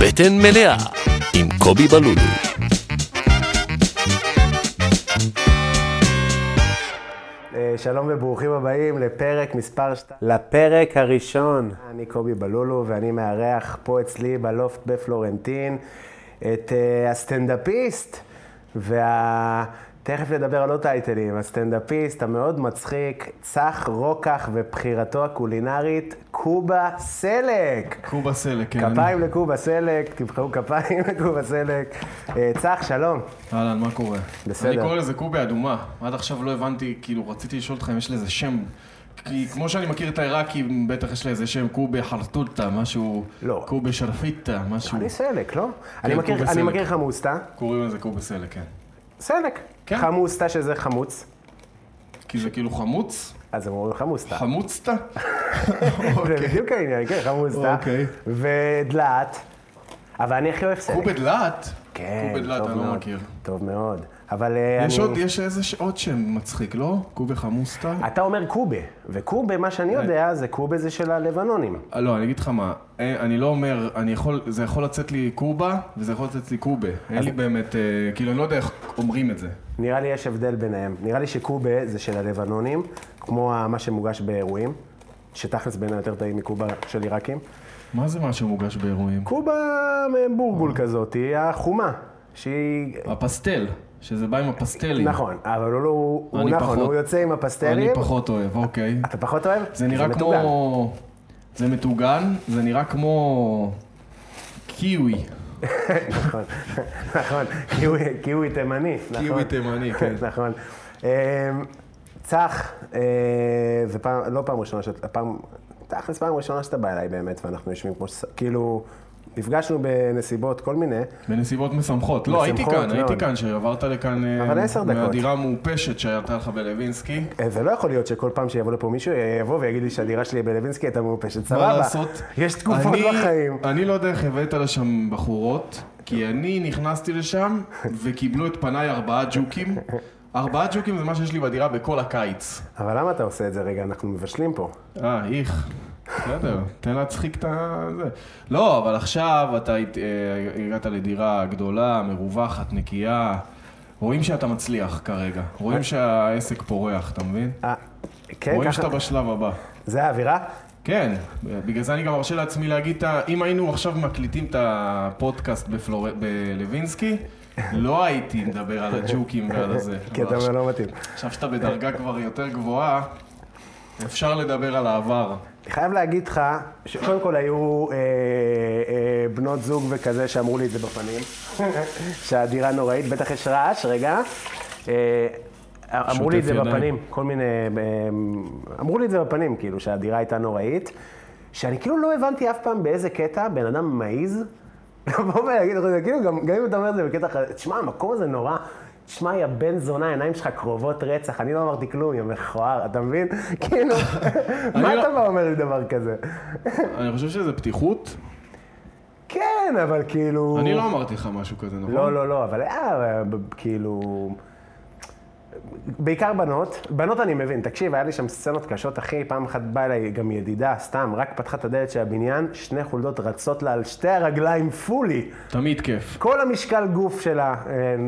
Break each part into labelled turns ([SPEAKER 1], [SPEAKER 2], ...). [SPEAKER 1] בטן מלאה עם קובי בלולו.
[SPEAKER 2] אה, שלום וברוכים הבאים לפרק מספר 2. לפרק הראשון. אני קובי בלולו ואני מארח פה אצלי בלופט בפלורנטין את אה, הסטנדאפיסט וה... תכף נדבר על עוד טייטלים, הסטנדאפיסט המאוד מצחיק, צח רוקח ובחירתו הקולינרית, קובה סלק.
[SPEAKER 3] קובה סלק, כן.
[SPEAKER 2] כפיים לקובה סלק, תמחאו כפיים לקובה סלק. אה, צח, שלום.
[SPEAKER 3] אהלן, מה קורה?
[SPEAKER 2] בסדר.
[SPEAKER 3] אני קורא לזה קובה אדומה. עד עכשיו לא הבנתי, כאילו, רציתי לשאול אותך אם יש לזה שם. כי כמו שאני מכיר את העיראקים, בטח יש לזה שם קובה חרטוטה, משהו...
[SPEAKER 2] לא.
[SPEAKER 3] קובה שרפיטה, משהו...
[SPEAKER 2] אני סלק, לא? אני מכיר-
[SPEAKER 3] כן, קובה
[SPEAKER 2] אני
[SPEAKER 3] סלק.
[SPEAKER 2] מכיר חמוסטה.
[SPEAKER 3] קוראים לזה קובה סלק, כן.
[SPEAKER 2] סלק. כן.
[SPEAKER 3] כן.
[SPEAKER 2] חמוסטה שזה חמוץ,
[SPEAKER 3] כי זה כאילו חמוץ?
[SPEAKER 2] אז הם אומרים חמוסטה.
[SPEAKER 3] חמוצתה?
[SPEAKER 2] זה בדיוק העניין, כן, חמוסטה.
[SPEAKER 3] אוקיי.
[SPEAKER 2] ודלעת. אבל אני הכי אוהב סלק.
[SPEAKER 3] קובה דלעת?
[SPEAKER 2] כן,
[SPEAKER 3] קובה דלעת,
[SPEAKER 2] טוב
[SPEAKER 3] אני לא
[SPEAKER 2] מאוד,
[SPEAKER 3] מכיר.
[SPEAKER 2] טוב מאוד. אבל אה,
[SPEAKER 3] יש עוד,
[SPEAKER 2] אני...
[SPEAKER 3] יש איזה ש- עוד שם מצחיק, לא? קובה חמוסתה?
[SPEAKER 2] אתה אומר קובה, וקובה, מה
[SPEAKER 3] כן.
[SPEAKER 2] שאני יודע, זה קובה זה של הלבנונים.
[SPEAKER 3] אה, לא, אני אגיד לך מה, אה, אני לא אומר, אני יכול, זה יכול לצאת לי קובה, וזה יכול לצאת לי קובה. אין לי באמת, אה, כאילו, אני לא יודע איך אומרים את זה.
[SPEAKER 2] נראה לי יש הבדל ביניהם. נראה לי שקובה זה של הלבנונים, כמו ה- מה שמוגש באירועים, שתכלס בין היותר טעים מקובה של עיראקים.
[SPEAKER 3] מה זה מה שמוגש באירועים?
[SPEAKER 2] קובה אה,
[SPEAKER 3] Mm.
[SPEAKER 2] בורגול כזאת, היא החומה, שהיא
[SPEAKER 3] הפסטל, שזה בא עם הפסטלים.
[SPEAKER 2] נכון, אבל הוא לא, הוא הוא
[SPEAKER 3] אני
[SPEAKER 2] נכון,
[SPEAKER 3] פחות.
[SPEAKER 2] הוא יוצא עם
[SPEAKER 3] אני
[SPEAKER 2] הפסטלים.
[SPEAKER 3] פחות אוהב, אוקיי.
[SPEAKER 2] אתה פחות אוהב?
[SPEAKER 3] זה נראה
[SPEAKER 2] מטוגן.
[SPEAKER 3] כמו... זה מטוגן, זה נראה כמו... קיווי.
[SPEAKER 2] נכון, נכון, קיווי- קיווי תימני. נכון.
[SPEAKER 3] קיווי תימני, כן.
[SPEAKER 2] נכון. אמ, צח, אה, זה פעם, לא פעם ראשונה שאתה, פעם, תכלס פעם ראשונה שאתה בא אליי באמת, ואנחנו יושבים כמו ש... כאילו, נפגשנו בנסיבות כל מיני, אה,
[SPEAKER 3] בנסיבות משמחות. לא, הייתי
[SPEAKER 2] משמחות
[SPEAKER 3] כאן, הייתי
[SPEAKER 2] מאוד.
[SPEAKER 3] כאן, שעברת לכאן... אה,
[SPEAKER 2] אבל עשר דקות.
[SPEAKER 3] מהדירה המעופשת שהייתה לך בלווינסקי.
[SPEAKER 2] אה, זה לא יכול להיות שכל פעם שיבוא לפה מישהו, יבוא ויגיד לי שהדירה שלי בלווינסקי הייתה מעופשת, סבבה.
[SPEAKER 3] מה לעשות?
[SPEAKER 2] יש תקופות
[SPEAKER 3] אני-
[SPEAKER 2] בחיים.
[SPEAKER 3] אני לא יודע איך הבאת לשם בחורות, כי אני נכנסתי לשם וקיבלו את פניי ארבעה ג'וקים. ארבעה ג'וקים זה מה שיש לי בדירה בכל הקיץ.
[SPEAKER 2] אבל למה אתה עושה את זה רגע? אנחנו מבשלים פה.
[SPEAKER 3] אה, איך. בסדר, תן להצחיק את ה... זה. לא, אבל עכשיו אתה הת- אה, הגעת לדירה גדולה, מרווחת, נקייה. רואים שאתה מצליח כרגע. רואים שהעסק פורח, אתה מבין?
[SPEAKER 2] אה, כן,
[SPEAKER 3] רואים
[SPEAKER 2] ככה,
[SPEAKER 3] שאתה בשלב הבא.
[SPEAKER 2] זה האווירה?
[SPEAKER 3] כן, בגלל זה אני גם מרשה לעצמי להגיד, את ה- אם היינו עכשיו מקליטים את הפודקאסט בפלור... בלווינסקי, לא הייתי מדבר על הג'וקים ועל הזה.
[SPEAKER 2] כי אתה
[SPEAKER 3] אבל
[SPEAKER 2] אומר לא מתאים.
[SPEAKER 3] עכשיו שאתה בדרגה כבר יותר גבוהה, אפשר לדבר על העבר.
[SPEAKER 2] אני חייב להגיד לך, שקודם כל היו אה, אה, בנות זוג וכזה שאמרו לי את זה בפנים, שהדירה נוראית, בטח יש רעש, רגע. אה, אמרו לי את זה
[SPEAKER 3] שוטף ידיים.
[SPEAKER 2] בפנים, כל מיני... אה, אמרו לי את זה בפנים, כאילו, שהדירה הייתה נוראית, שאני כאילו לא הבנתי אף פעם באיזה קטע בן אדם מעז לבוא ולהגיד, לך, זה כאילו, גם, גם אם אתה אומר את זה בקטע אחר, תשמע, המקום הזה נורא. תשמע, יא בן זונה, העיניים שלך קרובות רצח, אני לא אמרתי כלום, יא מכוער, אתה מבין? כאילו, מה
[SPEAKER 3] אני לא-
[SPEAKER 2] אתה בא אומר לי דבר כזה?
[SPEAKER 3] אני חושב שזה פתיחות.
[SPEAKER 2] כן, אבל כאילו...
[SPEAKER 3] אני לא אמרתי לך משהו כזה, נכון?
[SPEAKER 2] לא, לא, לא, אבל אה, ב- כאילו... בעיקר בנות, בנות אני מבין, תקשיב, היה לי שם סצנות קשות, אחי, פעם אחת באה אליי גם ידידה, סתם, רק פתחה את הדלת של הבניין, שני חולדות רצות לה על שתי הרגליים פולי.
[SPEAKER 3] תמיד כיף.
[SPEAKER 2] כל המשקל גוף שלה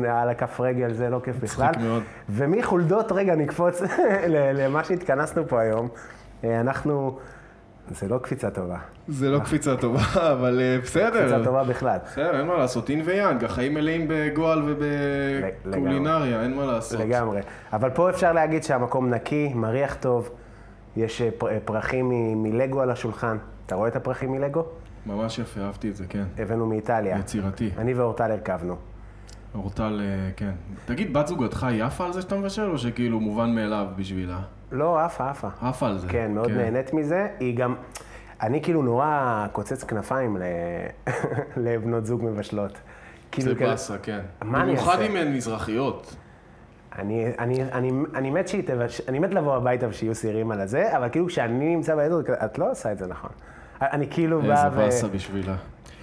[SPEAKER 2] אה, על הכף רגל, זה לא כיף בכלל.
[SPEAKER 3] מאוד.
[SPEAKER 2] ומחולדות, רגע, נקפוץ ל- למה שהתכנסנו פה היום. אה, אנחנו... זה לא קפיצה טובה,
[SPEAKER 3] זה לא קפיצה טובה, אבל אה,
[SPEAKER 2] קפיצה
[SPEAKER 3] בסדר.
[SPEAKER 2] טובה בכלל.
[SPEAKER 3] בסדר, אין מה לעשות, אין ויאנג, החיים מלאים בגועל
[SPEAKER 2] לגמרי.
[SPEAKER 3] ובקולינריה, אין מה לעשות.
[SPEAKER 2] לגמרי. אבל פה אפשר להגיד שהמקום נקי, מריח טוב, יש אה, פר- אה, פרחים מ- מלגו על השולחן. אתה רואה את הפרחים מלגו?
[SPEAKER 3] ממש יפה, אהבתי את זה, כן.
[SPEAKER 2] הבאנו מאיטליה.
[SPEAKER 3] יצירתי.
[SPEAKER 2] אני ואורטל הרכבנו.
[SPEAKER 3] אורטל, אה, כן. תגיד, בת זוגתך היא עפה על זה שאתה מבשל, או שכאילו מובן מאליו בשבילה?
[SPEAKER 2] לא, עפה, עפה.
[SPEAKER 3] עפה על זה.
[SPEAKER 2] כן, מאוד נהנית מזה. היא גם... אני כאילו נורא קוצץ כנפיים ל... לבנות זוג מבשלות. כאילו,
[SPEAKER 3] זה
[SPEAKER 2] כאילו-
[SPEAKER 3] באסה, כן.
[SPEAKER 2] מה אני
[SPEAKER 3] במיוחד
[SPEAKER 2] אעשה?
[SPEAKER 3] אם הן מזרחיות.
[SPEAKER 2] אני, אני, אני, אני מת שהיא תבש... אני מת לבוא הביתה ושיהיו סירים על הזה, אבל כאילו כשאני נמצא בעדות, את לא עושה את זה נכון. אני כאילו בא
[SPEAKER 3] איזה
[SPEAKER 2] ו...
[SPEAKER 3] אה, באסה בשבילה.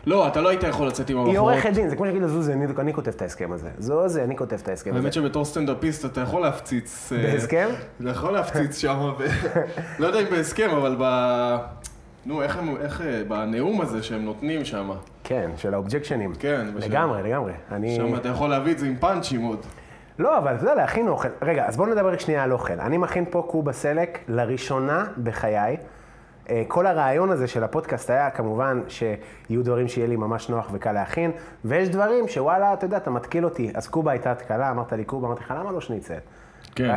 [SPEAKER 3] לא, אתה לא היית יכול לצאת עם
[SPEAKER 2] היא
[SPEAKER 3] המחרות.
[SPEAKER 2] עורכת דין, זה כמו שיגידו זוזי, אני, אני כותב את ההסכם הזה. זוזי, אני כותב את ההסכם הזה.
[SPEAKER 3] האמת שבתור סטנדאפיסט אתה יכול להפציץ... אה,
[SPEAKER 2] בהסכם?
[SPEAKER 3] אתה יכול להפציץ שם, ב- לא יודע אם בהסכם, אבל ב... נו, איך הם, איך, אה, בנאום הזה שהם נותנים שם,
[SPEAKER 2] כן, של האובג'קשנים.
[SPEAKER 3] כן, בשל-
[SPEAKER 2] לגמרי, לגמרי. אני...
[SPEAKER 3] שם אתה יכול להביא את זה עם פאנצ'ים עוד.
[SPEAKER 2] לא, אבל אתה יודע, להכין אוכל. רגע, אז בואו נדבר רק שנייה על אוכל. אני מכין פה קובה סלק לראשונה בחיי. אה, כל הרעיון הזה של הפודקאסט היה כמובן שיהיו דברים שיהיה לי ממש נוח וקל להכין, ויש דברים שוואלה, אתה יודע, אתה מתקיל אותי. אז קובה הייתה התקלה, אמרת לי קובה, אמרתי לך, למה לא שניצל?
[SPEAKER 3] כן.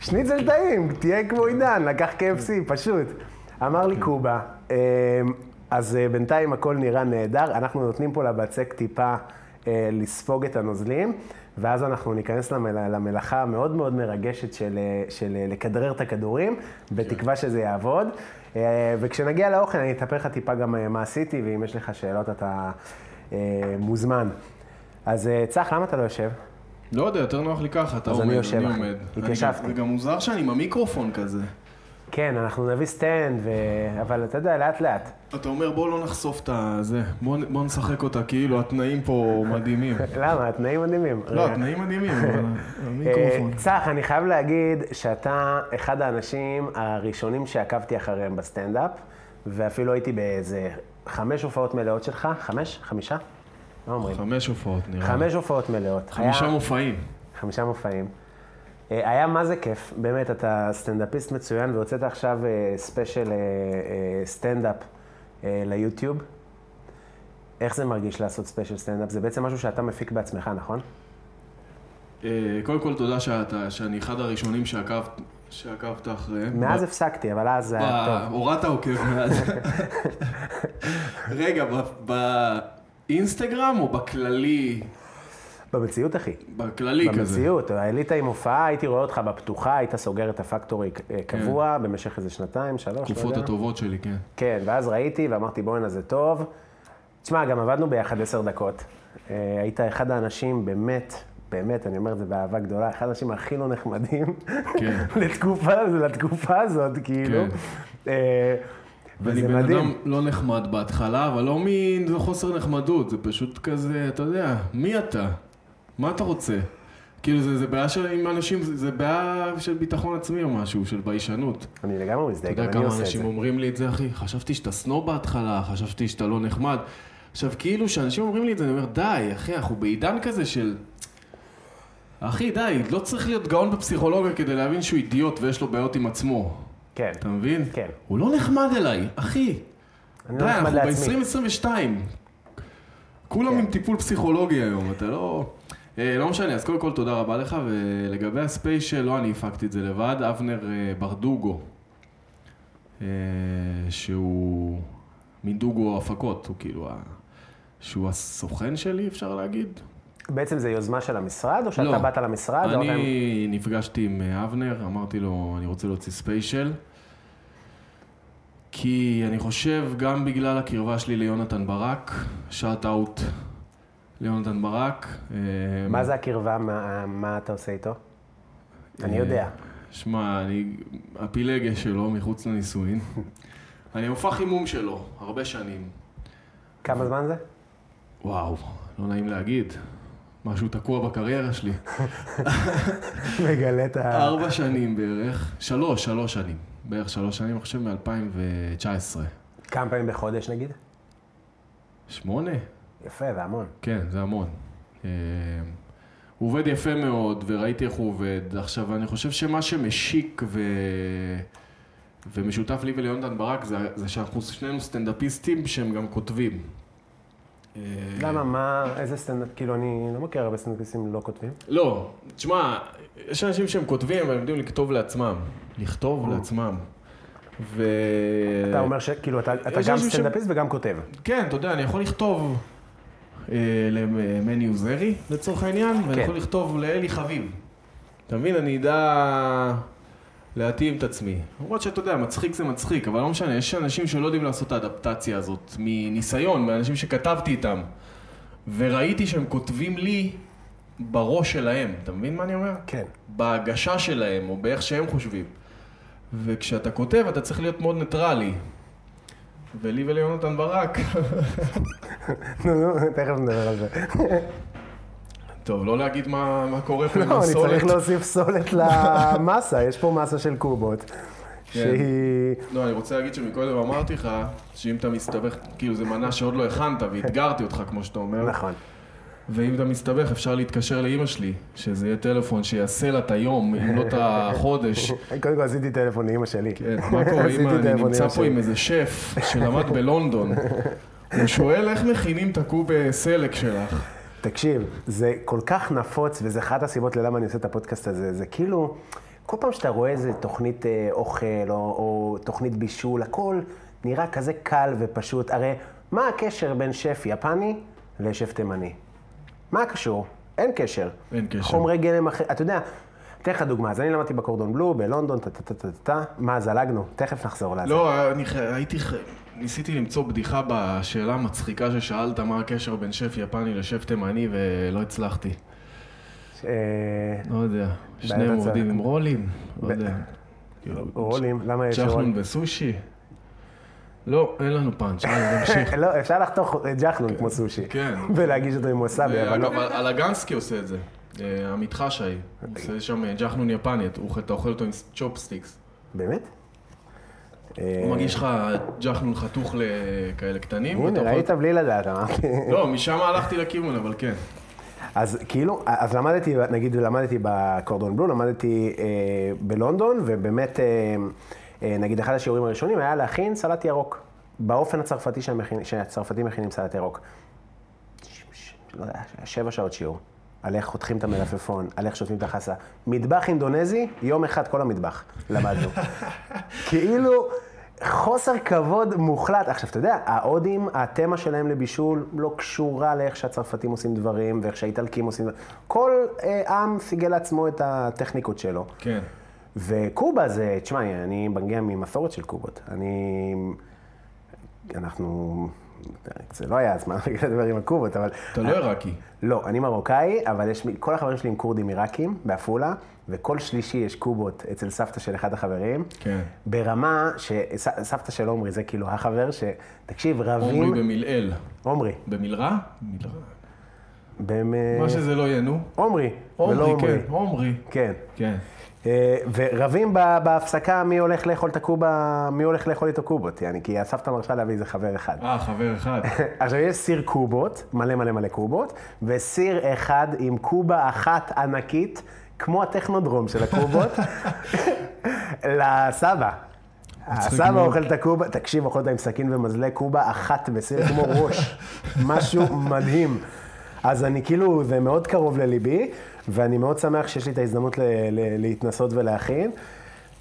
[SPEAKER 2] שניצל טעים, תהיה כמו עידן, לקח KFC, פשוט. אמר לי קובה, אמ, אז אה, בינתיים הכל נראה נהדר, אנחנו נותנים פה לבצק טיפה אה, לספוג את הנוזלים, ואז אנחנו ניכנס למל- למלאכה המאוד מאוד מרגשת של, אה, של אה, לכדרר את הכדורים, בתקווה שזה יעבוד. אה, וכשנגיע לאוכל אני אספר לך טיפה גם אה, מה עשיתי, ואם יש לך שאלות אתה אה, מוזמן. אז אה, צח, למה אתה לא יושב?
[SPEAKER 3] לא יודע, יותר נוח לי ככה, אתה
[SPEAKER 2] אז
[SPEAKER 3] עומד,
[SPEAKER 2] אני יושב,
[SPEAKER 3] אני
[SPEAKER 2] אחי.
[SPEAKER 3] עומד. אני
[SPEAKER 2] התיישבתי.
[SPEAKER 3] גם- זה גם מוזר שאני עם המיקרופון כזה.
[SPEAKER 2] כן, אנחנו נביא סטנד, ו... אבל אתה יודע, לאט לאט.
[SPEAKER 3] אתה אומר, בוא לא נחשוף את הזה, בוא, נ- בוא נשחק אותה, כאילו התנאים פה מדהימים.
[SPEAKER 2] למה? התנאים מדהימים.
[SPEAKER 3] לא, התנאים מדהימים, אבל המיקרופון.
[SPEAKER 2] אה, צח, אני חייב להגיד שאתה אחד האנשים הראשונים שעקבתי אחריהם בסטנדאפ, ואפילו הייתי באיזה חמש הופעות מלאות שלך, חמש? חמישה? מה אומרים?
[SPEAKER 3] חמש הופעות נראה. לי.
[SPEAKER 2] חמש הופעות מלאות.
[SPEAKER 3] חמישה
[SPEAKER 2] היה-
[SPEAKER 3] מופעים.
[SPEAKER 2] חמישה מופעים. אה, היה מה זה כיף, באמת, אתה סטנדאפיסט מצוין, והוצאת עכשיו אה, ספיישל אה, אה, סטנדאפ אה, ליוטיוב. איך זה מרגיש לעשות ספיישל סטנדאפ? זה בעצם משהו שאתה מפיק בעצמך, נכון?
[SPEAKER 3] אה, קודם כל, תודה שאתה, שאני אחד הראשונים שעקבת, שעקבת אחריהם.
[SPEAKER 2] מאז הפסקתי, אבל אז זה היה
[SPEAKER 3] ב-
[SPEAKER 2] טוב.
[SPEAKER 3] הורדת עוקב מאז. רגע, ב- באינסטגרם או בכללי?
[SPEAKER 2] במציאות, אחי.
[SPEAKER 3] בכללי כזה.
[SPEAKER 2] במציאות, העלית עם הופעה, הייתי רואה אותך בפתוחה, היית סוגר את הפקטורי אה,
[SPEAKER 3] כן.
[SPEAKER 2] קבוע במשך איזה שנתיים, שלוש, לא
[SPEAKER 3] התקופות
[SPEAKER 2] יודע.
[SPEAKER 3] הטובות שלי, כן.
[SPEAKER 2] כן, ואז ראיתי ואמרתי, בואנה, זה טוב. תשמע, גם עבדנו ביחד עשר דקות. אה, היית אחד האנשים, באמת, באמת, אני אומר את זה באהבה גדולה, אחד האנשים הכי לא נחמדים
[SPEAKER 3] כן.
[SPEAKER 2] לתקופה, לתקופה הזאת, כאילו. אה,
[SPEAKER 3] כן. ואני
[SPEAKER 2] וזה
[SPEAKER 3] בן
[SPEAKER 2] מדהים.
[SPEAKER 3] אדם לא נחמד בהתחלה, אבל לא מחוסר נחמדות, זה פשוט כזה, אתה יודע, מי אתה? מה אתה רוצה? כאילו, זה, זה בעיה של עם אנשים, זה, זה בעיה של ביטחון עצמי או משהו, של ביישנות.
[SPEAKER 2] אני לגמרי מזדהה,
[SPEAKER 3] אתה
[SPEAKER 2] גם
[SPEAKER 3] יודע
[SPEAKER 2] אני
[SPEAKER 3] כמה
[SPEAKER 2] עושה את זה.
[SPEAKER 3] אנשים אומרים לי את זה, אחי? חשבתי שאתה שנוא בהתחלה, חשבתי שאתה לא נחמד. עכשיו, כאילו, כשאנשים אומרים לי את זה, אני אומר, די, אחי, אנחנו בעידן כזה של... אחי, די, לא צריך להיות גאון בפסיכולוגיה כדי להבין שהוא אידיוט ויש לו בעיות עם עצמו.
[SPEAKER 2] כן.
[SPEAKER 3] אתה מבין?
[SPEAKER 2] כן.
[SPEAKER 3] הוא לא נחמד אליי, אחי.
[SPEAKER 2] אני
[SPEAKER 3] די,
[SPEAKER 2] לא נחמד
[SPEAKER 3] אנחנו
[SPEAKER 2] לעצמי.
[SPEAKER 3] ב-2022. כולם עם טיפול פסיכולוגי היום, אתה לא... אה, לא משנה, אז קודם כל תודה רבה לך, ולגבי הספיישל, לא אני הפקתי את זה לבד, אבנר אה, ברדוגו, אה, שהוא מדוגו הפקות, הוא כאילו, ה- שהוא הסוכן שלי, אפשר להגיד.
[SPEAKER 2] בעצם זה יוזמה של המשרד, או
[SPEAKER 3] לא.
[SPEAKER 2] שאתה באת למשרד? או אתה-
[SPEAKER 3] אני נפגשתי עם אה, אבנר, אמרתי לו, אני רוצה להוציא ספיישל. כי אני חושב, גם בגלל הקרבה שלי ליונתן ברק, שאט אאוט ליונתן ברק. אה,
[SPEAKER 2] מה זה הקרבה? מה- מה אתה עושה איתו?
[SPEAKER 3] אה.
[SPEAKER 2] אני יודע.
[SPEAKER 3] שמע, אני הפילגש שלו מחוץ לנישואין. אני הופך חימום שלו, הרבה שנים.
[SPEAKER 2] כמה זמן זה?
[SPEAKER 3] וואו, לא נעים להגיד. משהו תקוע בקריירה שלי.
[SPEAKER 2] מגלה את ה...
[SPEAKER 3] ארבע שנים בערך, שלוש, שלוש שנים. בערך שלוש שנים, אני חושב מ-2019.
[SPEAKER 2] כמה פעמים בחודש נגיד?
[SPEAKER 3] שמונה?
[SPEAKER 2] יפה, זה המון.
[SPEAKER 3] כן, זה המון. אה, הוא עובד יפה מאוד, וראיתי איך הוא עובד. עכשיו, אני חושב שמה שמשיק ו... ומשותף לי וליונתן ברק זה, זה שאנחנו שנינו סטנדאפיסטים שהם גם כותבים. אה,
[SPEAKER 2] למה, מה, איזה סטנדאפ, כאילו, אני לא מכיר הרבה סטנדאפיסטים לא כותבים.
[SPEAKER 3] לא, תשמע, יש אנשים שהם כותבים, אבל הם יודעים לכתוב לעצמם. לכתוב לעצמם. ו...
[SPEAKER 2] אתה אומר שכאילו, אתה אתה
[SPEAKER 3] יש
[SPEAKER 2] גם
[SPEAKER 3] אנשים ש-
[SPEAKER 2] סטנדאפיסט וגם כותב.
[SPEAKER 3] כן, אתה יודע, אני יכול לכתוב אה, למני עוזרי, לצורך העניין,
[SPEAKER 2] כן.
[SPEAKER 3] ואני יכול לכתוב לאלי חביב. אתה מבין? אני אדע להתאים את עצמי. למרות שאתה יודע, מצחיק זה מצחיק, אבל לא משנה, יש אנשים שלא יודעים לעשות את האדפטציה הזאת, מניסיון, מאנשים שכתבתי איתם, וראיתי שהם כותבים לי בראש שלהם. אתה מבין מה אני אומר?
[SPEAKER 2] כן.
[SPEAKER 3] בהגשה שלהם, או באיך שהם חושבים. וכשאתה כותב, אתה צריך להיות מאוד ניטרלי. ולי וליונתן ברק.
[SPEAKER 2] נו, נו, תכף נדבר על זה.
[SPEAKER 3] טוב, לא להגיד מה, מה קורה פה עם
[SPEAKER 2] לא, אני
[SPEAKER 3] הסולת. כן.
[SPEAKER 2] צריך להוסיף סולת למאסה, יש פה מאסה של קובות. שהיא...
[SPEAKER 3] לא, אני רוצה להגיד שמקודם אמרתי לך, שאם אתה מסתבך, כאילו זו מנה שעוד לא הכנת ואתגרתי אותך, כמו שאתה אומר.
[SPEAKER 2] נכון.
[SPEAKER 3] ואם אתה מסתבך, אפשר להתקשר לאימא שלי, שזה יהיה טלפון שיעשה לה את היום, אם לא את החודש.
[SPEAKER 2] קודם כל עשיתי טלפון לאימא שלי.
[SPEAKER 3] כן, מה קורה,
[SPEAKER 2] עשיתי
[SPEAKER 3] אימא, אני
[SPEAKER 2] טלפון
[SPEAKER 3] נמצא
[SPEAKER 2] לאמא
[SPEAKER 3] פה עם
[SPEAKER 2] שלי.
[SPEAKER 3] איזה שף שלמד בלונדון. הוא שואל איך מכינים את הקוב סלק שלך.
[SPEAKER 2] תקשיב, זה כל כך נפוץ, וזה אחת הסיבות ללמה אני עושה את הפודקאסט הזה. זה כאילו, כל פעם שאתה רואה איזה תוכנית אה, אוכל, או, או תוכנית בישול, הכל נראה כזה קל ופשוט. הרי מה הקשר בין שף יפני לשף תימני? מה הקשור? אין קשר.
[SPEAKER 3] אין קשר.
[SPEAKER 2] חומרי גלם אחר, אתה יודע, אתן לך דוגמה, אז אני למדתי בקורדון בלו, בלונדון, טה טה טה טה טה, מה, זלגנו? תכף נחזור לזה.
[SPEAKER 3] לא, אני ח- הייתי, ח- ניסיתי למצוא בדיחה בשאלה המצחיקה ששאלת, מה הקשר בין שף יפני לשף תימני, ולא הצלחתי.
[SPEAKER 2] אה,
[SPEAKER 3] לא יודע, שניהם
[SPEAKER 2] הצלחת.
[SPEAKER 3] עובדים עם רולים, לא יודע. כאילו,
[SPEAKER 2] רולים, למה יש
[SPEAKER 3] צ'חנון
[SPEAKER 2] רולים?
[SPEAKER 3] וסושי? לא, אין לנו פאנץ', יאללה, נמשיך.
[SPEAKER 2] לא, אפשר לחתוך את ג'חנון כמו סושי.
[SPEAKER 3] כן. אה,
[SPEAKER 2] ולהגיש אותו עם ווסאבי, אבל לא. אוקיי.
[SPEAKER 3] אגב, אלגנסקי עושה את זה, אה, עמית חשאי, הוא עושה שם אה, ג'חנון יפני, אתה אוכל- אתה אוכל אותו עם צ'ופסטיקס.
[SPEAKER 2] באמת? אה.
[SPEAKER 3] הוא מגיש לך ג'חנון חתוך לכאלה קטנים,
[SPEAKER 2] הנה,
[SPEAKER 3] ואתה אוכל...
[SPEAKER 2] ראית בלי לדעת, אה? אמרתי.
[SPEAKER 3] לא, משם הלכתי לכיוון, אבל כן.
[SPEAKER 2] אז כאילו, אז למדתי, נגיד למדתי בקורדון בלו, למדתי אה, בלונדון, ובאמת, אה, אה, נגיד אחד השיעורים הראשונים היה להכין סלט ירוק, באופן הצרפתי שהמכין- שהצרפתים מכינים סלט ירוק. ש- ש- לא יודע, שבע שעות שיעור, על איך חותכים את המלפפון, על איך שותמים את החסה. מטבח אינדונזי, יום אחד כל המטבח למדנו. כאילו, חוסר כבוד מוחלט. עכשיו, אתה יודע, ההודים, התמה שלהם לבישול לא קשורה לאיך שהצרפתים עושים דברים, ואיך שהאיטלקים עושים דברים. כל אה, עם סיגל לעצמו את הטכניקות שלו.
[SPEAKER 3] כן.
[SPEAKER 2] וקובה זה, תשמע, אני מגיע ממסורת של קובות. אני... אנחנו... זה לא היה הזמן לדבר עם הקובות, אבל...
[SPEAKER 3] אתה לא עיראקי.
[SPEAKER 2] לא, אני מרוקאי, אבל יש לי, כל החברים שלי הם כורדים עיראקים, בעפולה, וכל שלישי יש קובות אצל סבתא של אחד החברים.
[SPEAKER 3] כן.
[SPEAKER 2] ברמה שסבתא של עומרי, זה כאילו החבר ש... תקשיב,
[SPEAKER 3] עומרי
[SPEAKER 2] רבים...
[SPEAKER 3] במילאל.
[SPEAKER 2] עומרי.
[SPEAKER 3] במילרע? מילרע.
[SPEAKER 2] במ...
[SPEAKER 3] מה שזה לא יהיה, נו.
[SPEAKER 2] עומרי, אה. ולא
[SPEAKER 3] עומרי,
[SPEAKER 2] עומרי.
[SPEAKER 3] כן. עומרי.
[SPEAKER 2] כן.
[SPEAKER 3] כן.
[SPEAKER 2] אה, ורבים ב- בהפסקה מי הולך לאכול את הקובה, מי הולך לאכול איתו קובות, יעני, כי הסבתא מרשה להביא איזה חבר אחד.
[SPEAKER 3] אה, חבר אחד.
[SPEAKER 2] עכשיו, יש סיר קובות, מלא מלא מלא קובות, וסיר אחד עם קובה אחת ענקית, כמו הטכנודרום של הקובות, לסבא. הסבא
[SPEAKER 3] מאוד.
[SPEAKER 2] אוכל את הקובה, תקשיב, אוכל אותה עם סכין ומזלג קובה אחת בסיר כמו ראש. משהו מדהים. אז אני כאילו, זה מאוד קרוב לליבי, ואני מאוד שמח שיש לי את ההזדמנות ל- ל- להתנסות ולהכין,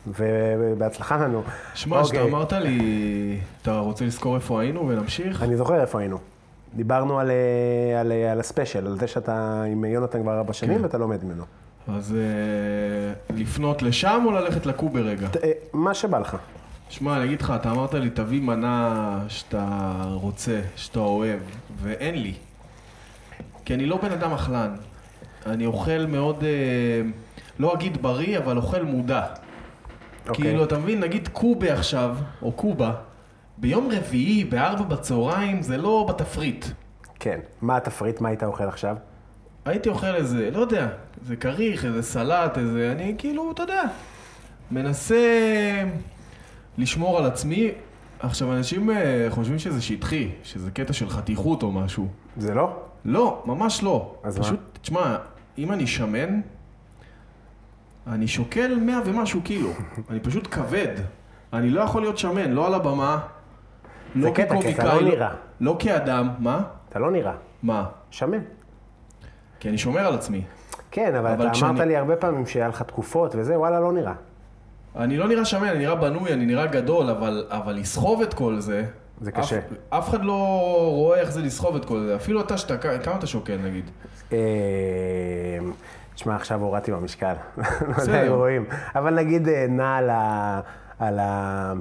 [SPEAKER 2] ובהצלחה לנו.
[SPEAKER 3] שמע, שאתה
[SPEAKER 2] אוקיי.
[SPEAKER 3] אמרת לי, אתה רוצה לזכור איפה היינו ונמשיך?
[SPEAKER 2] אני זוכר איפה היינו. דיברנו על, אה, על, אה, על הספיישל, על זה שאתה עם יונתן כבר ארבע
[SPEAKER 3] כן.
[SPEAKER 2] שנים ואתה לומד ממנו.
[SPEAKER 3] אז אה, לפנות לשם או ללכת לקובה רגע?
[SPEAKER 2] ת- אה, מה שבא לך.
[SPEAKER 3] שמע, אני אגיד לך, אתה אמרת לי, תביא מנה שאתה רוצה, שאתה אוהב, ואין לי. כי אני לא בן אדם אכלן. אני אוכל מאוד, אה, לא אגיד בריא, אבל אוכל מודע.
[SPEAKER 2] אוקיי.
[SPEAKER 3] כאילו, אתה מבין, נגיד קובה עכשיו, או קובה, ביום רביעי, בארבע בצהריים, זה לא בתפריט.
[SPEAKER 2] כן. מה התפריט? מה היית אוכל עכשיו?
[SPEAKER 3] הייתי אוכל איזה, לא יודע, איזה כריך, איזה סלט, איזה, אני כאילו, אתה יודע, מנסה לשמור על עצמי. עכשיו, אנשים אה, חושבים שזה שטחי, שזה קטע של חתיכות או משהו.
[SPEAKER 2] זה לא?
[SPEAKER 3] לא, ממש לא.
[SPEAKER 2] אז מה?
[SPEAKER 3] פשוט, תשמע, אם אני שמן, אני שוקל מאה ומשהו קילו. אני פשוט כבד. אני לא יכול להיות שמן, לא על הבמה, לא
[SPEAKER 2] קטע, כי אתה לא
[SPEAKER 3] כקומיקאי,
[SPEAKER 2] נראה.
[SPEAKER 3] לא כאדם, מה?
[SPEAKER 2] אתה לא נראה.
[SPEAKER 3] מה?
[SPEAKER 2] שמן.
[SPEAKER 3] כי אני שומר על עצמי.
[SPEAKER 2] כן, אבל,
[SPEAKER 3] אבל
[SPEAKER 2] אתה
[SPEAKER 3] כשאני-
[SPEAKER 2] אמרת לי הרבה פעמים שהיה לך תקופות וזה, וואלה, לא נראה.
[SPEAKER 3] אני לא נראה שמן, אני נראה בנוי, אני נראה גדול, אבל, אבל לסחוב את כל זה...
[SPEAKER 2] זה קשה.
[SPEAKER 3] אף, אף אחד לא רואה איך זה לסחוב את כל זה. אפילו אתה, שאתה, כמה אתה שוקל נגיד?
[SPEAKER 2] אה, תשמע, עכשיו הורדתי במשקל. לא יודע אם
[SPEAKER 3] בסדר.
[SPEAKER 2] רואים. אבל נגיד אה, נע על ה... על ה...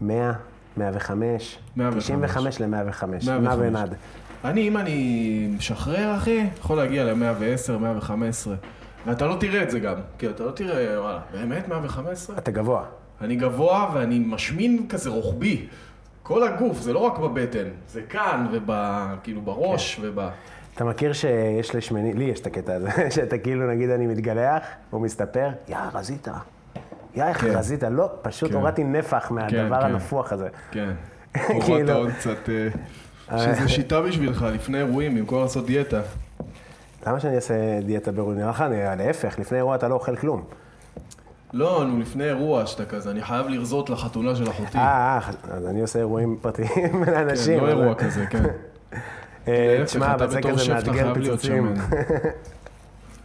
[SPEAKER 2] 100, 105,
[SPEAKER 3] 105.
[SPEAKER 2] 95 ל-105,
[SPEAKER 3] 105.
[SPEAKER 2] נע ונד.
[SPEAKER 3] אני, אם אני משחרר, אחי, יכול להגיע ל-110, 115. ואתה לא תראה את זה גם. כי אתה לא תראה, וואלה, באמת 115?
[SPEAKER 2] אתה גבוה.
[SPEAKER 3] אני גבוה ואני משמין כזה רוחבי. כל הגוף, זה לא רק בבטן, זה כאן וב... כאילו בראש
[SPEAKER 2] כן.
[SPEAKER 3] וב...
[SPEAKER 2] אתה מכיר שיש לשמני, לי יש את הקטע הזה, שאתה כאילו, נגיד אני מתגלח, הוא מסתפר, יא, רזית. יא, איך
[SPEAKER 3] כן.
[SPEAKER 2] רזית, לא, פשוט
[SPEAKER 3] כן.
[SPEAKER 2] הורדתי נפח מהדבר
[SPEAKER 3] כן.
[SPEAKER 2] הנפוח הזה.
[SPEAKER 3] כן.
[SPEAKER 2] כאילו.
[SPEAKER 3] הורדת עוד קצת... אה, שזה שיטה בשבילך, לפני אירועים, במקום לעשות דיאטה.
[SPEAKER 2] למה שאני אעשה דיאטה ברור? נראה לך, אני- להפך, לפני אירוע אתה לא אוכל כלום.
[SPEAKER 3] אה. לא, נו, לפני אירוע שאתה כזה, אני חייב לרזות לחתונה של אחותי.
[SPEAKER 2] אה, אה, אז אני עושה אירועים פרטיים
[SPEAKER 3] כן,
[SPEAKER 2] לאנשים.
[SPEAKER 3] לא
[SPEAKER 2] אבל-
[SPEAKER 3] אירוע כזה, כן.
[SPEAKER 2] אה,
[SPEAKER 3] להפך,
[SPEAKER 2] תשמע,
[SPEAKER 3] אתה
[SPEAKER 2] אבל זה
[SPEAKER 3] בתור שף,
[SPEAKER 2] כזה
[SPEAKER 3] אתה
[SPEAKER 2] מאתגר
[SPEAKER 3] חייב להיות
[SPEAKER 2] פיצוצים.
[SPEAKER 3] שמן.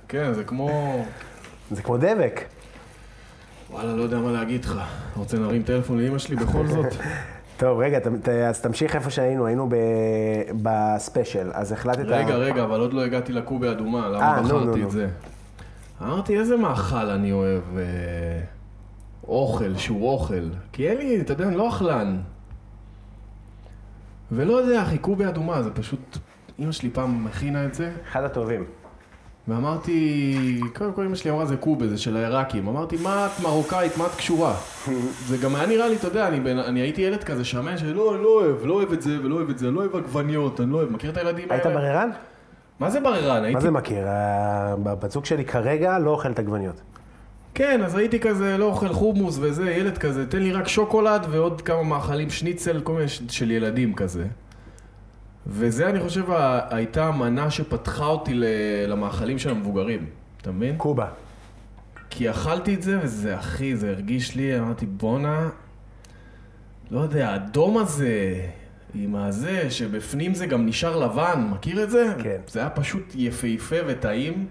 [SPEAKER 3] כן, זה כמו...
[SPEAKER 2] זה כמו דבק.
[SPEAKER 3] וואלה, לא יודע מה להגיד לך. אתה רוצה להרים טלפון לאימא שלי בכל זאת?
[SPEAKER 2] טוב, רגע, ת- ת- אז תמשיך איפה שהיינו, היינו ב- בספיישל, אז החלטת...
[SPEAKER 3] רגע, רגע, אבל עוד לא הגעתי לקובי אדומה,
[SPEAKER 2] אה,
[SPEAKER 3] למה
[SPEAKER 2] נו, נו,
[SPEAKER 3] בחרתי
[SPEAKER 2] נו.
[SPEAKER 3] את זה? אמרתי, איזה מאכל אני אוהב אה, אוכל שהוא אוכל. כי אין לי, אתה יודע, אני לא אכלן. ולא יודע, אחי, קובי אדומה, זה פשוט... אימא שלי פעם הכינה את זה,
[SPEAKER 2] אחד הטובים.
[SPEAKER 3] ואמרתי, קודם כל אמא שלי אמרה זה קובה, זה של העיראקים. אמרתי, מה את מרוקאית, מה את קשורה? זה גם היה נראה לי, אתה יודע, אני, בן- אני הייתי ילד כזה שמן, שלא, אני לא אוהב, לא אוהב את זה ולא אוהב את זה, לא אוהב עגבניות, אני לא אוהב, מכיר את הילדים
[SPEAKER 2] היית
[SPEAKER 3] האלה?
[SPEAKER 2] בררן?
[SPEAKER 3] מה זה בררן?
[SPEAKER 2] מה
[SPEAKER 3] הייתי...
[SPEAKER 2] זה מכיר? הבת זוג שלי כרגע לא אוכלת עגבניות.
[SPEAKER 3] כן, אז הייתי כזה, לא אוכל חומוס וזה, ילד כזה, תן לי רק שוקולד ועוד כמה מאכלים, שניצל, כל מיני ש... של ילדים כזה. וזה, אני חושב, ה- הייתה המנה שפתחה אותי ל- למאכלים של המבוגרים, אתה מבין?
[SPEAKER 2] קובה.
[SPEAKER 3] כי אכלתי את זה, וזה, אחי, זה הרגיש לי, אמרתי, בואנה, לא יודע, האדום הזה, עם הזה, שבפנים זה גם נשאר לבן, מכיר את זה?
[SPEAKER 2] כן.
[SPEAKER 3] זה היה פשוט יפהפה וטעים.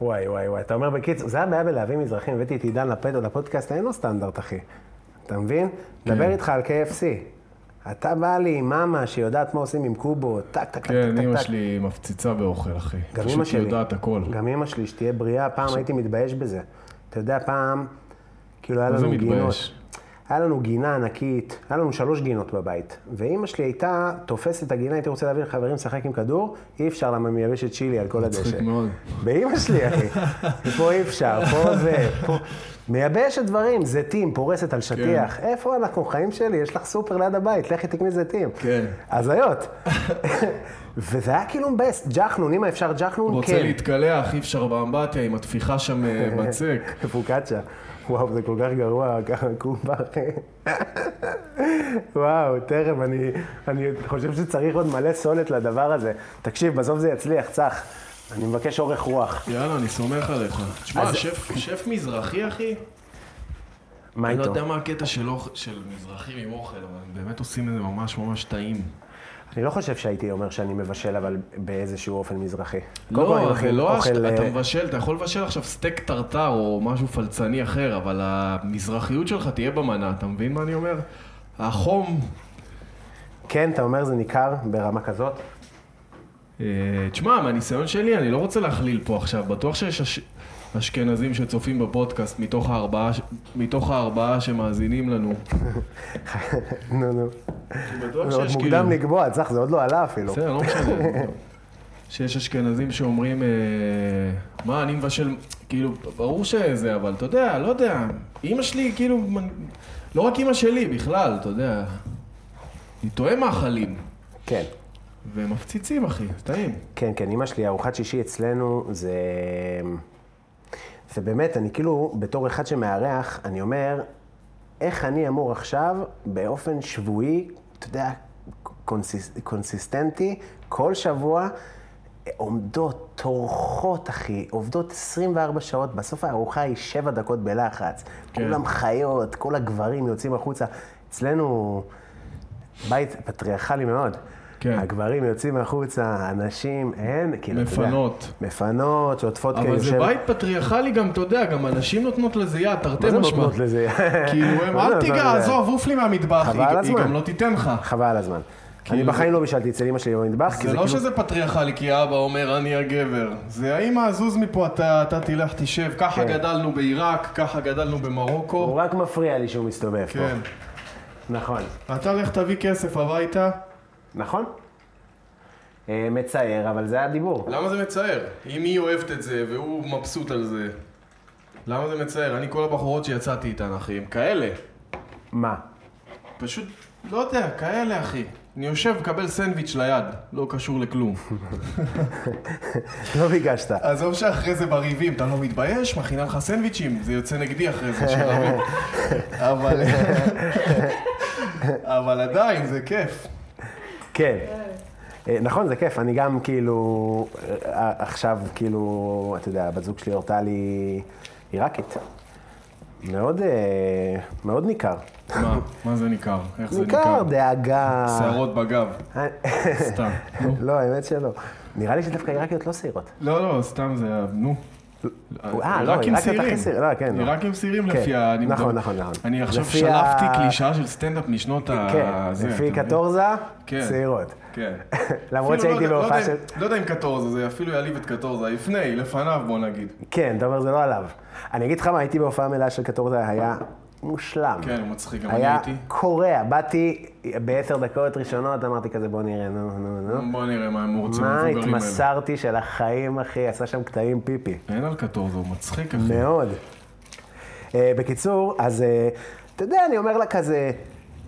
[SPEAKER 2] וואי, וואי, וואי. אתה אומר בקיצור, זה הבעיה בלהביא מזרחים, הבאתי את עידן לפד- לפודקאסט, אין לו סטנדרט, אחי. אתה מבין?
[SPEAKER 3] כן.
[SPEAKER 2] מדבר איתך על KFC. אתה בא לי עם מאמה שיודעת מה עושים עם קובות, טק, טק, טק,
[SPEAKER 3] כן,
[SPEAKER 2] טק,
[SPEAKER 3] אימא
[SPEAKER 2] טק.
[SPEAKER 3] שלי מפציצה באוכל, אחי.
[SPEAKER 2] גם אימא
[SPEAKER 3] פשוט
[SPEAKER 2] שלי.
[SPEAKER 3] היא יודעת הכל.
[SPEAKER 2] גם אימא שלי, שתהיה בריאה, פעם הייתי מתבייש בזה. אתה יודע, פעם, כאילו היה
[SPEAKER 3] מה זה
[SPEAKER 2] לנו גינות.
[SPEAKER 3] מתבייש?
[SPEAKER 2] היה לנו גינה ענקית, היה לנו שלוש גינות בבית. ואימא שלי הייתה תופסת את הגינה, הייתי רוצה להביא לחברים לשחק עם כדור, אי אפשר למה היא מייבשת צ'ילי על כל הדשא.
[SPEAKER 3] מצחיק מאוד.
[SPEAKER 2] באימא שלי, אחי. פה אי אפשר, פה זה, פה... מייבשת דברים, זיתים, פורסת על שטיח.
[SPEAKER 3] כן.
[SPEAKER 2] איפה אנחנו חיים שלי? יש לך סופר ליד הבית, לכי תקני זיתים.
[SPEAKER 3] כן.
[SPEAKER 2] הזיות. וזה היה כאילו מבאס, ג'חנון, אם אפשר ג'חנון,
[SPEAKER 3] רוצה
[SPEAKER 2] כן.
[SPEAKER 3] להתקלח, אי אפשר באמבטיה עם התפיחה שם אה, בצק.
[SPEAKER 2] פוקאצ'ה. וואו, זה כל כך גרוע, ככה קובה. וואו, תכף, אני, אני חושב שצריך עוד מלא סולת לדבר הזה. תקשיב, בסוף זה יצליח, צח. אני מבקש אורך רוח.
[SPEAKER 3] יאללה, אני סומך עליך. תשמע,
[SPEAKER 2] אז-
[SPEAKER 3] שף- שף מזרחי, אחי?
[SPEAKER 2] מה
[SPEAKER 3] אני לא
[SPEAKER 2] איתו?
[SPEAKER 3] יודע מה הקטע של אוכ- של מזרחים עם אוכל, אבל הם באמת עושים את זה ממש ממש טעים.
[SPEAKER 2] אני לא חושב שהייתי אומר שאני מבשל, אבל באיזשהו אופן מזרחי. קודם כל, אני
[SPEAKER 3] לא,
[SPEAKER 2] מכין
[SPEAKER 3] זה לא...
[SPEAKER 2] אוכל,
[SPEAKER 3] אש- אתה
[SPEAKER 2] אה,
[SPEAKER 3] מבשל, אתה יכול לבשל עכשיו סטייק טרטר או משהו פלצני אחר, אבל המזרחיות שלך תהיה במנה, אתה מבין מה אני אומר? החום...
[SPEAKER 2] כן, אתה אומר זה ניכר ברמה כזאת?
[SPEAKER 3] אה, תשמע, מהניסיון שלי, אני לא רוצה להכליל פה עכשיו, בטוח שיש אש... אשכנזים שצופים בפודקאסט מתוך הארבעה, ש- מתוך הארבעה שמאזינים לנו.
[SPEAKER 2] נו,
[SPEAKER 3] לא
[SPEAKER 2] נו.
[SPEAKER 3] אני בטוח
[SPEAKER 2] זה עוד
[SPEAKER 3] שיש
[SPEAKER 2] מוקדם
[SPEAKER 3] כאילו-
[SPEAKER 2] לקבוע, צח, זה עוד לא עלה אפילו.
[SPEAKER 3] בסדר, לא משנה. שיש אשכנזים שאומרים, אה, מה, אני מבשל, כאילו, ברור שזה, אבל אתה יודע, לא יודע, אימא שלי, כאילו, מנ- לא רק אימא שלי, בכלל, אתה יודע, היא טועה מאכלים,
[SPEAKER 2] כן.
[SPEAKER 3] והם מפציצים, אחי, זה טעים.
[SPEAKER 2] כן, כן, אימא שלי, ארוחת שישי אצלנו, זה... זה באמת, אני כאילו, בתור אחד שמארח, אני אומר, איך אני אמור עכשיו, באופן שבועי, אתה יודע, קונסיס, קונסיסטנטי, כל שבוע, אה, עומדות, טורחות, אחי, עובדות 24 שעות, בסוף הארוחה היא 7 דקות בלחץ. כן.
[SPEAKER 3] כן.
[SPEAKER 2] כולם חיות, כל הגברים יוצאים החוצה. אצלנו, בית פטריארכלי מאוד.
[SPEAKER 3] כן.
[SPEAKER 2] הגברים יוצאים החוצה, הנשים, אין, כאילו, אתה יודע.
[SPEAKER 3] מפנות.
[SPEAKER 2] מפנות, כאילו שעוטפות
[SPEAKER 3] אבל זה
[SPEAKER 2] כן, יושב-
[SPEAKER 3] בית פטריארכלי גם, אתה יודע, גם הנשים נותנות לזה יד, תרתי
[SPEAKER 2] מה זה
[SPEAKER 3] משמע.
[SPEAKER 2] נותנות לזה? לא,
[SPEAKER 3] כאילו, הם,
[SPEAKER 2] מה זה
[SPEAKER 3] אל
[SPEAKER 2] נותנות
[SPEAKER 3] תיגע,
[SPEAKER 2] לזה?"
[SPEAKER 3] עזוב, עוף לי מהמטבח,
[SPEAKER 2] חבל
[SPEAKER 3] היא-
[SPEAKER 2] על
[SPEAKER 3] היא
[SPEAKER 2] הזמן.
[SPEAKER 3] גם לא תיתן לך.
[SPEAKER 2] חבל על הזמן. אני
[SPEAKER 3] כאילו-
[SPEAKER 2] בחיים לא בישלתי אצל אמא שלי במטבח, כי
[SPEAKER 3] זה
[SPEAKER 2] זה
[SPEAKER 3] לא
[SPEAKER 2] כאילו...
[SPEAKER 3] שזה פטריארכלי, כי אבא אומר, אני הגבר. זה האמא, הזוז מפה, אתה אתה תלך, תשב. ככה
[SPEAKER 2] כן.
[SPEAKER 3] גדלנו בעיראק, ככה גדלנו במרוקו.
[SPEAKER 2] הוא רק מפריע לי שהוא מסתובב פה.
[SPEAKER 3] כן.
[SPEAKER 2] נכון.
[SPEAKER 3] אתה לך תביא כסף הביתה.
[SPEAKER 2] נכון? אה, מצער, אבל זה הדיבור.
[SPEAKER 3] למה זה מצער? אם היא אוהבת את זה, והוא מבסוט על זה. למה זה מצער? אני, כל הבחורות שיצאתי איתן, אחי, הם כאלה.
[SPEAKER 2] מה?
[SPEAKER 3] פשוט לא יודע, כאלה, אחי. אני יושב, מקבל סנדוויץ' ליד, לא קשור לכלום.
[SPEAKER 2] לא ביקשת.
[SPEAKER 3] עזוב שאחרי זה בריבים, אתה לא מתבייש? מכינה לך סנדוויצ'ים, זה יוצא נגדי אחרי זה, שרבים. אבל... אבל עדיין, זה כיף.
[SPEAKER 2] כן. אה, נכון, זה כיף, אני גם כאילו, אה, עכשיו כאילו, אתה יודע, הבת זוג שלי הורתה לי עיראקית. מאוד, אה, מאוד ניכר.
[SPEAKER 3] מה, מה זה ניכר? איך זה
[SPEAKER 2] ניכר,
[SPEAKER 3] ניכר?
[SPEAKER 2] דאגה.
[SPEAKER 3] שערות בגב, סתם. נו.
[SPEAKER 2] לא, האמת שלא. נראה לי שדווקא עיראקיות לא שעירות.
[SPEAKER 3] לא, לא, סתם זה, ה- נו.
[SPEAKER 2] אה, לא,
[SPEAKER 3] עיראקים
[SPEAKER 2] עיראקיות
[SPEAKER 3] שעירים.
[SPEAKER 2] הכי שעיר- לא, כן, לא.
[SPEAKER 3] עיראקים שעירים
[SPEAKER 2] כן.
[SPEAKER 3] לפי ה... אני
[SPEAKER 2] נכון,
[SPEAKER 3] מדבר-
[SPEAKER 2] נכון, נכון.
[SPEAKER 3] אני עכשיו
[SPEAKER 2] לפי ה-
[SPEAKER 3] שלפתי קלישאה של סטנדאפ משנות ה...
[SPEAKER 2] כן,
[SPEAKER 3] אה, זה,
[SPEAKER 2] לפי
[SPEAKER 3] אתה מבין?
[SPEAKER 2] קטורזה,
[SPEAKER 3] כן.
[SPEAKER 2] שעירות.
[SPEAKER 3] כן.
[SPEAKER 2] למרות
[SPEAKER 3] אפילו
[SPEAKER 2] שהייתי
[SPEAKER 3] לא- לא
[SPEAKER 2] בהופעה של...
[SPEAKER 3] יודע- לא יודע אם קטורזה, זה אפילו יעליב את קטורזה. לפני, לפניו, בוא נגיד.
[SPEAKER 2] כן, אתה אומר, זה לא עליו. אני אגיד לך מה, הייתי בהופעה מלאה של קטורזה, היה מושלם.
[SPEAKER 3] כן, הוא מצחיק, גם אני
[SPEAKER 2] היה
[SPEAKER 3] הייתי.
[SPEAKER 2] קורע, באתי בעשר דקות ראשונות, אמרתי כזה, בוא נראה, נו, נו, נו.
[SPEAKER 3] בוא נראה מה הם רוצים
[SPEAKER 2] לא. מה
[SPEAKER 3] המבוגרים האלה.
[SPEAKER 2] התמסרתי של החיים, אחי, עשה שם קטעים פיפי.
[SPEAKER 3] אין על קטורזה, הוא מצחיק, אחי.
[SPEAKER 2] מאוד. אה, בקיצור, אז אה, אתה יודע, אני אומר לה כזה,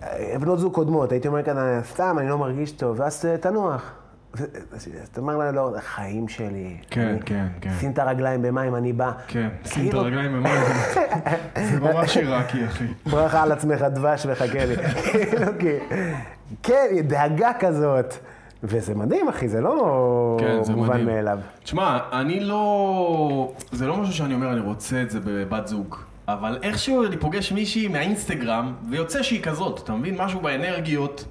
[SPEAKER 2] אה, בנות זוג קודמות, הייתי אומר כזה, סתם, אני לא מרגיש טוב, ואז אה, תנוח. ו- אז אז אתה אומר לה, לא, זה החיים שלי.
[SPEAKER 3] כן,
[SPEAKER 2] אני-
[SPEAKER 3] כן, כן.
[SPEAKER 2] שים את הרגליים במים, אני בא.
[SPEAKER 3] כן, שים את
[SPEAKER 2] כאילו,
[SPEAKER 3] הרגליים במים. זה ממש עיראקי, אחי.
[SPEAKER 2] ברכה על עצמך דבש וחכה לי. כאילו, כי... כן, דאגה כזאת. וזה מדהים, אחי, זה לא
[SPEAKER 3] כן, זה
[SPEAKER 2] מובן
[SPEAKER 3] מדהים.
[SPEAKER 2] מאליו.
[SPEAKER 3] תשמע, אני לא... זה לא משהו שאני אומר, אני רוצה את זה בבת זוג. אבל איכשהו אני פוגש מישהי מהאינסטגרם, ויוצא שהיא כזאת, אתה מבין? משהו באנרגיות,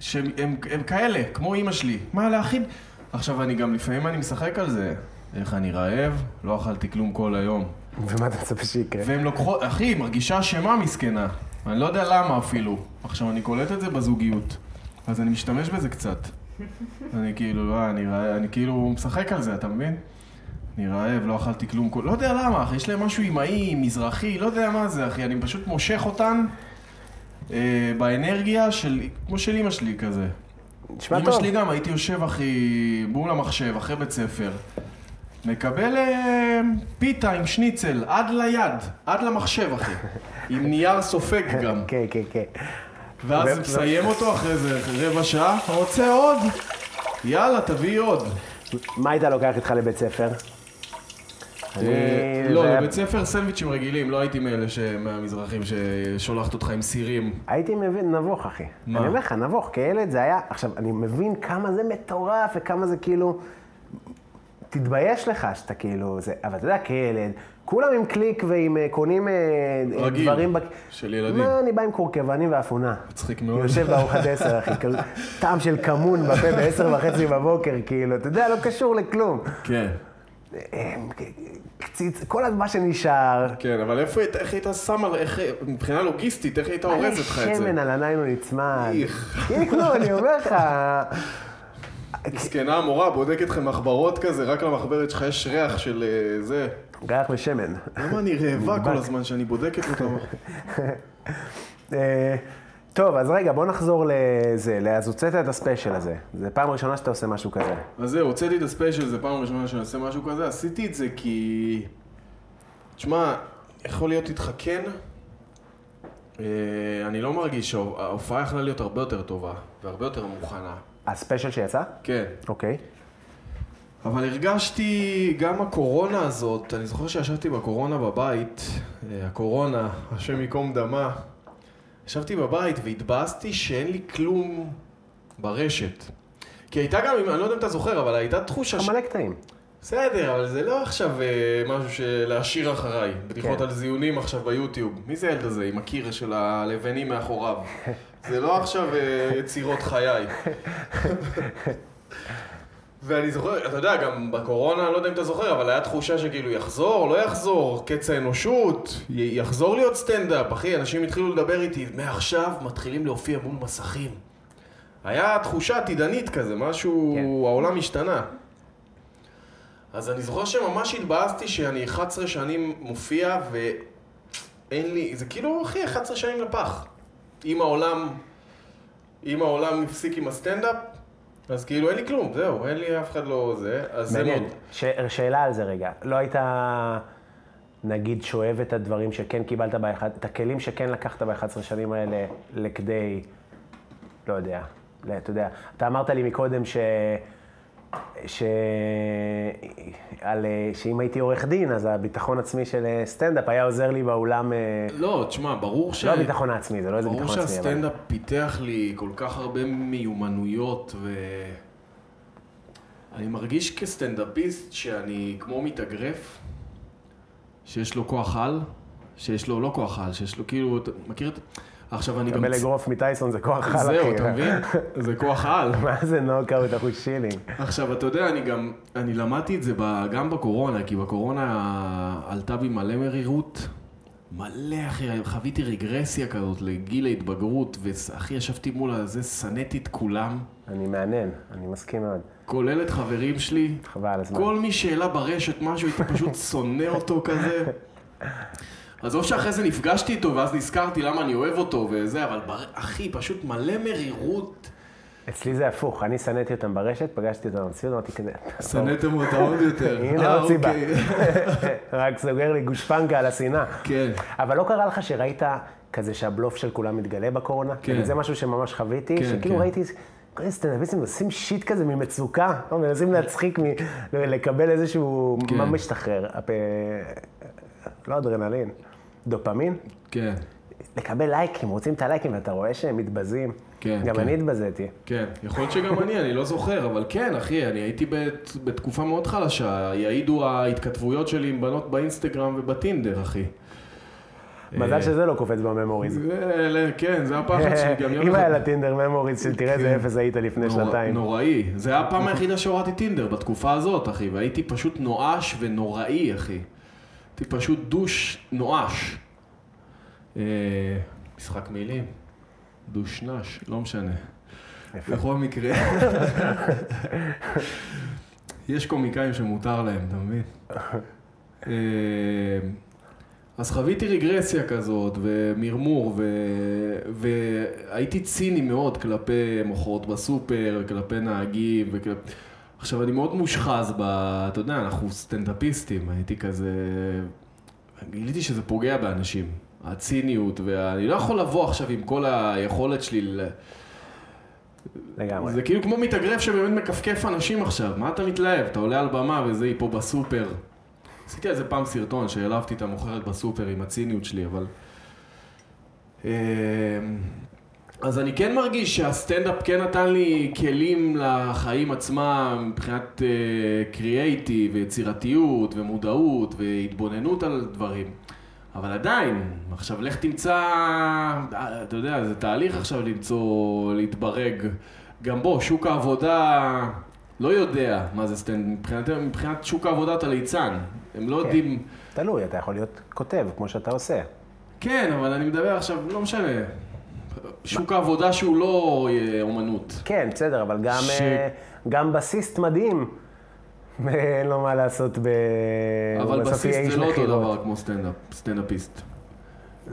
[SPEAKER 3] שהם הם, הם כאלה, כמו אימא שלי. מה להכין? עכשיו, אני גם, לפעמים אני משחק על זה. איך אני רעב, לא אכלתי כלום כל היום.
[SPEAKER 2] ומה אתה מצפה כן. שיקרה?
[SPEAKER 3] והם לוקחות, אחי, היא מרגישה אשמה מסכנה. אני לא יודע למה אפילו. עכשיו, אני קולט את זה בזוגיות. אז אני משתמש בזה קצת. אני כאילו, לא, אני, רע- אני כאילו משחק על זה, אתה מבין? אני רעב, לא אכלתי כלום, כל- לא יודע למה, אחי, יש להם משהו אמאי, מזרחי, לא יודע מה זה, אחי, אני פשוט מושך אותן אה, באנרגיה של, כמו של אמא שלי כזה.
[SPEAKER 2] נשמע
[SPEAKER 3] אמא
[SPEAKER 2] טוב.
[SPEAKER 3] שלי גם, הייתי יושב, אחי, מול המחשב, אחרי בית ספר. מקבל אה, פיתה עם שניצל, עד ליד, עד למחשב, אחי. עם נייר סופג גם.
[SPEAKER 2] כן, כן, כן.
[SPEAKER 3] ואז
[SPEAKER 2] ו-
[SPEAKER 3] מסיים אותו אחרי זה רבע שעה, רוצה עוד? יאללה, תביאי עוד.
[SPEAKER 2] מה היית לוקח איתך לבית ספר?
[SPEAKER 3] אה,
[SPEAKER 2] אני- זה
[SPEAKER 3] לא,
[SPEAKER 2] היה-
[SPEAKER 3] לבית ספר סנדוויצ'ים רגילים, לא הייתי מאלה ש- מהמזרחים ששולחת אותך עם סירים.
[SPEAKER 2] הייתי מבין, נבוך, אחי.
[SPEAKER 3] מה?
[SPEAKER 2] אני אומר לך, נבוך, כילד זה היה... עכשיו, אני מבין כמה זה מטורף וכמה זה כאילו... תתבייש לך שאתה כאילו... זה... אבל אתה יודע, כילד, כולם עם קליק ועם אה, קונים אה, אה,
[SPEAKER 3] רגיל,
[SPEAKER 2] דברים...
[SPEAKER 3] של ילדים.
[SPEAKER 2] מה, אני בא עם קורקבנים ואפונה.
[SPEAKER 3] מצחיק מאוד.
[SPEAKER 2] יושב בארוחת עשר, אחי, כאילו, טעם של כמון בפה בעשר וחצי בבוקר, כאילו, אתה יודע, לא קשור לכלום.
[SPEAKER 3] כן.
[SPEAKER 2] אה, קציץ, כל מה שנשאר,
[SPEAKER 3] כן, אבל איפה היית, איך היית שם, על- איך, מבחינה לוגיסטית, איך היית אורזת לך את זה?
[SPEAKER 2] שמן על הניין הוא נצמד.
[SPEAKER 3] איך.
[SPEAKER 2] כאילו, אני אומר לך,
[SPEAKER 3] זקנה המורה בודקת לכם מחברות כזה, רק למחברת שלך יש ריח של אה, זה.
[SPEAKER 2] ריח ושמן.
[SPEAKER 3] למה אני רעבה כל הזמן שאני בודקת אותם?
[SPEAKER 2] אה, טוב, אז רגע, בוא נחזור לזה. ל- אז הוצאת את הספיישל הזה. זו פעם ראשונה שאתה עושה משהו כזה.
[SPEAKER 3] אז זהו, הוצאתי את הספיישל, זו פעם ראשונה שאני עושה משהו כזה, עשיתי את זה כי... תשמע, יכול להיות איתך כן, אה, אני לא מרגיש שההופעה יכלה להיות הרבה יותר טובה, והרבה יותר מוכנה.
[SPEAKER 2] הספיישל שיצא?
[SPEAKER 3] כן.
[SPEAKER 2] אוקיי.
[SPEAKER 3] אבל הרגשתי גם הקורונה הזאת, אני זוכר שישבתי בקורונה בבית, אה, הקורונה, השם ייקום דמה, ישבתי בבית והתבאסתי שאין לי כלום ברשת. כי הייתה גם, אני לא יודע אם אתה זוכר, אבל הייתה תחושה ש...
[SPEAKER 2] מלא קטעים.
[SPEAKER 3] בסדר, אבל זה לא עכשיו אה, משהו שלהשאיר אחריי. בדיחות
[SPEAKER 2] כן.
[SPEAKER 3] על זיונים עכשיו ביוטיוב. מי זה הילד הזה עם הקיר של הלבנים מאחוריו? זה לא עכשיו אה, יצירות חיי. ואני זוכר, אתה יודע, גם בקורונה, אני לא יודע אם אתה זוכר, אבל היה תחושה שכאילו יחזור, לא יחזור, קץ האנושות, י- יחזור להיות סטנדאפ, אחי, אנשים התחילו לדבר איתי, מעכשיו מתחילים להופיע מול מסכים. היה תחושה עתידנית כזה, משהו,
[SPEAKER 2] כן.
[SPEAKER 3] העולם השתנה. אז אני זוכר שממש התבאסתי שאני 11 שנים מופיע ואין לי, זה כאילו, אחי, 11 שנים לפח. אם העולם, אם העולם הפסיק עם הסטנדאפ, אז כאילו אין לי כלום, זהו, אין לי אף אחד לא זה, אז זה מאוד.
[SPEAKER 2] מעניין. ש- שאלה על זה רגע. לא היית, נגיד, שואב את הדברים שכן קיבלת באחד, את הכלים שכן לקחת ב-11 שנים האלה לכדי לא יודע. לא, אתה יודע, אתה אמרת לי מקודם ש... ש... על... אה, שאם הייתי עורך דין, אז הביטחון עצמי של אה, סטנדאפ היה עוזר לי באולם... אה,
[SPEAKER 3] לא, תשמע, ברור ש...
[SPEAKER 2] לא הביטחון העצמי, זה לא איזה
[SPEAKER 3] ברור
[SPEAKER 2] ביטחון עצמי. אבל-
[SPEAKER 3] שהסטנדאפ פיתח לי כל כך הרבה מיומנויות ו... אני מרגיש כסטנדאפיסט שאני כמו מתאגרף, שיש לו כוח על, שיש לו לא כוח על, שיש לו כאילו, אתה מכיר את... עכשיו אני גם...
[SPEAKER 2] לקבל אגרוף מטייסון זה כוח חלק.
[SPEAKER 3] זהו, אתה מבין? זה כוח על.
[SPEAKER 2] מה זה נוקאוט אחוז שילינג?
[SPEAKER 3] עכשיו, אתה יודע, אני גם, אני למדתי את זה ב, גם בקורונה, כי בקורונה עלתה בי מלא מרירות. מלא, אחי, חוויתי רגרסיה כזאת לגיל ההתבגרות, ואחי, ישבתי מול הזה, שנאתי את כולם,
[SPEAKER 2] אני מהנן, אני מסכים מאוד.
[SPEAKER 3] כולל את חברים שלי.
[SPEAKER 2] חבל על הזמן.
[SPEAKER 3] כל מי שהעלה ברשת משהו, הייתי פשוט שונא אותו כזה. עזוב שאחרי זה נפגשתי איתו, ואז נזכרתי למה אני אוהב אותו וזה, אבל בר... אחי, פשוט מלא מרירות.
[SPEAKER 2] אצלי זה הפוך, אני שנאתי אותם ברשת, פגשתי אותם במציאות, אמרתי כזה...
[SPEAKER 3] שנאתם אותה עוד יותר.
[SPEAKER 2] הנה
[SPEAKER 3] אה,
[SPEAKER 2] עוד סיבה.
[SPEAKER 3] אוקיי.
[SPEAKER 2] רק סוגר לי גושפנקה על השנאה.
[SPEAKER 3] כן.
[SPEAKER 2] אבל לא קרה לך שראית כזה שהבלוף של כולם מתגלה בקורונה?
[SPEAKER 3] כן.
[SPEAKER 2] נגיד, זה משהו שממש חוויתי,
[SPEAKER 3] כן,
[SPEAKER 2] שכאילו
[SPEAKER 3] כן.
[SPEAKER 2] ראיתי... כל מיני סטנדאפיסטים עושים שיט כזה ממצוקה, לא, מנסים להצחיק, מ- לקבל איזשהו...
[SPEAKER 3] כן.
[SPEAKER 2] מה משתחרר? הפ- לא אדרנלין, דופמין?
[SPEAKER 3] כן,
[SPEAKER 2] לקבל לייקים, רוצים את הלייקים, ואתה רואה שהם מתבזים.
[SPEAKER 3] כן,
[SPEAKER 2] גם
[SPEAKER 3] כן.
[SPEAKER 2] אני התבזיתי.
[SPEAKER 3] כן. יכול להיות שגם אני, אני לא זוכר, אבל כן, אחי, אני הייתי בת, בתקופה מאוד חלשה. יעידו ההתכתבויות שלי עם בנות באינסטגרם ובטינדר, אחי.
[SPEAKER 2] מזל שזה לא קופץ בממוריז.
[SPEAKER 3] אה, זה- אלה- כן, זה הפחד שלי גם יום
[SPEAKER 2] אם היה
[SPEAKER 3] אחד.
[SPEAKER 2] לטינדר ממוריז של תראה איזה אפס היית לפני
[SPEAKER 3] כן. נורא-
[SPEAKER 2] שנתיים.
[SPEAKER 3] נוראי. זה היה הפעם היחידה שהורדתי טינדר, בתקופה הזאת, אחי, והייתי פשוט נואש ונוראי, אחי. הייתי פשוט דוש נואש. אה, משחק מילים. דושנש, לא משנה. בכל מקרה. יש קומיקאים שמותר להם, אתה מבין? אה, אז חוויתי רגרסיה כזאת, ומרמור, ו... והייתי ציני מאוד כלפי מוכרות בסופר, כלפי נהגים, וכלפ... עכשיו, אני מאוד מושחז ב... אתה יודע, אנחנו סטנדאפיסטים, הייתי כזה... גיליתי שזה פוגע באנשים, הציניות, ואני לא יכול לבוא עכשיו עם כל היכולת שלי ל...
[SPEAKER 2] לגמרי.
[SPEAKER 3] זה כאילו כמו מתאגרף שבאמת מכפכף אנשים עכשיו, מה אתה מתלהב? אתה עולה על במה וזה היא פה בסופר. עשיתי על זה פעם סרטון שהעלבתי את המוכרת בסופר עם הציניות שלי, אבל... אמ, אז אני כן מרגיש שהסטנדאפ כן נתן לי כלים לחיים עצמם מבחינת קריאייטיב ויצירתיות ומודעות והתבוננות על דברים. אבל עדיין, עכשיו לך תמצא, אה, אתה יודע, זה תהליך עכשיו למצוא, להתברג. גם בו, שוק העבודה לא יודע מה זה סטנדאפ. מבחינת, מבחינת שוק העבודה אתה ליצן. הם לא
[SPEAKER 2] כן.
[SPEAKER 3] יודעים...
[SPEAKER 2] תלוי, אתה יכול להיות כותב, כמו שאתה עושה.
[SPEAKER 3] כן, אבל אני מדבר עכשיו, לא משנה. שוק העבודה שהוא לא אה, אומנות.
[SPEAKER 2] כן, בסדר, אבל גם,
[SPEAKER 3] ש-
[SPEAKER 2] אה, גם בסיסט מדהים. אין לו מה לעשות ב...
[SPEAKER 3] אבל
[SPEAKER 2] אה, הוא בסוף
[SPEAKER 3] בסיסט
[SPEAKER 2] יהיה איש
[SPEAKER 3] זה לא אותו
[SPEAKER 2] מכירות.
[SPEAKER 3] דבר כמו סטנדאפ, סטנדאפיסט.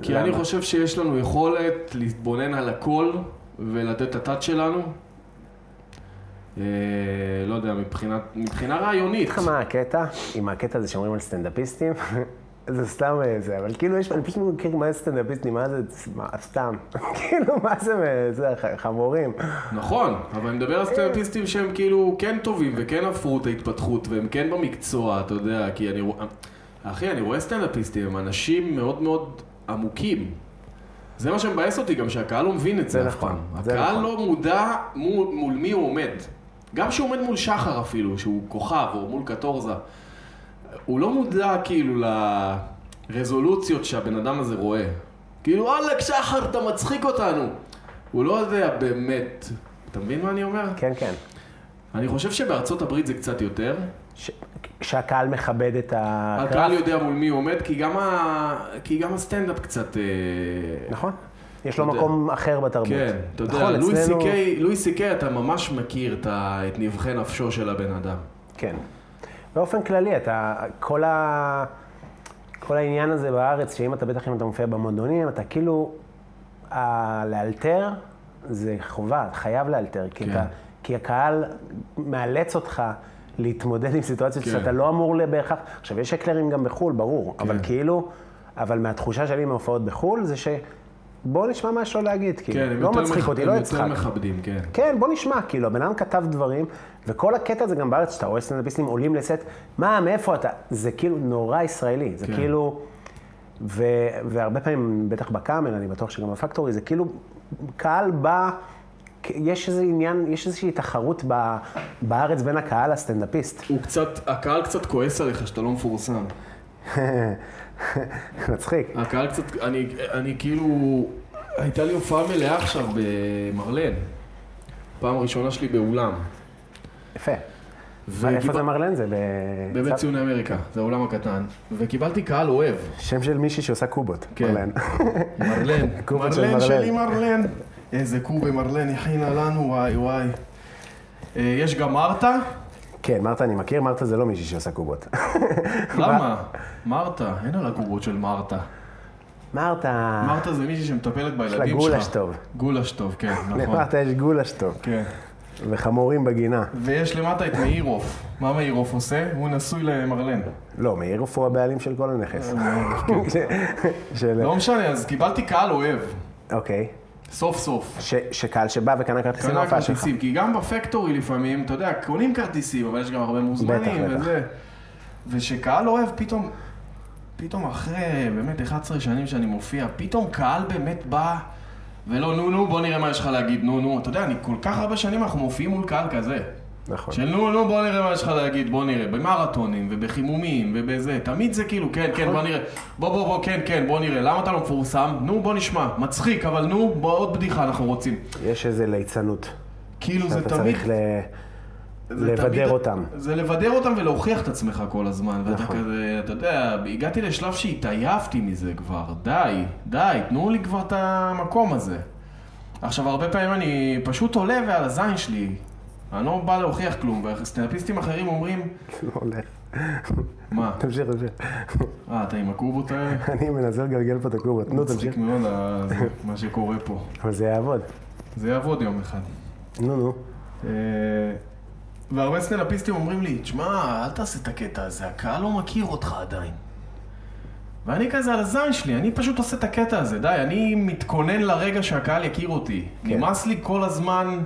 [SPEAKER 3] כי
[SPEAKER 2] למה?
[SPEAKER 3] אני חושב שיש לנו יכולת להתבונן על הכל ולתת את הטאט שלנו. אה, לא יודע, מבחינת, מבחינה רעיונית.
[SPEAKER 2] לך אה, מה הקטע, עם הקטע הזה שאומרים על סטנדאפיסטים, זה סתם אה, זה, אבל כאילו יש, אני פשוט לא מכיר מה זה סטנדאפיסטים, מה זה, מה, סתם, כאילו מה זה, אה, זה ח- חמורים.
[SPEAKER 3] נכון, אבל אני מדבר על סטנדאפיסטים שהם כאילו כן טובים וכן עברו את ההתפתחות והם כן במקצוע, אתה יודע, כי אני רואה... אחי, אני רואה סטנדאפיסטים, הם אנשים מאוד מאוד עמוקים. זה מה שמבאס אותי גם, שהקהל לא מבין את זה,
[SPEAKER 2] זה
[SPEAKER 3] אף
[SPEAKER 2] נכון,
[SPEAKER 3] פעם.
[SPEAKER 2] זה
[SPEAKER 3] הקהל
[SPEAKER 2] נכון.
[SPEAKER 3] לא מודע מול, מול מי הוא עומד. גם כשהוא עומד מול שחר אפילו, שהוא כוכב, או מול קטורזה, הוא לא מודע כאילו לרזולוציות שהבן אדם הזה רואה. כאילו, וואלכ, שחר, אתה מצחיק אותנו. הוא לא יודע באמת. אתה מבין מה אני אומר?
[SPEAKER 2] כן, כן.
[SPEAKER 3] אני חושב שבארצות הברית זה קצת יותר.
[SPEAKER 2] ש- שהקהל מכבד את הקרב,
[SPEAKER 3] הקהל יודע מול מי הוא עומד, כי גם, ה... כי גם הסטנדאפ קצת... אה,
[SPEAKER 2] נכון? יש לו
[SPEAKER 3] אתה יודע.
[SPEAKER 2] מקום אחר בתרבות.
[SPEAKER 3] כן, אתה יודע,
[SPEAKER 2] נכון,
[SPEAKER 3] לואי
[SPEAKER 2] אצלנו-
[SPEAKER 3] סי-קיי, לואי סי-קיי, אתה ממש מכיר את, ה... את נבחי נפשו של הבן אדם.
[SPEAKER 2] כן. באופן כללי, אתה, כל ה... כל העניין הזה בארץ, שאם אתה, בטח אם אתה מופיע במועדונים, אתה כאילו, ה- לאלתר זה חובה, אתה חייב לאלתר, כי,
[SPEAKER 3] כן.
[SPEAKER 2] אתה, כי הקהל מאלץ אותך להתמודד עם סיטואציות
[SPEAKER 3] כן.
[SPEAKER 2] שאתה לא אמור ל- בהכרח, עכשיו, יש הקלרים גם בחו"ל, ברור, אבל כאילו, אבל מהתחושה שלי מההופעות בחו"ל, זה ש... בוא נשמע מה יש לו להגיד, כאילו.
[SPEAKER 3] כן, הם
[SPEAKER 2] לא
[SPEAKER 3] יותר
[SPEAKER 2] מצחיק
[SPEAKER 3] מכ-
[SPEAKER 2] אותי, לא
[SPEAKER 3] הם יותר
[SPEAKER 2] יצחק.
[SPEAKER 3] מכבדים, כן.
[SPEAKER 2] כן, בוא נשמע, כאילו, הבן אדם כתב דברים, וכל הקטע הזה גם בארץ, שאתה רואה סטנדאפיסטים עולים לסט, מה, מאיפה אתה? זה כאילו נורא ישראלי, זה
[SPEAKER 3] כן.
[SPEAKER 2] כאילו... ו, והרבה פעמים, בטח בקאמל, אני בטוח שגם בפקטורי, זה כאילו, קהל בא, כ- יש איזה עניין, יש איזושהי תחרות ב, בארץ בין הקהל לסטנדאפיסט.
[SPEAKER 3] הוא קצת, הקהל קצת כועס עליך שאתה לא מפורסם.
[SPEAKER 2] מצחיק.
[SPEAKER 3] הקהל קצת, אני, אני כאילו, הייתה לי הופעה מלאה עכשיו במרלן. פעם ראשונה שלי באולם.
[SPEAKER 2] יפה.
[SPEAKER 3] וגיב-
[SPEAKER 2] מה, אה, איפה זה מרלן? זה ב...
[SPEAKER 3] בבית ציוני אמריקה, זה האולם הקטן. וקיבלתי קהל אוהב.
[SPEAKER 2] שם של מישהי שעושה קובות,
[SPEAKER 3] כן.
[SPEAKER 2] מרלן.
[SPEAKER 3] מרלן.
[SPEAKER 2] קובה של מרלן.
[SPEAKER 3] מרלן. איזה קובה מרלן הכינה לנו, וואי וואי. אה, יש גם מרתה?
[SPEAKER 2] כן, מרתה אני מכיר, מרתה זה לא מישהי שעושה קובות.
[SPEAKER 3] למה? מרתה, אין על הקובות של מרתה.
[SPEAKER 2] מרתה...
[SPEAKER 3] מרתה זה מישהי שמטפלת בילדים שלך.
[SPEAKER 2] לה גולש טוב.
[SPEAKER 3] גולש טוב, כן, נכון.
[SPEAKER 2] למטה יש גולש טוב,
[SPEAKER 3] כן.
[SPEAKER 2] וחמורים בגינה.
[SPEAKER 3] ויש למטה את מאירוף. מה מאירוף עושה? הוא נשוי למרלן.
[SPEAKER 2] לא, מאירוף הוא הבעלים של כל הנכס. של...
[SPEAKER 3] אה, לא משנה, אז קיבלתי קהל אוהב.
[SPEAKER 2] אוקיי.
[SPEAKER 3] סוף סוף.
[SPEAKER 2] ש- שקהל שבא וקנה כרטיסים
[SPEAKER 3] קנה
[SPEAKER 2] להופעה לא שלך.
[SPEAKER 3] כרטיסים, כי גם בפקטורי לפעמים, אתה יודע, קונים כרטיסים, אבל יש גם הרבה מוזמנים
[SPEAKER 2] בטח, בטח.
[SPEAKER 3] וזה. ושקהל אוהב פתאום, פתאום אחרי באמת 11 שנים שאני מופיע, פתאום קהל באמת בא, ולא נו נו, בוא נראה מה יש לך להגיד, נו נו. אתה יודע, אני כל כך הרבה שנים אנחנו מופיעים מול קהל כזה.
[SPEAKER 2] נכון.
[SPEAKER 3] של נו נו, בוא נראה מה יש לך להגיד, בוא נראה. במרתונים ובחימומים ובזה, תמיד זה כאילו, כן, כן,
[SPEAKER 2] נכון.
[SPEAKER 3] בוא נראה. בוא בוא בוא, כן, כן, בוא נראה. למה אתה לא מפורסם? נו, בוא נשמע. מצחיק, אבל נו, בוא עוד בדיחה אנחנו רוצים.
[SPEAKER 2] יש איזו ליצנות.
[SPEAKER 3] כאילו זה
[SPEAKER 2] אתה
[SPEAKER 3] תמיד...
[SPEAKER 2] צריך ל...
[SPEAKER 3] זה
[SPEAKER 2] לבדר
[SPEAKER 3] תמיד-
[SPEAKER 2] אותם.
[SPEAKER 3] זה לבדר אותם ולהוכיח את עצמך כל הזמן. ואתה
[SPEAKER 2] נכון.
[SPEAKER 3] כזה, אתה יודע, הגעתי לשלב שהתעייפתי מזה כבר. די, די, תנו לי כבר את המקום הזה. עכשיו, הרבה פעמים אני פשוט עולה ועל הזין שלי. אני לא בא להוכיח כלום, וסטנדאפיסטים אחרים אומרים,
[SPEAKER 2] לא הולך.
[SPEAKER 3] מה,
[SPEAKER 2] תמשיך, תמשיך.
[SPEAKER 3] אה, אתה עם הקובות האלה?
[SPEAKER 2] אני מנסה לגלגל פה את הקובות. נו, תמשיך.
[SPEAKER 3] מצחיק מאוד ה- זה- מה שקורה פה.
[SPEAKER 2] אבל זה יעבוד.
[SPEAKER 3] זה יעבוד יום אחד.
[SPEAKER 2] נו, נו.
[SPEAKER 3] אה, והרבה סטנדאפיסטים אומרים לי, תשמע, אל תעשה את הקטע הזה, הקהל לא מכיר אותך עדיין. ואני כזה על הזין שלי, אני פשוט עושה את הקטע הזה, די, אני מתכונן לרגע שהקהל יכיר אותי.
[SPEAKER 2] כן.
[SPEAKER 3] נמאס לי כל הזמן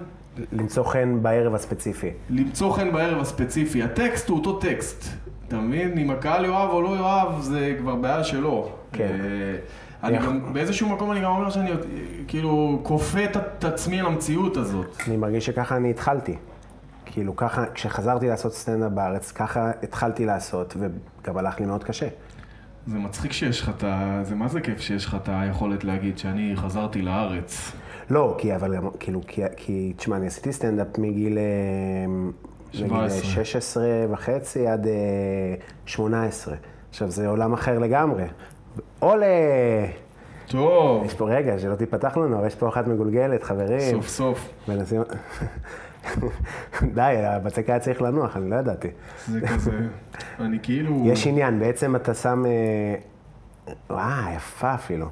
[SPEAKER 2] למצוא חן בערב הספציפי.
[SPEAKER 3] למצוא חן בערב הספציפי. הטקסט הוא אותו טקסט. אתה מבין? אם הקהל יאהב או לא יאהב, זה כבר בעיה שלו.
[SPEAKER 2] כן.
[SPEAKER 3] אה, אני
[SPEAKER 2] איך-
[SPEAKER 3] גם, באיזשהו מקום אני גם אומר שאני אה, כאילו כופה את- את עצמי על המציאות הזאת.
[SPEAKER 2] אני מרגיש שככה אני התחלתי. כאילו ככה, כשחזרתי לעשות סטנדאפ בארץ, ככה התחלתי לעשות, וגם הלך לי מאוד קשה.
[SPEAKER 3] זה מצחיק שיש לך את ה... זה מה זה כיף שיש לך את היכולת להגיד שאני חזרתי לארץ.
[SPEAKER 2] לא, כי אבל גם, כאילו, כי, כי תשמע, אני עשיתי סטנדאפ מגיל... אה, נגיד, אה,
[SPEAKER 3] 17.
[SPEAKER 2] 16 וחצי עד אה, 18. עכשיו, זה עולם אחר לגמרי. עולה!
[SPEAKER 3] טוב,
[SPEAKER 2] יש פה, רגע, שלא תיפתח לנו, אבל יש פה אחת מגולגלת, חברים.
[SPEAKER 3] סוף סוף.
[SPEAKER 2] מנסים... די, הבצק היה צריך לנוח, אני לא ידעתי.
[SPEAKER 3] זה כזה... אני כאילו...
[SPEAKER 2] יש עניין, בעצם אתה שם... אה, וואה, יפה אפילו.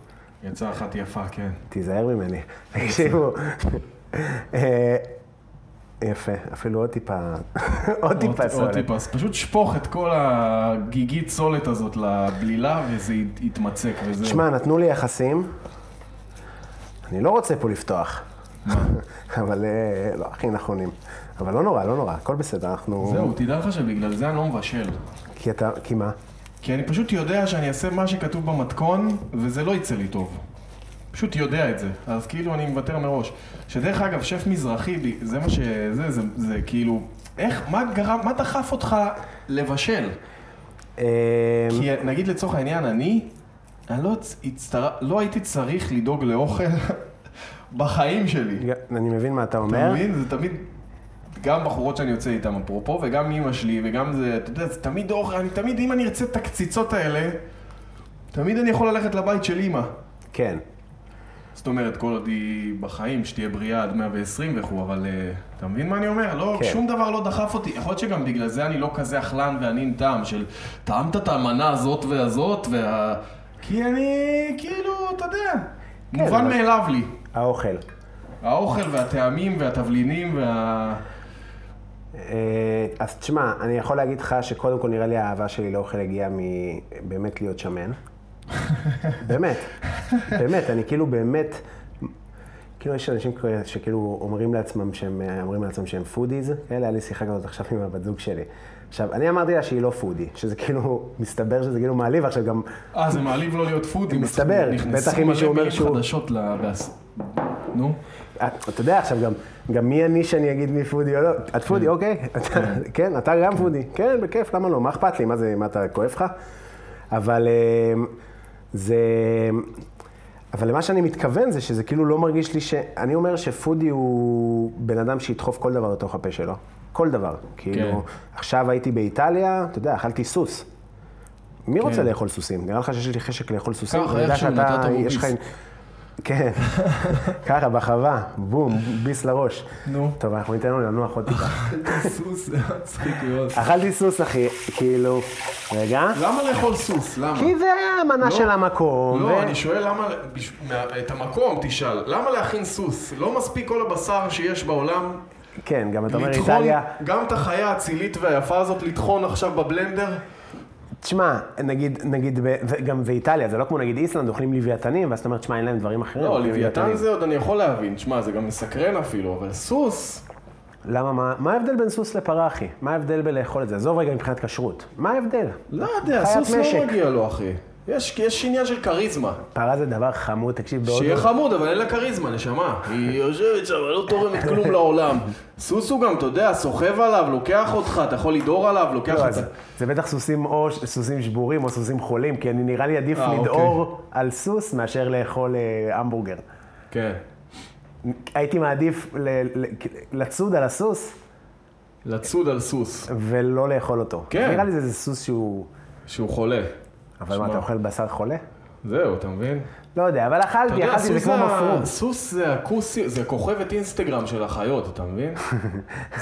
[SPEAKER 3] יצאה אחת יפה, כן.
[SPEAKER 2] תיזהר ממני. תקשיבו. אה, יפה, אפילו עוד טיפה, עוד טיפה
[SPEAKER 3] עוד- עוד
[SPEAKER 2] סולת.
[SPEAKER 3] טיפה. אז פשוט שפוך את כל הגיגית סולת הזאת לבלילה, וזה ית- יתמצק וזה...
[SPEAKER 2] שמע, נתנו לי יחסים, אני לא רוצה פה לפתוח, אבל אה, לא הכי נכונים. אבל לא נורא, לא נורא, הכל בסדר, אנחנו...
[SPEAKER 3] זהו, תדע לך שבגלל זה אני לא מבשל.
[SPEAKER 2] כי אתה, כי מה?
[SPEAKER 3] כי אני פשוט יודע שאני אעשה מה שכתוב במתכון, וזה לא יצא לי טוב. פשוט יודע את זה, אז כאילו אני מוותר מראש. שדרך אגב, שף מזרחי, ב- זה מה ש... זה, זה, זה, כאילו, איך, מה גרם, מה דחף אותך לבשל?
[SPEAKER 2] אה,
[SPEAKER 3] כי נגיד לצורך העניין, אני, אני לא, הצ- הצטר... לא הייתי צריך לדאוג לאוכל בחיים שלי.
[SPEAKER 2] אני מבין מה אתה
[SPEAKER 3] אתה
[SPEAKER 2] אומר.
[SPEAKER 3] מבין? זה תמיד, גם בחורות שאני יוצא איתן אפרופו, וגם אימא שלי, וגם זה, אתה יודע, זה תמיד אוכל, אני תמיד, אם אני ארצה את הקציצות האלה, תמיד אני יכול ללכת לבית של אימא.
[SPEAKER 2] כן.
[SPEAKER 3] זאת אומרת, כל עוד היא בחיים, שתהיה בריאה עד 120 וכו', אבל אה, אתה מבין מה אני אומר? לא,
[SPEAKER 2] כן.
[SPEAKER 3] שום דבר לא דחף אותי. יכול להיות שגם בגלל זה אני לא כזה אכלן וענין טעם של טעמת את המנה הזאת והזאת, וה... כי אני, כאילו, אתה יודע,
[SPEAKER 2] כן,
[SPEAKER 3] מובן
[SPEAKER 2] אבל-
[SPEAKER 3] מאליו לי.
[SPEAKER 2] האוכל.
[SPEAKER 3] האוכל והטעמים והתבלינים וה...
[SPEAKER 2] אה, אז תשמע, אני יכול להגיד לך שקודם כל נראה לי האהבה שלי לאוכל הגיעה מבאמת להיות שמן. באמת. באמת, אני כאילו באמת, כאילו יש אנשים כאלה שכאילו אומרים לעצמם שהם, אה, אומרים לעצמם שהם פודיז, כאלה, היה לי שיחה כזאת עכשיו עם הבת זוג שלי. עכשיו, אני אמרתי לה שהיא לא פודי, שזה כאילו, מסתבר שזה כאילו מעליב, עכשיו גם,
[SPEAKER 3] אה, זה מעליב לא להיות פודים.
[SPEAKER 2] מסתבר, בטח אם מישהו אומר
[SPEAKER 3] נכנסו מלא
[SPEAKER 2] שהוא-
[SPEAKER 3] מילים חדשות ל... בעס- נו.
[SPEAKER 2] את- אתה יודע עכשיו גם, גם מי אני שאני אגיד מי פודי או לא, את פודי, אוקיי, אתה- כן, אתה גם פודי, כן, בכיף, למה לא, מה אכפת לי, מה זה, מה אתה, כואב לך? אבל אמ, זה, אבל למה שאני מתכוון זה שזה כאילו לא מרגיש לי ש... אני אומר שפודי הוא בן אדם שידחוף כל דבר לתוך הפה שלו, כל דבר,
[SPEAKER 3] כן.
[SPEAKER 2] כאילו, עכשיו הייתי באיטליה, אתה יודע, אכלתי סוס. מי רוצה לאכול סוסים? נראה לך שיש לי חשק לאכול סוסים?
[SPEAKER 3] כן. ככה,
[SPEAKER 2] אני יודע
[SPEAKER 3] איכשהו
[SPEAKER 2] שאתה-
[SPEAKER 3] נתת לו
[SPEAKER 2] יש לך-
[SPEAKER 3] ביס.
[SPEAKER 2] כן, ככה בחווה, בום, ביס לראש.
[SPEAKER 3] נו.
[SPEAKER 2] טוב, אנחנו ניתן לו לנוח עוד טיפה.
[SPEAKER 3] סוס, זה היה מצחיק מאוד.
[SPEAKER 2] אכלתי סוס, אחי, כאילו, רגע.
[SPEAKER 3] למה לאכול סוס? למה?
[SPEAKER 2] כי זה היה המנה של המקום. ו-
[SPEAKER 3] לא, אני שואל למה, בש- מה- את המקום תשאל, למה להכין סוס? לא מספיק כל הבשר שיש בעולם
[SPEAKER 2] כן, גם אתה אומר
[SPEAKER 3] לטחון,
[SPEAKER 2] איטליה.
[SPEAKER 3] גם את החיה האצילית והיפה הזאת לטחון עכשיו בבלנדר?
[SPEAKER 2] לא, תשמע, נגיד, נגיד, ב- ו- גם באיטליה, זה לא כמו נגיד איסלנד, אוכלים לוויתנים, ואז אתה אומר, תשמע, אין להם דברים אחרים.
[SPEAKER 3] לא,
[SPEAKER 2] אוכלים
[SPEAKER 3] לוויתן
[SPEAKER 2] לוויתנים."
[SPEAKER 3] זה עוד אני יכול להבין, שמע, זה גם מסקרן אפילו, אבל סוס,
[SPEAKER 2] למה, מה- מה ההבדל בין סוס לפרה, אחי? מה ההבדל בלאכול את זה? עזוב רגע מבחינת כשרות. מה ההבדל?
[SPEAKER 3] לא יודע,
[SPEAKER 2] חיית
[SPEAKER 3] סוס לא
[SPEAKER 2] משק.
[SPEAKER 3] מגיע לו, אחי. יש, יש עניין של כריזמה.
[SPEAKER 2] פרה זה דבר חמוד, תקשיב, בהודו.
[SPEAKER 3] שיהיה חמוד, אבל אין לה כריזמה, נשמה. היא יושבת שם, לא תורמת כלום לעולם. סוס הוא גם, אתה יודע, סוחב עליו, לוקח אותך, אתה יכול לדהור עליו, לוקח
[SPEAKER 2] לא,
[SPEAKER 3] אותך.
[SPEAKER 2] אז זה בטח סוסים או ש- סוסים שבורים או סוסים חולים, כי אני נראה לי עדיף
[SPEAKER 3] אה,
[SPEAKER 2] לדהור על סוס מאשר לאכול אה, המבורגר.
[SPEAKER 3] כן.
[SPEAKER 2] הייתי מעדיף ל- ל- לצוד על הסוס
[SPEAKER 3] לצוד על סוס,
[SPEAKER 2] ולא לאכול אותו.
[SPEAKER 3] כן.
[SPEAKER 2] נראה לי זה, זה סוס שהוא...
[SPEAKER 3] שהוא חולה.
[SPEAKER 2] אבל מה,
[SPEAKER 3] שמע.
[SPEAKER 2] אתה אוכל בשר חולה?
[SPEAKER 3] זהו, אתה מבין?
[SPEAKER 2] לא יודע, אבל
[SPEAKER 3] אתה
[SPEAKER 2] אכלתי,
[SPEAKER 3] יודע,
[SPEAKER 2] אכלתי, זה
[SPEAKER 3] סוס
[SPEAKER 2] כמו
[SPEAKER 3] ה-
[SPEAKER 2] מפרום.
[SPEAKER 3] סוס זה הכוסי, זה כוכבת אינסטגרם של החיות, אתה מבין?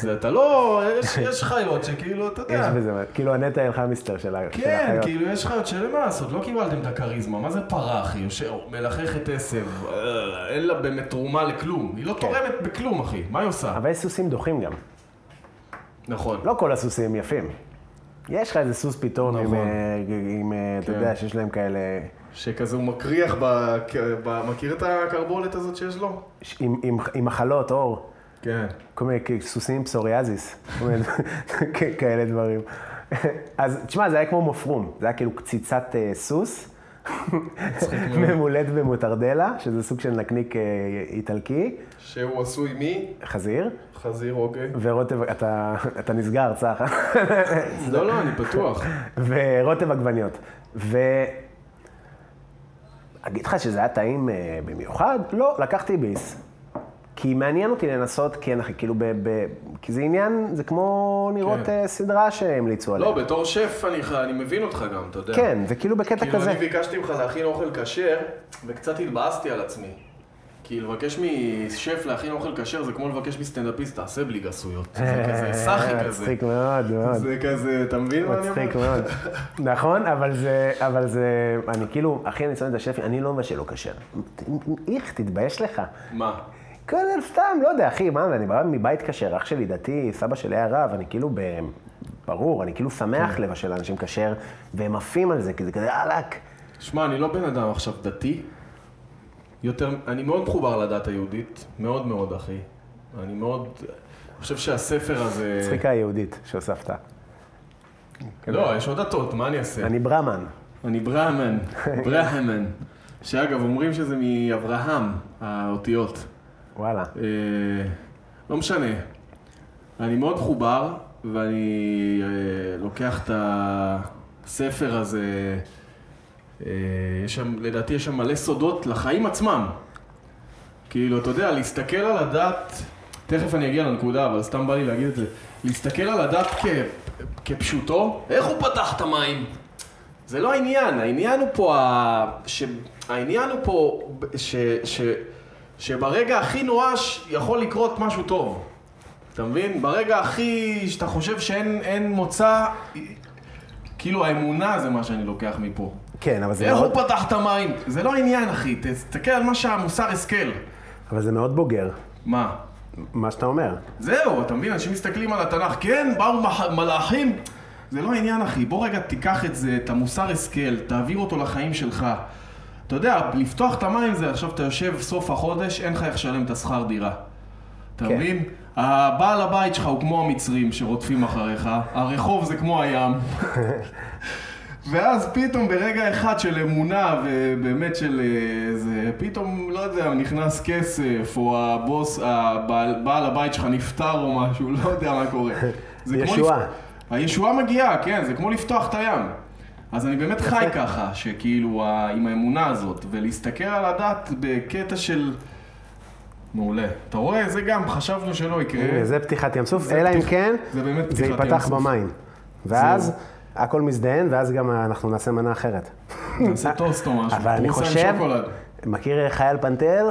[SPEAKER 3] זה אתה לא, יש- יש חיות שכאילו, אתה
[SPEAKER 2] יש
[SPEAKER 3] יודע.
[SPEAKER 2] בזה, כאילו הנטע אין לך מיסטר של ה- של
[SPEAKER 3] כן,
[SPEAKER 2] החיות.
[SPEAKER 3] כאילו יש חיות שאין מה לעשות, לא קיבלתם את הכריזמה, מה זה פרה אחי, יושב, מלחכת עשב, אה, אין לה באמת תרומה לכלום, היא לא תורמת בכלום אחי, מה היא עושה?
[SPEAKER 2] כן. אבל יש סוסים דוחים גם.
[SPEAKER 3] נכון.
[SPEAKER 2] לא כל הסוסים יפים. יש לך איזה סוס פתאום עם,
[SPEAKER 3] נכון.
[SPEAKER 2] אה, עם, אה, אתה
[SPEAKER 3] כן.
[SPEAKER 2] יודע, שיש להם כאלה...
[SPEAKER 3] שכזה הוא מקריח, ב- כ- ב- מכיר את הקרבולת הזאת שיש לו?
[SPEAKER 2] ש- עם- עם- עם מחלות, אור.
[SPEAKER 3] כן.
[SPEAKER 2] כל מיני כ- סוסים עם פסוריאזיס, כל מיני- כ- כאלה דברים. אז תשמע, זה היה כמו מפרום, זה היה כאילו קציצת אה, סוס, ממולאת במוטרדלה, שזה סוג של נקניק אה, איטלקי,
[SPEAKER 3] שהוא עשוי מי?
[SPEAKER 2] חזיר,
[SPEAKER 3] חזיר, אוקיי.
[SPEAKER 2] ורוטב, אתה, אתה נסגר, צח,
[SPEAKER 3] לא, לא, אני בטוח.
[SPEAKER 2] ורוטב עגבניות. ו... אגיד לך שזה היה טעים אה, במיוחד? לא, לקחתי ביס. כי מעניין אותי לנסות, כן, אחי, כאילו, ב, ב, כי זה עניין, זה כמו לראות
[SPEAKER 3] כן.
[SPEAKER 2] אה, סדרה שהמליצו עליה.
[SPEAKER 3] לא, בתור שף אני ח- אני מבין אותך גם, אתה יודע.
[SPEAKER 2] כן, זה כאילו בקטע
[SPEAKER 3] כאילו,
[SPEAKER 2] כזה.
[SPEAKER 3] אני ביקשתי ממך להכין אוכל כשר, וקצת התבאסתי על עצמי. כי לבקש משף להכין אוכל כשר זה כמו לבקש מסטנדאפיסט, תעשה בלי גסויות. זה כזה סאחי כזה.
[SPEAKER 2] אה, מצחיק מאוד, מאוד.
[SPEAKER 3] זה כזה, אתה מבין מה אני אומר?
[SPEAKER 2] מצחיק מאוד. נכון, אבל זה, אבל זה, אני כאילו, אחי, אני שונא את השפי, אני לא מבשל לו כשר. איך, תתבייש לך.
[SPEAKER 3] מה?
[SPEAKER 2] כזה סתם, לא יודע, אחי, מה, אני בא מבית כשר, אח שלי דתי, סבא שלי היה רב, אני כאילו ב... ברור, אני כאילו שמח לבשל לאנשים כשר, והם עפים על זה, כי זה כזה אהלק.
[SPEAKER 3] שמע, אני לא בן אדם עכשיו דתי. יותר, אני מאוד מחובר לדת היהודית. מאוד מאוד, אחי. אני מאוד... אני חושב שהספר הזה...
[SPEAKER 2] מצחיקה היהודית שהוספת.
[SPEAKER 3] לא, יש עוד דתות, מה אני אעשה?
[SPEAKER 2] אני ברמן.
[SPEAKER 3] אני ברהמן, ברהמן. שאגב, אומרים שזה מאברהם, האותיות.
[SPEAKER 2] וואלה.
[SPEAKER 3] אה, לא משנה. אני מאוד מחובר, ואני אה, לוקח את הספר הזה, אה, יש שם, לדעתי יש שם מלא סודות לחיים עצמם. כאילו, אתה יודע, להסתכל על הדת, תכף אני אגיע לנקודה, אבל סתם בא לי להגיד את זה, להסתכל על הדת כ, כפשוטו, איך הוא פתח את המים? זה לא העניין, העניין הוא פה, ה... ש... העניין הוא פה ש... ש... שברגע הכי נואש יכול לקרות משהו טוב. אתה מבין? ברגע הכי שאתה חושב שאין אין מוצא, כאילו האמונה זה מה שאני לוקח מפה.
[SPEAKER 2] כן, אבל זה
[SPEAKER 3] איך
[SPEAKER 2] מאוד,
[SPEAKER 3] הוא פתח את המים? זה לא העניין, אחי. תסתכל על מה שהמוסר השכל.
[SPEAKER 2] אבל זה מאוד בוגר,
[SPEAKER 3] מה?
[SPEAKER 2] מה שאתה אומר.
[SPEAKER 3] זהו, אתה מבין? אנשים מסתכלים על התנ"ך, כן, באו מח- מלאכים. זה לא העניין, אחי. בוא רגע תיקח את זה, את המוסר השכל, תעביר אותו לחיים שלך. אתה יודע, לפתוח את המים זה, עכשיו אתה יושב סוף החודש, אין לך איך לשלם את השכר דירה. אתה
[SPEAKER 2] כן.
[SPEAKER 3] מבין? הבעל הבית שלך הוא כמו המצרים שרודפים אחריך, הרחוב זה כמו הים. ואז פתאום ברגע אחד של אמונה ובאמת של אה, זה, פתאום, לא יודע, נכנס כסף, או הבוס, הבעל בעל הבית שלך נפטר או משהו, לא יודע מה קורה. זה כמו
[SPEAKER 2] ישועה.
[SPEAKER 3] לפ- הישועה מגיעה, כן, זה כמו לפתוח את הים. אז אני באמת חי ככה, שכאילו, ה- עם האמונה הזאת, ולהסתכל על הדת בקטע של... מעולה. אתה רואה? זה גם, חשבנו שלא יקרה.
[SPEAKER 2] הנה, זה פתיחת ים סוף, אלא אם
[SPEAKER 3] פתיח-
[SPEAKER 2] כן,
[SPEAKER 3] זה באמת
[SPEAKER 2] זה
[SPEAKER 3] פתיחת ים
[SPEAKER 2] ייפתח
[SPEAKER 3] סוף.
[SPEAKER 2] במים. ואז
[SPEAKER 3] זהו.
[SPEAKER 2] הכל מזדהן, ואז גם אנחנו נעשה מנה אחרת.
[SPEAKER 3] נעשה טוסט או משהו.
[SPEAKER 2] אבל אני
[SPEAKER 3] פרוסה עם
[SPEAKER 2] חושב,
[SPEAKER 3] שוקולד.
[SPEAKER 2] מכיר חייל פנתר?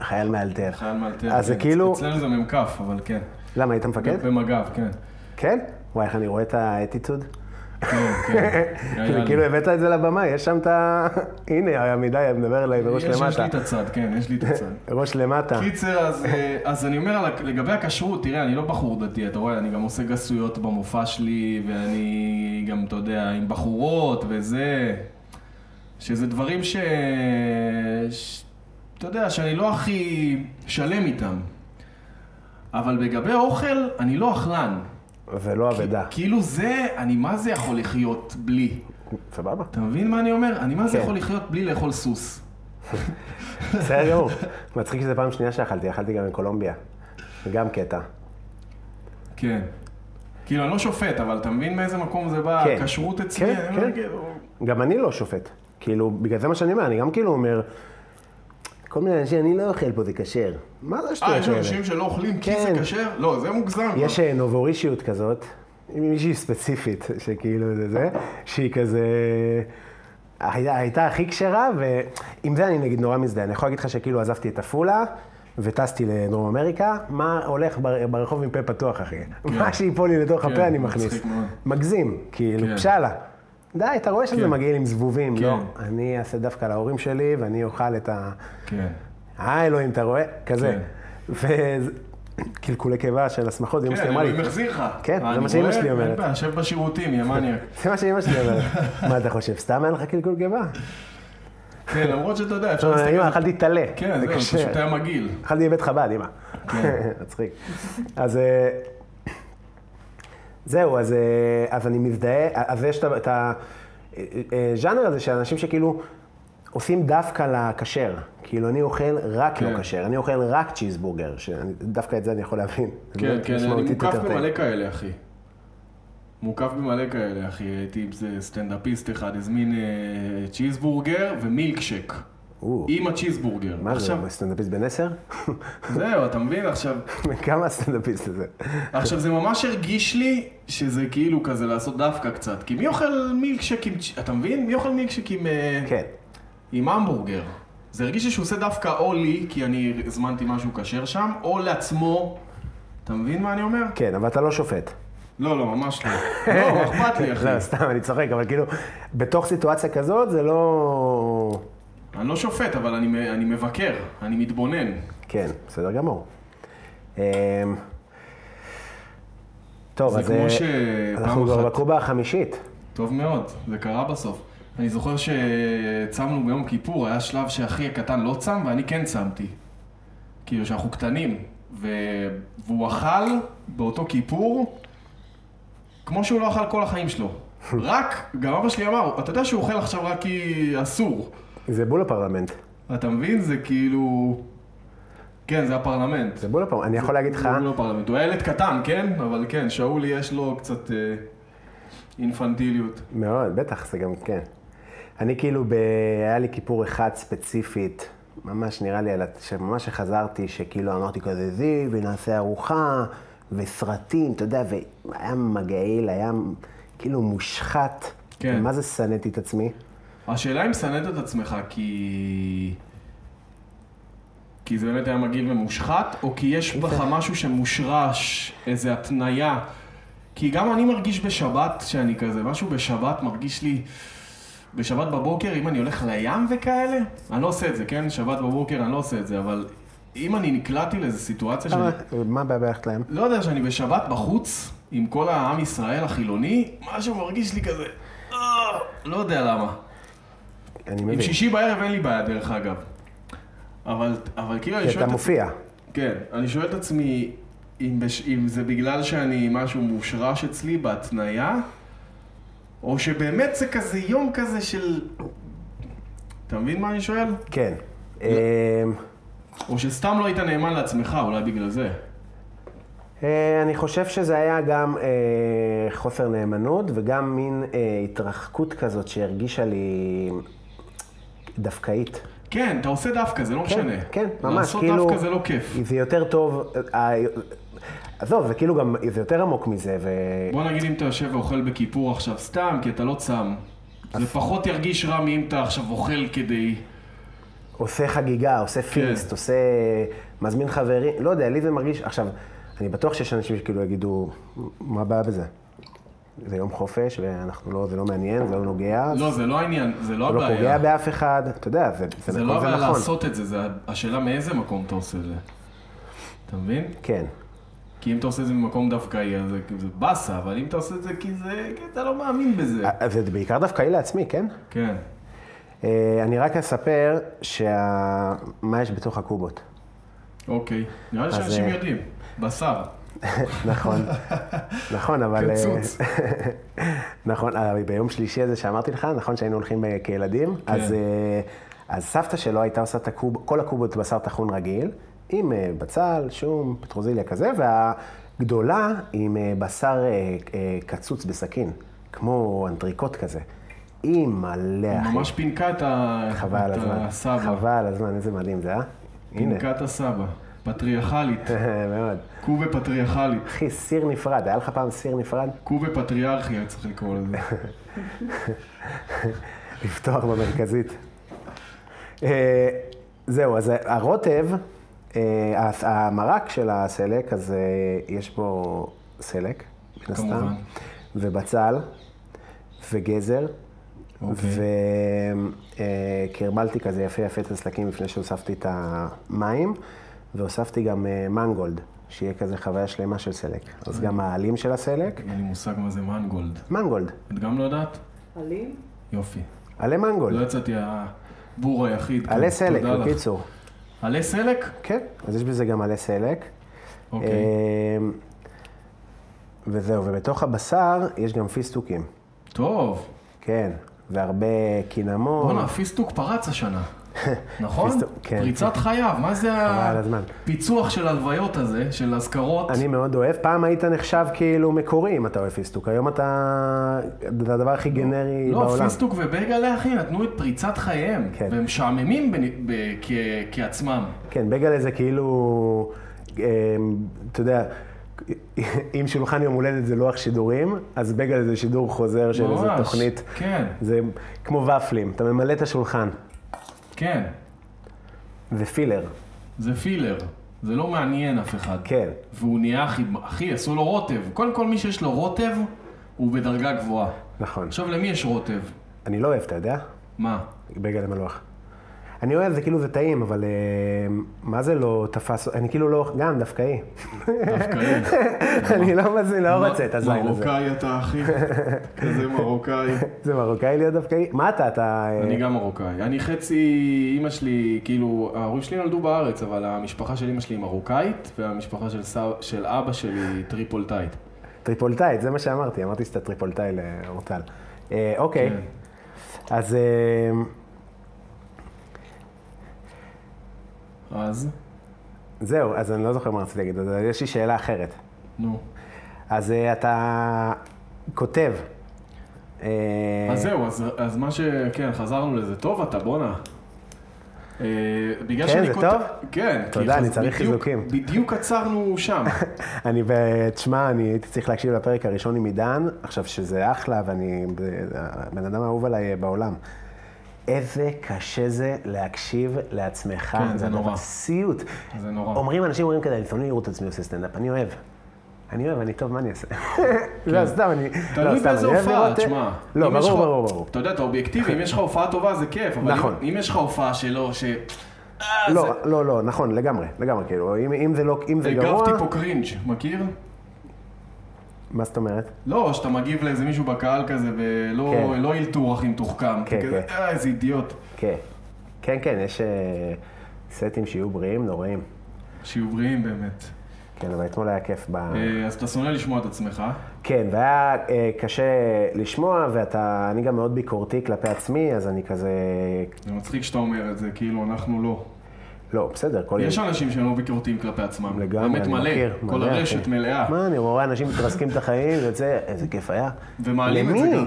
[SPEAKER 2] חייל מאלתר.
[SPEAKER 3] חייל מאלתר.
[SPEAKER 2] אז זה
[SPEAKER 3] כן.
[SPEAKER 2] כאילו-
[SPEAKER 3] אצלנו זה מ"כ, אבל כן.
[SPEAKER 2] למה, היית מפקד?
[SPEAKER 3] במג"ב, כן.
[SPEAKER 2] כן? וואי, איך אני רואה את האטיטוד?
[SPEAKER 3] כן, כן. היה לי.
[SPEAKER 2] כאילו הבאת את זה לבמה, יש שם את ה... הנה, עמידה מדבר אליי בראש
[SPEAKER 3] יש יש לי
[SPEAKER 2] למטה.
[SPEAKER 3] את הצד, כן, יש לי את הצד.
[SPEAKER 2] ראש למטה.
[SPEAKER 3] קיצר, אז, אה, אז אני אומר, על ה- לגבי הכשרות, תראה, אני לא בחור דתי, אתה רואה, אני גם עושה גסויות במופע שלי, ואני גם, אתה יודע, עם בחורות וזה, שזה דברים ש... ש... אתה יודע, שאני לא הכי שלם איתם. אבל לגבי אוכל, אני לא אכלן.
[SPEAKER 2] ולא אבדה.
[SPEAKER 3] כאילו זה, אני מה זה יכול לחיות בלי?
[SPEAKER 2] סבבה?
[SPEAKER 3] אתה מבין מה אני אומר? אני מה זה
[SPEAKER 2] כן.
[SPEAKER 3] יכול לחיות בלי לאכול סוס.
[SPEAKER 2] בסדר גמור. מצחיק שזו פעם שנייה שאכלתי, אכלתי גם בקולומביה. גם קטע.
[SPEAKER 3] כן. כאילו, אני לא שופט, אבל אתה מבין מאיזה מקום זה בא?
[SPEAKER 2] כן.
[SPEAKER 3] הכשרות אצלי?
[SPEAKER 2] כן,
[SPEAKER 3] אני
[SPEAKER 2] כן.
[SPEAKER 3] לא כאילו-
[SPEAKER 2] גם אני לא שופט. כאילו, בגלל זה מה שאני אומר, אני גם כאילו אומר, כל מיני אנשים, אני לא אוכל פה, זה כשר. מה זה
[SPEAKER 3] אה,
[SPEAKER 2] השטויות
[SPEAKER 3] יש
[SPEAKER 2] האלה?
[SPEAKER 3] אנשים שלא אוכלים כי זה
[SPEAKER 2] כן.
[SPEAKER 3] כשר? לא, זה מוגזם. כבר.
[SPEAKER 2] יש אה, נובורישיות כזאת, עם מישהי ספציפית, שכאילו זה זה, שהיא כזה... הייתה, הייתה הכי כשרה, ועם זה אני נגיד נורא מזדהה. אני יכול להגיד לך שכאילו עזבתי את עפולה, וטסתי לדרום אמריקה, מה הולך בר, ברחוב עם פה פתוח, אחי? מה שיפול לי לתוך
[SPEAKER 3] כן,
[SPEAKER 2] הפה אני
[SPEAKER 3] מצחיק
[SPEAKER 2] מכניס.
[SPEAKER 3] מאוד.
[SPEAKER 2] מגזים, כאילו,
[SPEAKER 3] כן.
[SPEAKER 2] פשאלה. די, אתה רואה שזה
[SPEAKER 3] כן.
[SPEAKER 2] מגעיל עם זבובים,
[SPEAKER 3] כן.
[SPEAKER 2] לא. אני אעשה דווקא להורים שלי, ואני אוכל את ה...
[SPEAKER 3] כן.
[SPEAKER 2] אה, אלוהים, אתה רואה? כזה.
[SPEAKER 3] כן.
[SPEAKER 2] וקלקולי קיבה של השמחות, אמא
[SPEAKER 3] כן,
[SPEAKER 2] שלי אמרה לי.
[SPEAKER 3] אלוהים החזיר לך.
[SPEAKER 2] כן, זה
[SPEAKER 3] אה, אני
[SPEAKER 2] מה שאמא
[SPEAKER 3] רואה,
[SPEAKER 2] שלי אומרת.
[SPEAKER 3] אין בעיה, שב בשירותים, יא מניאק.
[SPEAKER 2] זה מה שאמא שלי אומרת. מה אתה חושב, סתם היה לך קלקול קיבה?
[SPEAKER 3] כן, למרות שאתה יודע, אפשר
[SPEAKER 2] אמא,
[SPEAKER 3] להסתכל... על זה.
[SPEAKER 2] אכלתי טלה.
[SPEAKER 3] כן,
[SPEAKER 2] זה
[SPEAKER 3] זהו, זה
[SPEAKER 2] קשה.
[SPEAKER 3] פשוט היה מגעיל.
[SPEAKER 2] אכלתי בבית חב"ד, אמא.
[SPEAKER 3] כן.
[SPEAKER 2] מצחיק. אז אה, זהו, אז אה, אז אני מזדהה, אז יש את ה- את הז'אנר הזה של אנשים שכאילו עושים דווקא לכשר. כאילו, אני אוכל רק
[SPEAKER 3] כן.
[SPEAKER 2] לא כשר, אני אוכל רק צ'יזבורגר, שדווקא את זה אני יכול להבין. זה
[SPEAKER 3] כן,
[SPEAKER 2] באמת
[SPEAKER 3] כן, אני
[SPEAKER 2] משמעותית
[SPEAKER 3] מוקף
[SPEAKER 2] יותר טעים.
[SPEAKER 3] במלא כאלה, אחי. מוקף במלא כאלה, אחי. הייתי עם זה סטנדאפיסט אחד, הזמין אה, צ'יזבורגר ומילקשק.
[SPEAKER 2] או,
[SPEAKER 3] עם הצ'יזבורגר.
[SPEAKER 2] מה זה,
[SPEAKER 3] עכשיו,
[SPEAKER 2] הוא סטנדאפיסט בן עשר?
[SPEAKER 3] זהו, אתה מבין? עכשיו,
[SPEAKER 2] כמה הסטנדאפיסט הזה?
[SPEAKER 3] עכשיו זה ממש הרגיש לי שזה כאילו כזה לעשות דווקא קצת. כי מי אוכל מילקשק עם... צ'- אתה מבין? מי אוכל מילקשק עם... אה,
[SPEAKER 2] כן.
[SPEAKER 3] עם המבורגר? זה הרגיש לי שהוא עושה דווקא או לי, כי אני הזמנתי משהו כשר שם, או לעצמו. אתה מבין מה אני אומר?
[SPEAKER 2] כן, אבל אתה לא שופט.
[SPEAKER 3] לא, לא, ממש לא. לא, מה אכפת לי, אחי.
[SPEAKER 2] לא, סתם, אני צוחק, אבל כאילו, בתוך סיטואציה כזאת זה לא...
[SPEAKER 3] אני לא שופט, אבל אני, אני מבקר, אני מתבונן.
[SPEAKER 2] כן, בסדר גמור. אמ, טוב,
[SPEAKER 3] זה
[SPEAKER 2] אז
[SPEAKER 3] כמו
[SPEAKER 2] אה,
[SPEAKER 3] שפעם
[SPEAKER 2] אנחנו כבר
[SPEAKER 3] אחת-
[SPEAKER 2] בקובה החמישית.
[SPEAKER 3] טוב מאוד, זה קרה בסוף. אני זוכר שצמנו ביום כיפור, היה שלב שאחי הקטן לא צם, ואני כן צמתי. כאילו, שאנחנו קטנים. ו... והוא אכל באותו כיפור, כמו שהוא לא אכל כל החיים שלו. רק, גם אבא שלי אמר, אתה יודע שהוא אוכל עכשיו רק כי אסור.
[SPEAKER 2] זה בול הפרלמנט.
[SPEAKER 3] אתה מבין? זה כאילו... כן, זה הפרלמנט.
[SPEAKER 2] זה בול הפרלמנט. אני יכול להגיד לך,
[SPEAKER 3] הוא לא פרלמנט, הוא היה ילד קטן, כן? אבל כן, שאולי יש לו קצת אה, אינפנטיליות.
[SPEAKER 2] מאוד, בטח, זה גם, כן. אני כאילו, ב... היה לי כיפור אחד ספציפית, ממש נראה לי, על ה- שממש שחזרתי, שכאילו אמרתי כזה זיו, ונעשה ארוחה, וסרטים, אתה יודע, והיה מגעיל, היה כאילו מושחת.
[SPEAKER 3] כן.
[SPEAKER 2] מה זה שנאתי את עצמי?
[SPEAKER 3] השאלה אם שנאת את עצמך כי... כי זה באמת היה מגעיל ומושחת, או כי יש בך משהו שמושרש, איזו התניה. כי גם אני מרגיש בשבת שאני כזה, משהו בשבת מרגיש לי... בשבת בבוקר, אם אני הולך לים וכאלה, אני לא עושה את זה, כן? שבת בבוקר אני לא עושה את זה, אבל אם אני נקלעתי לאיזו סיטואציה שאני...
[SPEAKER 2] מה הבעיה ללכת להם?
[SPEAKER 3] לא יודע, שאני בשבת בחוץ, עם כל העם ישראל החילוני, משהו מרגיש לי כזה, אה, לא יודע למה.
[SPEAKER 2] אני
[SPEAKER 3] עם
[SPEAKER 2] מבין.
[SPEAKER 3] שישי בערב אין לי בעיה, דרך אגב. אבל, אבל כאילו, אני
[SPEAKER 2] כי
[SPEAKER 3] שואל...
[SPEAKER 2] אתה
[SPEAKER 3] את-
[SPEAKER 2] מופיע.
[SPEAKER 3] כן, אני שואל את עצמי אם, בש... אם זה בגלל שאני משהו מושרש אצלי בהתניה, או שבאמת זה כזה יום כזה של... אתה מבין מה אני שואל?
[SPEAKER 2] כן.
[SPEAKER 3] לא.
[SPEAKER 2] אמ,
[SPEAKER 3] או שסתם לא היית נאמן לעצמך, אולי בגלל זה.
[SPEAKER 2] אה, אני חושב שזה היה גם אה, חוסר נאמנות וגם מין אה, התרחקות כזאת שהרגישה לי דווקאית.
[SPEAKER 3] כן, אתה עושה דווקא, זה לא משנה.
[SPEAKER 2] כן, ממש,
[SPEAKER 3] לעשות
[SPEAKER 2] כאילו...
[SPEAKER 3] דווקא זה לא כיף.
[SPEAKER 2] זה יותר טוב... אה, עזוב, זה כאילו גם, זה יותר עמוק מזה, ו...
[SPEAKER 3] בוא נגיד אם אתה יושב ואוכל בכיפור עכשיו סתם, כי אתה לא צם. זה פחות ירגיש רע מאם אתה עכשיו אוכל כדי...
[SPEAKER 2] עושה חגיגה, עושה
[SPEAKER 3] כן.
[SPEAKER 2] פיסט, עושה... מזמין חברים, לא יודע, לי זה מרגיש... עכשיו, אני בטוח שיש אנשים שכאילו יגידו, מה הבעיה בזה? זה יום חופש, ואנחנו לא, זה לא מעניין, זה לא נוגע,
[SPEAKER 3] לא, זה לא העניין, זה לא
[SPEAKER 2] זה לא
[SPEAKER 3] הבעיה.
[SPEAKER 2] פוגע באף אחד, אתה יודע, זה, זה,
[SPEAKER 3] זה
[SPEAKER 2] נכון,
[SPEAKER 3] לא
[SPEAKER 2] זה
[SPEAKER 3] הבעיה
[SPEAKER 2] נכון.
[SPEAKER 3] לעשות את זה, זה השאלה מאיזה מקום אתה עושה את זה. אתה מבין?
[SPEAKER 2] כן,
[SPEAKER 3] כי אם אתה עושה את זה ממקום דווקאי, אז זה, זה באסה, אבל אם אתה עושה את זה כי זה... כי אתה לא מאמין בזה.
[SPEAKER 2] אה, זה בעיקר דווקא לי לעצמי, כן?
[SPEAKER 3] כן.
[SPEAKER 2] אה, אני רק אספר שה... מה יש בתוך הקובות.
[SPEAKER 3] אוקיי. נראה לי
[SPEAKER 2] אז,
[SPEAKER 3] שאנשים
[SPEAKER 2] אה,
[SPEAKER 3] יודעים. בשר.
[SPEAKER 2] נכון, נכון, אבל... אה,
[SPEAKER 3] קצוץ.
[SPEAKER 2] נכון, אה, ביום שלישי הזה שאמרתי לך, נכון שהיינו הולכים אה, כילדים,
[SPEAKER 3] כן.
[SPEAKER 2] אז, אה, אז סבתא שלו הייתה עושה את הקוב, כל הקובות בשר טחון רגיל, עם אה, בצל, שום, פטרוזיליה כזה, והגדולה עם אה, בשר אה, אה, קצוץ בסכין, כמו אנטריקוט כזה. היא מלא, אחי.
[SPEAKER 3] ממש פינקה את ה...
[SPEAKER 2] אה, חבל על
[SPEAKER 3] את
[SPEAKER 2] הזמן.
[SPEAKER 3] הסבא.
[SPEAKER 2] חבל על הזמן, איזה מדהים זה, אה? הנה.
[SPEAKER 3] פינקת הסבא. פטריארכלית.
[SPEAKER 2] מאוד.
[SPEAKER 3] קובה פטריארכלית.
[SPEAKER 2] אחי, סיר נפרד, היה לך פעם סיר נפרד?
[SPEAKER 3] קובה פטריארכיה צריך לקרוא לזה.
[SPEAKER 2] לפתוח במרכזית. אה, זהו, אז הרוטב, אה, ה- המרק של הסלק, אז אה, יש בו סלק, מן הסתם,
[SPEAKER 3] כמובן.
[SPEAKER 2] ובצל, וגזר,
[SPEAKER 3] אוקיי.
[SPEAKER 2] וקרמלתי כזה יפה יפה את הסלקים לפני שהוספתי את המים, והוספתי גם אה, מנגולד, שיהיה כזה חוויה שלמה של סלק. אז
[SPEAKER 3] אוקיי.
[SPEAKER 2] גם העלים של הסלק,
[SPEAKER 3] אין לי מושג מה זה מנגולד.
[SPEAKER 2] מנגולד,
[SPEAKER 3] את גם לא יודעת?
[SPEAKER 4] עלים?
[SPEAKER 3] יופי.
[SPEAKER 2] עלי
[SPEAKER 3] לא
[SPEAKER 2] מנגולד,
[SPEAKER 3] יצאתי הבור היחיד.
[SPEAKER 2] עלי
[SPEAKER 3] כן,
[SPEAKER 2] סלק,
[SPEAKER 3] תודה לך.
[SPEAKER 2] בקיצור.
[SPEAKER 3] עלי סלק?
[SPEAKER 2] כן, אז יש בזה גם מלא סלק.
[SPEAKER 3] אוקיי.
[SPEAKER 2] אמ, וזהו, ובתוך הבשר יש גם פיסטוקים.
[SPEAKER 3] טוב.
[SPEAKER 2] כן, והרבה קינמון.
[SPEAKER 3] בואנה, הפיסטוק פרץ השנה. נכון?
[SPEAKER 2] פיסטוק, כן.
[SPEAKER 3] פריצת חייו, מה זה
[SPEAKER 2] על הזמן.
[SPEAKER 3] הפיצוח של הלוויות הזה, של אזכרות?
[SPEAKER 2] אני מאוד אוהב. פעם היית נחשב כאילו מקורי אם אתה אוהב פיסטוק. היום אתה... זה הדבר הכי גנרי
[SPEAKER 3] לא,
[SPEAKER 2] בעולם.
[SPEAKER 3] פיסטוק ובייגלה, אחי, נתנו את פריצת חייהם.
[SPEAKER 2] כן.
[SPEAKER 3] והם משעממים בנ- ב- כ- כעצמם.
[SPEAKER 2] כן, בגלל זה כאילו... אמ, אתה יודע... אם שולחן יום הולדת זה לוח שידורים, אז בגלל זה שידור חוזר של איזו
[SPEAKER 3] ממש.
[SPEAKER 2] תוכנית.
[SPEAKER 3] כן,
[SPEAKER 2] זה כמו ופלים, אתה ממלא את השולחן.
[SPEAKER 3] כן.
[SPEAKER 2] ופילר.
[SPEAKER 3] זה פילר. זה לא מעניין אף אחד.
[SPEAKER 2] כן.
[SPEAKER 3] והוא נהיה הכי, אחי, עשו לו רוטב. קודם כל, מי שיש לו רוטב, הוא בדרגה גבוהה.
[SPEAKER 2] נכון.
[SPEAKER 3] עכשיו, למי יש רוטב?
[SPEAKER 2] אני לא אוהב, אתה יודע?
[SPEAKER 3] מה?
[SPEAKER 2] בגלל מלוח. אני אוהב, זה כאילו זה טעים, אבל אה, מה זה לא תפס, אני כאילו לא, גם דווקאי.
[SPEAKER 3] דווקאי.
[SPEAKER 2] אני לא מזמין, לא רוצה את הזין הזה.
[SPEAKER 3] מרוקאי אתה, אחי. כזה מרוקאי.
[SPEAKER 2] זה מרוקאי להיות דווקאי? מה אתה, אתה... אה,
[SPEAKER 3] אני גם מרוקאי. אני חצי, אימא שלי, כאילו, ההורים שלי נולדו בארץ, אבל המשפחה של אימא שלי היא מרוקאית, והמשפחה של, סב, של אבא שלי היא טריפולטאית.
[SPEAKER 2] טריפולטאית, זה מה שאמרתי, אמרתי שאתה טריפולטאי לאורטל. אה, אוקיי,
[SPEAKER 3] כן.
[SPEAKER 2] אז אה,
[SPEAKER 3] אז,
[SPEAKER 2] זהו, אז אני לא זוכר מה רציתי להגיד, אז יש לי שאלה אחרת.
[SPEAKER 3] נו.
[SPEAKER 2] אז אה, אתה כותב. אה,
[SPEAKER 3] אז זהו, אז, אז מה ש... כן, חזרנו לזה. טוב אתה, בואנה. אה, בגלל
[SPEAKER 2] כן,
[SPEAKER 3] שאני
[SPEAKER 2] זה
[SPEAKER 3] כותב-
[SPEAKER 2] טוב?
[SPEAKER 3] כן. כי
[SPEAKER 2] תודה,
[SPEAKER 3] חז-
[SPEAKER 2] אני צריך
[SPEAKER 3] בדיוק-
[SPEAKER 2] חיזוקים.
[SPEAKER 3] בדיוק עצרנו שם.
[SPEAKER 2] אני, ב- תשמע, אני הייתי צריך להקשיב לפרק הראשון עם עידן, עכשיו שזה אחלה, ואני הבן אדם האהוב עליי אה, בעולם. איזה קשה זה להקשיב לעצמך.
[SPEAKER 3] כן, זה
[SPEAKER 2] הדבר-
[SPEAKER 3] נורא.
[SPEAKER 2] סיוט.
[SPEAKER 3] זה נורא.
[SPEAKER 2] אומרים, אנשים אומרים כזה, אני שונא לראות את עצמי עושה סטנדאפ, אני אוהב. אני אוהב, אני טוב, מה אני אעשה? לא, סתם, אני... לא,
[SPEAKER 3] כן. תלוי
[SPEAKER 2] סתם,
[SPEAKER 3] באיזה
[SPEAKER 2] אני אוהב
[SPEAKER 3] הופעה,
[SPEAKER 2] לראות-
[SPEAKER 3] תשמע.
[SPEAKER 2] לא,
[SPEAKER 3] אם יש
[SPEAKER 2] ברור,
[SPEAKER 3] לך-
[SPEAKER 2] ברור, ברור.
[SPEAKER 3] אתה יודע, אתה אובייקטיבי, אם יש לך הופעה טובה זה כיף, אבל
[SPEAKER 2] נכון.
[SPEAKER 3] אם- אם יש לך הופעה שלא, ש... אה,
[SPEAKER 2] לא,
[SPEAKER 3] זה-
[SPEAKER 2] לא, לא, נכון, לגמרי, לגמרי, כאילו, אם אם זה לא, אם זה גרוע...
[SPEAKER 3] הגבתי פה קרינג', מכיר?
[SPEAKER 2] מה זאת אומרת?
[SPEAKER 3] לא, שאתה מגיב לאיזה מישהו בקהל כזה, ולא
[SPEAKER 2] כן.
[SPEAKER 3] לא אלתור הכי מתוחכם.
[SPEAKER 2] כן,
[SPEAKER 3] אתה כזה,
[SPEAKER 2] כן.
[SPEAKER 3] "אה, איזה אידיוט.
[SPEAKER 2] כן. כן, כן, יש אה, סטים שיהיו בריאים נוראים.
[SPEAKER 3] שיהיו בריאים באמת.
[SPEAKER 2] כן, אבל אתמול היה כיף ב...
[SPEAKER 3] אה, אז אתה שונא לשמוע את עצמך.
[SPEAKER 2] כן, והיה אה, קשה לשמוע, ואתה... אני גם מאוד ביקורתי כלפי עצמי, אז אני כזה...
[SPEAKER 3] זה מצחיק שאתה אומר את זה, כאילו אנחנו לא.
[SPEAKER 2] לא, בסדר, כל...
[SPEAKER 3] יש אנשים שהם לא ביקורתיים כלפי עצמם.
[SPEAKER 2] לגמרי,
[SPEAKER 3] האמת
[SPEAKER 2] אני
[SPEAKER 3] מלא,
[SPEAKER 2] מכיר.
[SPEAKER 3] כל
[SPEAKER 2] מלא,
[SPEAKER 3] הרשת
[SPEAKER 2] אחי.
[SPEAKER 3] מלאה.
[SPEAKER 2] מה, אני רואה אנשים מתרסקים את החיים, וזה, איזה כיף היה.
[SPEAKER 3] ומעלים את זה
[SPEAKER 2] למי?
[SPEAKER 3] גם.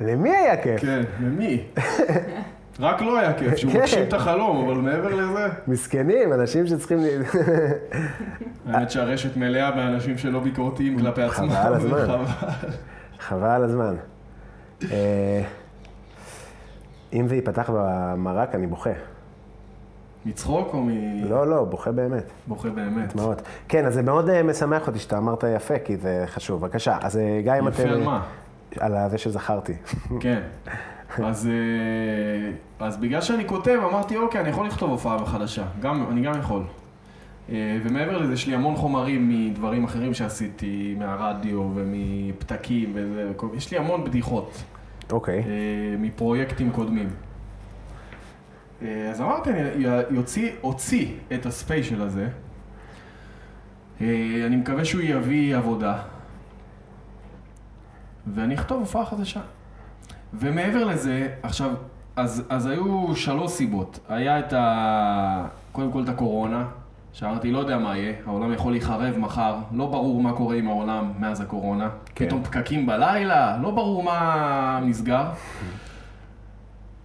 [SPEAKER 2] למי היה כיף?
[SPEAKER 3] כן, למי? רק לו היה כיף, שהוא
[SPEAKER 2] כן.
[SPEAKER 3] מגשים את החלום, אבל מעבר לזה,
[SPEAKER 2] מסכנים, אנשים שצריכים... ל-
[SPEAKER 3] האמת שהרשת מלאה באנשים שלא ביקורתיים כלפי עצמם.
[SPEAKER 2] חבל על הזמן.
[SPEAKER 3] חבל.
[SPEAKER 2] חבל על הזמן. אה, אם זה ייפתח במרק, אני בוכה.
[SPEAKER 3] מצחוק או מ...
[SPEAKER 2] לא, לא, בוכה באמת.
[SPEAKER 3] בוכה באמת?
[SPEAKER 2] מאוד. כן, אז זה מאוד אה, משמח אותי שאתה אמרת יפה, כי זה חשוב. בבקשה, אז אה, גם אם אתם...
[SPEAKER 3] יפה על מה?
[SPEAKER 2] על ה- זה שזכרתי.
[SPEAKER 3] כן. אז, אה, אז בגלל שאני כותב, אמרתי, אוקיי, אני יכול לכתוב הופעה חדשה. גם, אני גם יכול. אה, ומעבר לזה, יש לי המון חומרים מדברים אחרים שעשיתי, מהרדיו ומפתקים וזה, וכל- יש לי המון בדיחות
[SPEAKER 2] אוקיי.
[SPEAKER 3] אה, מפרויקטים קודמים. אה, אז אמרתי, אני יוציא, הוציא את הספיישל הזה. אה, אני מקווה שהוא יביא עבודה. ואני אכתוב הופעה חדשה. ומעבר לזה, עכשיו, אז, אז היו שלוש סיבות. היה את ה... קודם כל את הקורונה, שאמרתי, לא יודע מה יהיה, העולם יכול להיחרב מחר, לא ברור מה קורה עם העולם מאז הקורונה.
[SPEAKER 2] כן.
[SPEAKER 3] כן. פתאום פקקים בלילה, לא ברור מה נסגר.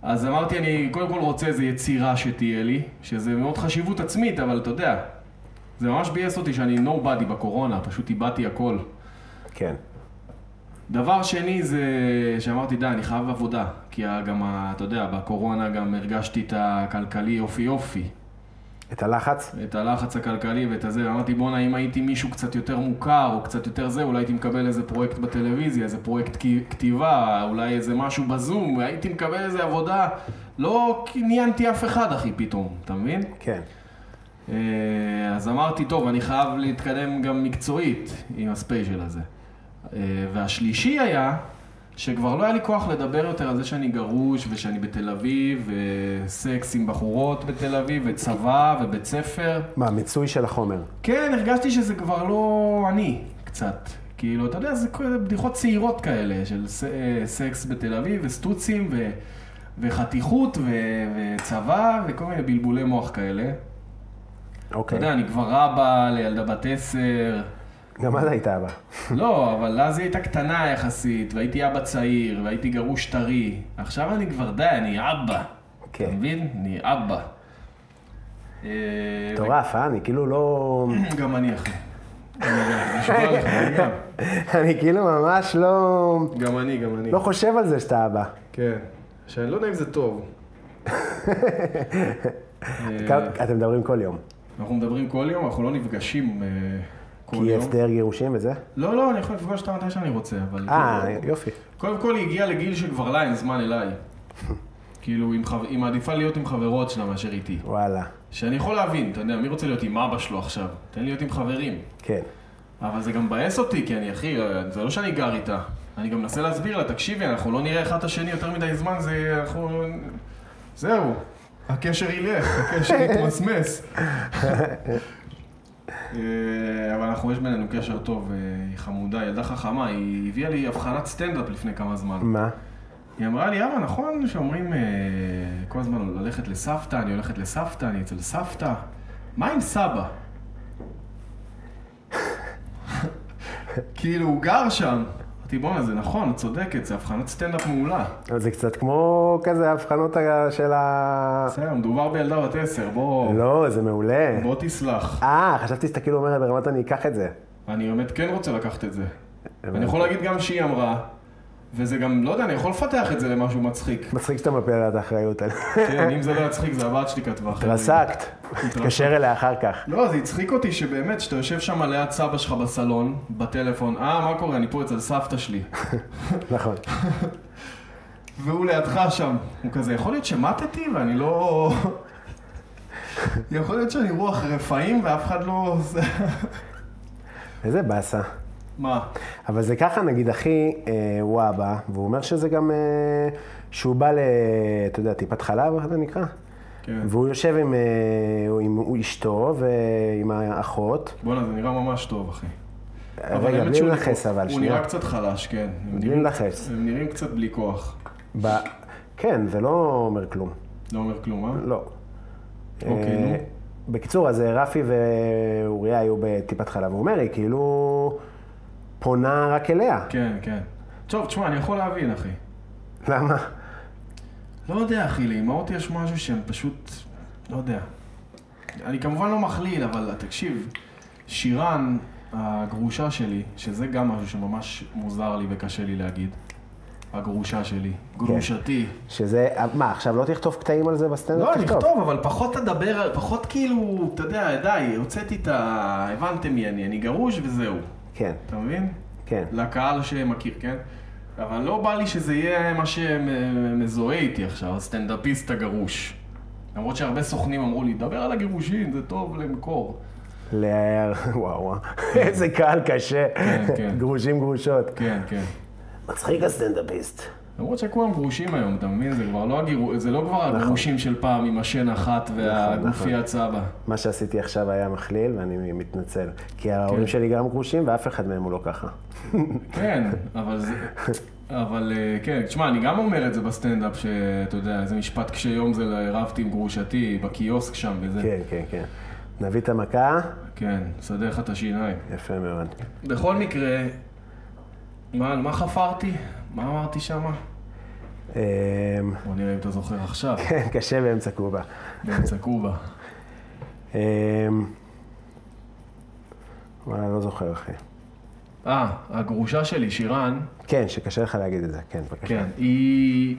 [SPEAKER 3] אז אמרתי, אני קודם כל רוצה איזו יצירה שתהיה לי, שזה מאוד חשיבות עצמית, אבל אתה יודע, זה ממש ביאס אותי שאני nobody בקורונה, פשוט איבדתי הכל.
[SPEAKER 2] כן.
[SPEAKER 3] דבר שני זה שאמרתי, די, אני חייב עבודה. כי ה- גם, ה- אתה יודע, בקורונה גם הרגשתי את הכלכלי יופי יופי.
[SPEAKER 2] את הלחץ?
[SPEAKER 3] את הלחץ הכלכלי ואת הזה, ואמרתי, בואנה, אם הייתי מישהו קצת יותר מוכר, או קצת יותר זה, אולי הייתי מקבל איזה פרויקט בטלוויזיה, איזה פרויקט כ- כתיבה, אולי איזה משהו בזום, הייתי מקבל איזה עבודה. לא עניינתי אף אחד, אחי, פתאום, אתה מבין?
[SPEAKER 2] כן.
[SPEAKER 3] אה, אז אמרתי, טוב, אני חייב להתקדם גם מקצועית עם הספיישל הזה. אה, והשלישי היה, שכבר לא היה לי כוח לדבר יותר על זה שאני גרוש, ושאני בתל אביב, וסקס עם בחורות בתל אביב, וצבא, ובית ספר.
[SPEAKER 2] מה, מיצוי של החומר.
[SPEAKER 3] כן, הרגשתי שזה כבר לא אני, קצת. כאילו, אתה יודע, זה כל- בדיחות צעירות כאלה, של ס- אה, סקס בתל אביב, וסטוצים, ו... וחתיכות, ו... וצבא, וכל מיני בלבולי מוח כאלה. אתה
[SPEAKER 2] אוקיי.
[SPEAKER 3] יודע, אני כבר אבא לילדה בת עשר.
[SPEAKER 2] גם אז היית אבא.
[SPEAKER 3] לא, אבל אז היא הייתה קטנה יחסית, והייתי אבא צעיר, והייתי גרוש טרי. עכשיו אני כבר די, אני אבא.
[SPEAKER 2] כן.
[SPEAKER 3] אתה מבין? אני אבא. אה,
[SPEAKER 2] מטורף, אה? אני כאילו לא...
[SPEAKER 3] ו- גם אני אחי. אני גם, אני שומע לך, אני גם.
[SPEAKER 2] אני כאילו ממש לא...
[SPEAKER 3] גם אני, גם אני.
[SPEAKER 2] לא חושב על זה שאתה אבא.
[SPEAKER 3] כן. שאני לא יודע אם זה טוב. אה,
[SPEAKER 2] כ- אתם מדברים כל יום.
[SPEAKER 3] אנחנו מדברים כל יום, אנחנו לא נפגשים אה, כל
[SPEAKER 2] כי
[SPEAKER 3] יום.
[SPEAKER 2] הסדר גירושים וזה?
[SPEAKER 3] לא, לא, אני יכול לפגוש אותה מתי שאני רוצה, אבל...
[SPEAKER 2] אה,
[SPEAKER 3] כאילו-
[SPEAKER 2] יופי.
[SPEAKER 3] קודם כל היא הגיעה לגיל שכבר לה אין זמן אליי. כאילו, עם חב- היא מעדיפה להיות עם חברות שלה מאשר איתי.
[SPEAKER 2] וואלה.
[SPEAKER 3] שאני יכול להבין, אתה יודע, מי רוצה להיות עם אבא שלו עכשיו? תן לי להיות עם חברים.
[SPEAKER 2] כן.
[SPEAKER 3] אבל זה גם מבאס אותי, כי אני אחי, זה לא שאני גר איתה. אני גם מנסה להסביר לה, תקשיבי, אנחנו לא נראה אחד את השני יותר מדי זמן, זה... אנחנו... זהו. הקשר ילך, הקשר יתמסמס. אה, אבל אנחנו, יש בינינו קשר טוב, אה, היא חמודה, ילדה חכמה, היא הביאה לי אבחנת סטנדאפ לפני כמה זמן.
[SPEAKER 2] מה?
[SPEAKER 3] היא אמרה לי, אבא, נכון שאומרים אה, כל הזמן ללכת לסבתא, אני הולכת לסבתא, אני אצל סבתא? מה עם סבא? כאילו, הוא גר שם. אמרתי, בואנה, זה נכון, את צודקת, זה הבחנת סטנדאפ מעולה.
[SPEAKER 2] אבל זה קצת כמו כזה ההבחנות ה- של ה...
[SPEAKER 3] בסדר, מדובר בילדה בת עשר, בוא,
[SPEAKER 2] לא, זה מעולה.
[SPEAKER 3] בוא תסלח.
[SPEAKER 2] אה, חשבתי שאתה כאילו אומר ברמת אני אקח את זה.
[SPEAKER 3] אני באמת כן רוצה לקחת את זה. אני יכול להגיד גם שהיא אמרה, וזה גם, לא יודע, אני יכול לפתח את זה למשהו מצחיק.
[SPEAKER 2] מצחיק שאתה מפיל עליה את האחריות.
[SPEAKER 3] כן, אם זה לא יצחיק, זה הבת שלי כתבה. אחרת.
[SPEAKER 2] התרסקת. התקשר אליה אחר כך.
[SPEAKER 3] לא, זה הצחיק אותי שבאמת, שאתה יושב שם ליד סבא שלך בסלון, בטלפון, אה, מה קורה, אני פה אצל סבתא שלי.
[SPEAKER 2] נכון.
[SPEAKER 3] והוא לידך שם. הוא כזה, יכול להיות שמטתי ואני לא... יכול להיות שאני רוח רפאים ואף אחד לא... זה-
[SPEAKER 2] איזה באסה.
[SPEAKER 3] מה?
[SPEAKER 2] אבל זה ככה, נגיד, אחי אה, וואבה, והוא אומר שזה גם... אה, שהוא בא ל... אתה יודע, טיפת חלב, איך זה נקרא?
[SPEAKER 3] כן.
[SPEAKER 2] והוא יושב עם, אה, הוא- עם הוא אשתו ועם האחות.
[SPEAKER 3] בואנה, זה נראה ממש טוב, אחי. אבל
[SPEAKER 2] רגע,
[SPEAKER 3] האמת
[SPEAKER 2] בלי
[SPEAKER 3] שהוא-
[SPEAKER 2] לנכס אבל,
[SPEAKER 3] הוא
[SPEAKER 2] שנייה.
[SPEAKER 3] נראה קצת חלש, כן. הם
[SPEAKER 2] בלי
[SPEAKER 3] נראים-
[SPEAKER 2] לנכס.
[SPEAKER 3] הם נראים קצת בלי כוח.
[SPEAKER 2] ב... כן, זה לא אומר כלום.
[SPEAKER 3] לא אומר כלום, אה?
[SPEAKER 2] לא.
[SPEAKER 3] אוקיי,
[SPEAKER 2] אה,
[SPEAKER 3] נו.
[SPEAKER 2] בקיצור, אז אה, רפי ואוריה היו בטיפת חלב, הוא אומר, היא כאילו פונה רק אליה.
[SPEAKER 3] כן, כן. טוב, תשמע, אני יכול להבין, אחי. כן.
[SPEAKER 2] למה?
[SPEAKER 3] לא יודע, אחי, לאמהות יש משהו שהם פשוט... לא יודע. אני כמובן לא מכליל, אבל תקשיב, שירן, הגרושה שלי, שזה גם משהו שממש מוזר לי וקשה לי להגיד, הגרושה שלי, גרושתי.
[SPEAKER 2] שזה, מה, עכשיו לא תכתוב קטעים על זה בסטנדאפ?
[SPEAKER 3] לא, נכתוב, אבל פחות תדבר, על- פחות כאילו, אתה יודע, די, הוצאתי את ה... הבנתם מי אני, אני גרוש וזהו.
[SPEAKER 2] כן,
[SPEAKER 3] אתה מבין?
[SPEAKER 2] כן.
[SPEAKER 3] לקהל שמכיר, כן? אבל לא בא לי שזה יהיה מה שמזוהה איתי עכשיו, הסטנדאפיסט הגרוש. למרות שהרבה סוכנים אמרו לי, דבר על הגירושים, זה טוב למכור.
[SPEAKER 2] ל... וואו, וואו. איזה קהל קשה.
[SPEAKER 3] כן.
[SPEAKER 2] גרושים גרושות.
[SPEAKER 3] כן, כן.
[SPEAKER 2] מצחיק הסטנדאפיסט.
[SPEAKER 3] למרות שכולם גרושים היום, אתה מבין? זה כבר לא, הגיר... זה לא כבר
[SPEAKER 2] נכון.
[SPEAKER 3] הגרושים של פעם עם השן אחת והגופיית סבא.
[SPEAKER 2] מה שעשיתי עכשיו היה מכליל, ואני מתנצל. כי ההורים שלי גם גרושים, ואף אחד מהם הוא לא ככה.
[SPEAKER 3] כן, אבל זה... אבל אה, כן, תשמע, אני גם אומר את זה בסטנדאפ, שאתה יודע, איזה משפט קשי יום זה רבתי עם גרושתי בקיוסק שם וזה.
[SPEAKER 2] כן, כן, כן. נביא את המכה,
[SPEAKER 3] כן, סדר לך את השיניים.
[SPEAKER 2] יפה מאוד.
[SPEAKER 3] בכל מקרה, מה, על מה חפרתי? מה אמרתי שמה?
[SPEAKER 2] אמ,
[SPEAKER 3] בוא נראה אם אתה זוכר עכשיו,
[SPEAKER 2] כן, קשה באמצע קובה.
[SPEAKER 3] באמצע קובה.
[SPEAKER 2] אמ, וואלה, לא זוכר, אחי.
[SPEAKER 3] אה, הגרושה שלי, שירן,
[SPEAKER 2] כן, שקשה לך להגיד את זה, כן, בבקשה.
[SPEAKER 3] כן, היא...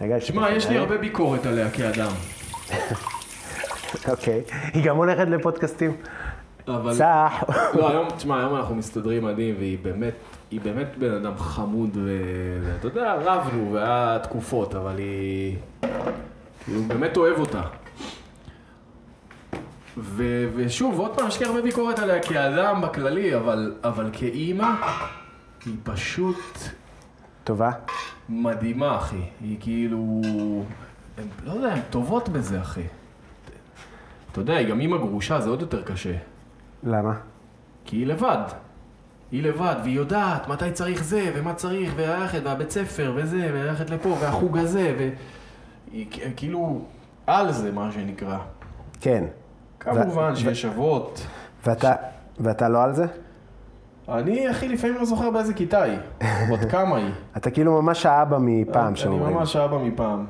[SPEAKER 2] רגע,
[SPEAKER 3] כן. שמע, יש לי
[SPEAKER 2] אה?
[SPEAKER 3] הרבה ביקורת עליה כאדם.
[SPEAKER 2] אוקיי. היא גם הולכת לפודקאסטים.
[SPEAKER 3] אבל...
[SPEAKER 2] צח.
[SPEAKER 3] לא, היום, תשמע, היום אנחנו מסתדרים מדהים, והיא באמת, היא באמת בן אדם חמוד, ואתה יודע, רבנו, והיה תקופות, אבל היא... כאילו, באמת אוהב אותה. ו, ושוב, עוד פעם, יש לי הרבה ביקורת עליה כאדם בכללי, אבל, אבל כאימא, היא פשוט
[SPEAKER 2] טובה.
[SPEAKER 3] מדהימה, אחי. היא כאילו... הם, לא יודע, הן טובות בזה, אחי. אתה יודע, היא גם אימא גרושה, זה עוד יותר קשה.
[SPEAKER 2] למה?
[SPEAKER 3] כי היא לבד. היא לבד, והיא יודעת מתי צריך זה, ומה צריך, והלכת, והבית ספר, וזה, והלכת לפה, והחוג הזה, ו... היא כ- כאילו על זה, מה שנקרא.
[SPEAKER 2] כן.
[SPEAKER 3] כמובן שיש אבות.
[SPEAKER 2] ואתה, ואתה לא על זה?
[SPEAKER 3] אני, אחי, לפעמים לא זוכר באיזה כיתה היא, עוד כמה היא.
[SPEAKER 2] אתה כאילו ממש האבא מפעם
[SPEAKER 3] אני
[SPEAKER 2] שאומרים.
[SPEAKER 3] ממש אבא מפעם.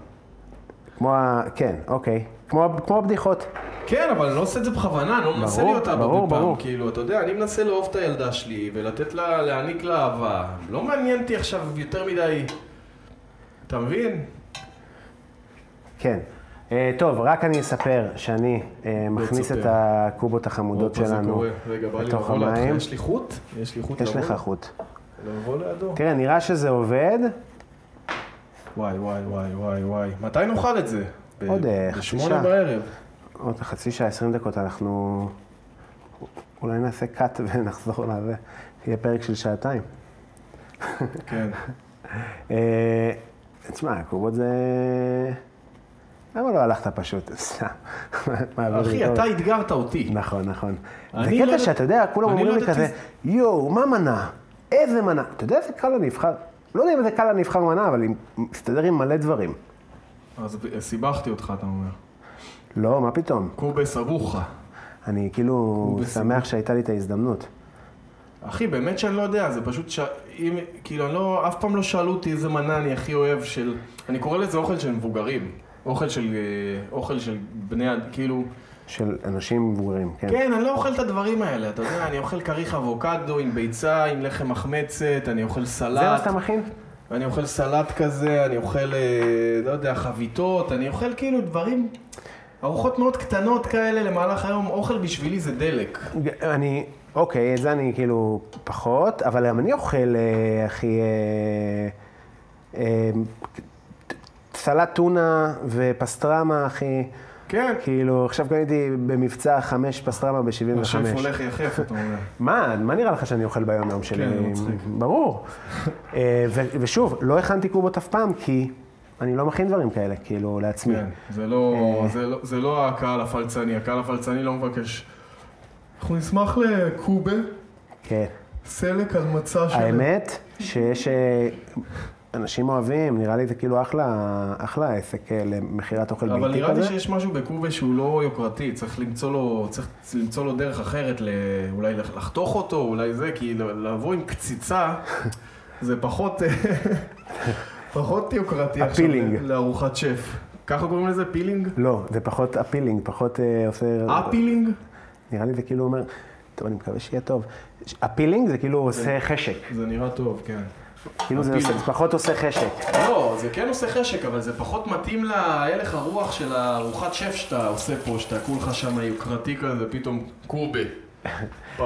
[SPEAKER 2] כמו ה... כן, אוקיי. כמו, כמו הבדיחות.
[SPEAKER 3] כן, אבל אני לא עושה את זה בכוונה, אני לא מנסה
[SPEAKER 2] ברור,
[SPEAKER 3] להיות אבא
[SPEAKER 2] ברור,
[SPEAKER 3] מפעם.
[SPEAKER 2] ברור.
[SPEAKER 3] כאילו, אתה יודע, אני מנסה לאהוב את הילדה שלי ולתת לה, להעניק לה אהבה. לא מעניין אותי עכשיו יותר מדי... אתה מבין?
[SPEAKER 2] כן. אה, טוב, רק אני אספר שאני אה, מכניס
[SPEAKER 3] לא תספר.
[SPEAKER 2] את הקובות החמודות
[SPEAKER 3] הופה, אוקיי, זה
[SPEAKER 2] שלנו
[SPEAKER 3] קורה. רגע, בא לי
[SPEAKER 2] לתוך
[SPEAKER 3] לבוא לידך.
[SPEAKER 2] המים.
[SPEAKER 3] יש לי חוט? יש לי חוט
[SPEAKER 2] יש
[SPEAKER 3] לבוא?
[SPEAKER 2] לך חוט. כן.
[SPEAKER 3] לבוא לידו.
[SPEAKER 2] תראה, נראה שזה עובד.
[SPEAKER 3] וואי, וואי, וואי, וואי, וואי. מתי נאכל את זה? ב-
[SPEAKER 2] עוד, אה, חצי
[SPEAKER 3] בשמונה
[SPEAKER 2] שעה.
[SPEAKER 3] בערב.
[SPEAKER 2] עוד חצי שעה, 20 דקות, אנחנו... אולי נעשה cut ונחזור לזה. יהיה פרק של שעתיים.
[SPEAKER 3] כן.
[SPEAKER 2] אה, תשמע, הקובות זה... למה לא הלכת פשוט? סתם. מעביר
[SPEAKER 3] אחי,
[SPEAKER 2] ביקורת.
[SPEAKER 3] אתה אתגרת אותי.
[SPEAKER 2] נכון, נכון.
[SPEAKER 3] אני
[SPEAKER 2] זה
[SPEAKER 3] לא
[SPEAKER 2] קטע
[SPEAKER 3] יודע-
[SPEAKER 2] שאתה יודע, כולם
[SPEAKER 3] אני
[SPEAKER 2] אומרים
[SPEAKER 3] לא
[SPEAKER 2] לי
[SPEAKER 3] ידעתי
[SPEAKER 2] כזה, יואו, מה מנה? איזה מנה? אתה יודע איזה קל אני אבחר? לא יודע אם זה קל אני אבחר מנה, אבל היא מסתדר עם מלא דברים.
[SPEAKER 3] אז ב- סיבכתי אותך, אתה אומר.
[SPEAKER 2] לא, מה פתאום?
[SPEAKER 3] קובס ארוחה.
[SPEAKER 2] אני כאילו
[SPEAKER 3] הוא
[SPEAKER 2] שמח שהייתה לי את ההזדמנות.
[SPEAKER 3] אחי, באמת שאני לא יודע, זה פשוט ש... אם... כאילו, אני לא... אף פעם לא שאלו אותי איזה מנה אני הכי אוהב של... אני קורא לזה אוכל של מבוגרים. אוכל של... אה, אוכל של בני... אד- כאילו...
[SPEAKER 2] של אנשים מבוגרים, כן.
[SPEAKER 3] כן, אני לא אוכל את הדברים האלה, אתה יודע, אני אוכל כריך אבוקדו עם ביצה, עם לחם מחמצת, אני אוכל
[SPEAKER 2] זה מה
[SPEAKER 3] סלט,
[SPEAKER 2] שאתה מכין?
[SPEAKER 3] אני אוכל סלט כזה, אני אוכל, אה, לא יודע, חביתות, אני אוכל כאילו דברים, ארוחות מאוד קטנות כאלה למהלך היום, אוכל בשבילי זה דלק.
[SPEAKER 2] אני, אוקיי, את זה אני כאילו פחות, אבל גם אני אוכל, אה, אחי, אה, אה, סלט טונה ופסטרמה, אחי.
[SPEAKER 3] כן.
[SPEAKER 2] כאילו, עכשיו קניתי במבצע חמש פסטרמה
[SPEAKER 3] השף
[SPEAKER 2] ב-75.
[SPEAKER 3] הולך יחף, אתה אומר.
[SPEAKER 2] מה, מה נראה לך שאני אוכל ביום-יום שלי?
[SPEAKER 3] כן, מצחיק.
[SPEAKER 2] ברור. אה, ו- ושוב, לא הכנתי קובות אף פעם, כי אני לא מכין דברים כאלה, כאילו, לעצמי.
[SPEAKER 3] כן, זה לא,
[SPEAKER 2] אה.
[SPEAKER 3] זה, לא, זה לא הקהל הפלצני, הקהל הפלצני לא מבקש. אנחנו נשמח לקובה,
[SPEAKER 2] כן.
[SPEAKER 3] סלק על מצע של...
[SPEAKER 2] האמת שיש... אה, אנשים אוהבים, נראה לי זה כאילו אחלה, אחלה עסק אה, למכירת אוכל ביתי כזה.
[SPEAKER 3] אבל נראה לי שיש משהו בקובה שהוא לא יוקרתי, צריך למצוא לו, צריך למצוא לו דרך אחרת, ל... אולי לח- לחתוך אותו, אולי זה, כי ל- לבוא עם קציצה זה פחות, פחות יוקרתי עכשיו
[SPEAKER 2] הפילינג.
[SPEAKER 3] לארוחת שף. ככה קוראים לזה פילינג?
[SPEAKER 2] לא, זה פחות אפילינג, פחות אה, עושה...
[SPEAKER 3] אפילינג?
[SPEAKER 2] נראה לי זה כאילו אומר, טוב, אני מקווה שיהיה טוב. אפילינג זה כאילו
[SPEAKER 3] כן.
[SPEAKER 2] עושה חשק.
[SPEAKER 3] זה נראה טוב, כן.
[SPEAKER 2] כאילו זה
[SPEAKER 3] appealing.
[SPEAKER 2] עושה- פחות עושה חשק.
[SPEAKER 3] לא, זה כן עושה חשק, אבל זה פחות מתאים להלך הרוח של הארוחת שף שאתה עושה פה, שאתה כולך שם יוקרתי כזה, פתאום קובה.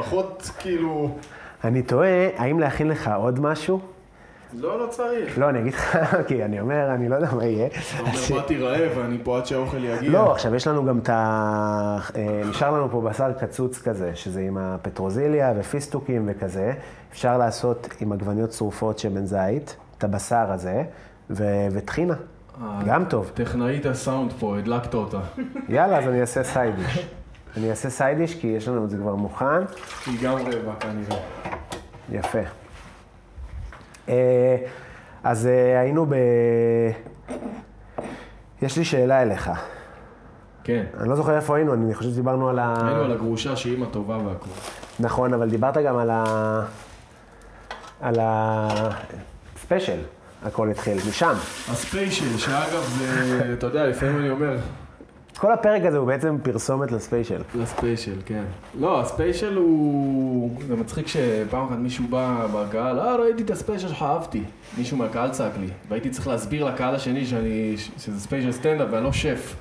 [SPEAKER 3] פחות כאילו...
[SPEAKER 2] אני תוהה, האם להכין לך עוד משהו?
[SPEAKER 3] לא, לא צריך.
[SPEAKER 2] לא, אני אגיד לך, כי אני אומר, אני לא יודע מה יהיה.
[SPEAKER 3] אתה אומר, באתי רעב, אני פה עד שהאוכל יגיע.
[SPEAKER 2] לא, עכשיו יש לנו גם את ה... אה, נשאר לנו פה בשר קצוץ כזה, שזה עם הפטרוזיליה ופיסטוקים וכזה. אפשר לעשות עם עגבניות שרופות שמן זית, את הבשר הזה, ו- וטחינה.
[SPEAKER 3] אה,
[SPEAKER 2] גם טוב.
[SPEAKER 3] טכנאית הסאונד פה, הדלקת אותה.
[SPEAKER 2] יאללה, אז אני אעשה סיידיש. אני אעשה סיידיש כי יש לנו את זה כבר מוכן.
[SPEAKER 3] היא גם רעבה כנראה.
[SPEAKER 2] יפה. אה, אז אה, היינו ב... יש לי שאלה אליך.
[SPEAKER 3] כן.
[SPEAKER 2] אני לא זוכר איפה היינו, אני חושב שדיברנו על ה...
[SPEAKER 3] היינו על הגרושה שהיא אימא טובה והכל.
[SPEAKER 2] נכון, אבל דיברת גם על ה... על ה... ספיישל. הכל התחיל משם.
[SPEAKER 3] הספיישל, שאגב זה, אתה יודע, לפעמים אני אומר,
[SPEAKER 2] כל הפרק הזה הוא בעצם פרסומת לספיישל.
[SPEAKER 3] לספיישל, כן. לא, הספיישל הוא... זה מצחיק שפעם אחת מישהו בא בקהל, אה, ראיתי את הספיישל שלך, אהבתי. מישהו מהקהל צעק לי, והייתי צריך להסביר לקהל השני שאני... ש- שזה ספיישל סטנדאפ ואני לא שף.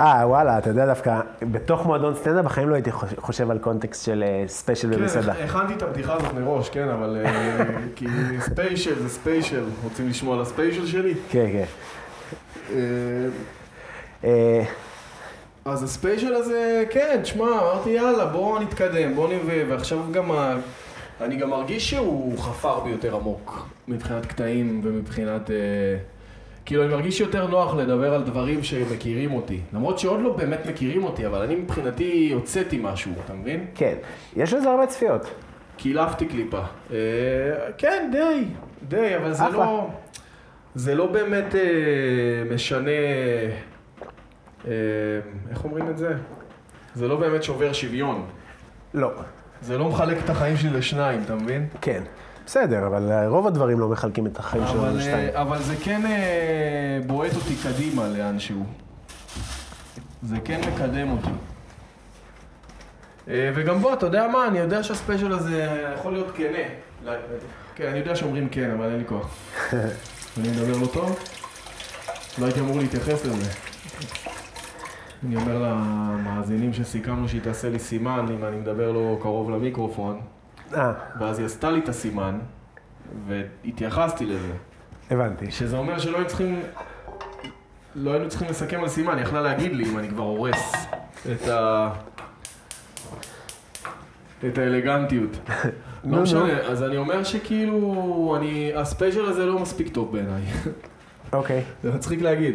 [SPEAKER 2] אה, וואלה, אתה יודע דווקא, בתוך מועדון סטנדאפ בחיים לא הייתי חוש- חושב על קונטקסט של אה, ספיישל
[SPEAKER 3] כן.
[SPEAKER 2] במסעדה.
[SPEAKER 3] הכנתי את הבדיחה הזאת מראש, כן, אבל... כי ספיישל זה ספיישל. רוצים לשמוע על הספיישל שלי?
[SPEAKER 2] כן, כן. אה,
[SPEAKER 3] אז הספיישל הזה, כן, תשמע, אמרתי יאללה, בואו נתקדם, בואו נביא, ועכשיו גם ה... אני גם מרגיש שהוא חפר ביותר עמוק, מבחינת קטעים ומבחינת... אה... כאילו, אני מרגיש יותר נוח לדבר על דברים שמכירים אותי. למרות שעוד לא באמת מכירים אותי, אבל אני מבחינתי הוצאתי משהו, אתה מבין?
[SPEAKER 2] כן. יש לזה הרבה צפיות.
[SPEAKER 3] קילפתי קליפה. אה, כן, די, די, אבל זה
[SPEAKER 2] אחלה.
[SPEAKER 3] לא... זה לא באמת אה, משנה... אה, איך אומרים את זה? זה לא באמת שובר שוויון.
[SPEAKER 2] לא.
[SPEAKER 3] זה לא מחלק את החיים שלי לשניים, אתה מבין?
[SPEAKER 2] כן. בסדר, אבל אה, רוב הדברים לא מחלקים את החיים שלנו
[SPEAKER 3] אבל,
[SPEAKER 2] לשתיים.
[SPEAKER 3] אה, אבל זה כן אה, בועט אותי קדימה לאנשהו. זה כן מקדם אותי. אה, וגם בוא, אתה יודע מה, אני יודע שהספיישל הזה יכול להיות כנה. לא, אה, כן, אני יודע שאומרים כן, אבל אין לי כוח. אני מדבר לא טוב? לא הייתי אמור להתייחס לזה. אני אומר למאזינים שסיכמנו שהיא תעשה לי סימן אם אני מדבר לא קרוב למיקרופון,
[SPEAKER 2] אה,
[SPEAKER 3] ואז היא עשתה לי את הסימן, והתייחסתי לזה.
[SPEAKER 2] הבנתי.
[SPEAKER 3] שזה אומר שלא היינו צריכים... לא היינו צריכים לסכם על סימן, היא יכלה להגיד לי אם אני כבר הורס את ה... את האלגנטיות.
[SPEAKER 2] נו, נו.
[SPEAKER 3] לא משנה, אז אני אומר שכאילו, אני, הספיישל הזה לא מספיק טוב בעיניי.
[SPEAKER 2] אוקיי.
[SPEAKER 3] זה מצחיק להגיד.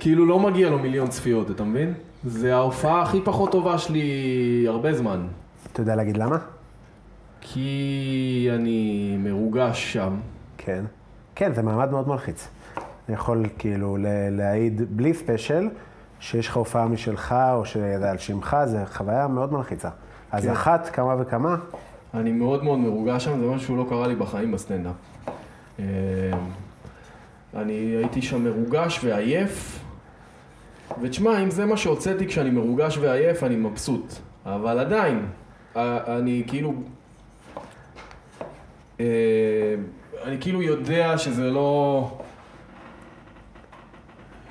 [SPEAKER 3] כאילו לא מגיע לו מיליון צפיות, אתה מבין? זה ההופעה הכי פחות טובה שלי הרבה זמן.
[SPEAKER 2] אתה יודע להגיד למה?
[SPEAKER 3] כי אני מרוגש שם.
[SPEAKER 2] כן. כן, זה מעמד מאוד מלחיץ. אני יכול כאילו ל- להעיד בלי ספיישל, שיש לך הופעה משלך, או שזה על שמך, זו חוויה מאוד מלחיצה. אז
[SPEAKER 3] כן.
[SPEAKER 2] אחת, כמה וכמה,
[SPEAKER 3] אני מאוד מאוד מרוגש שם, זה משהו שלא קרה לי בחיים בסטנדאפ. אמ, אני הייתי שם מרוגש ועייף, ותשמע, אם זה מה שהוצאתי כשאני מרוגש ועייף, אני מבסוט. אבל עדיין, ה- אני כאילו... אמ, אני כאילו יודע שזה לא...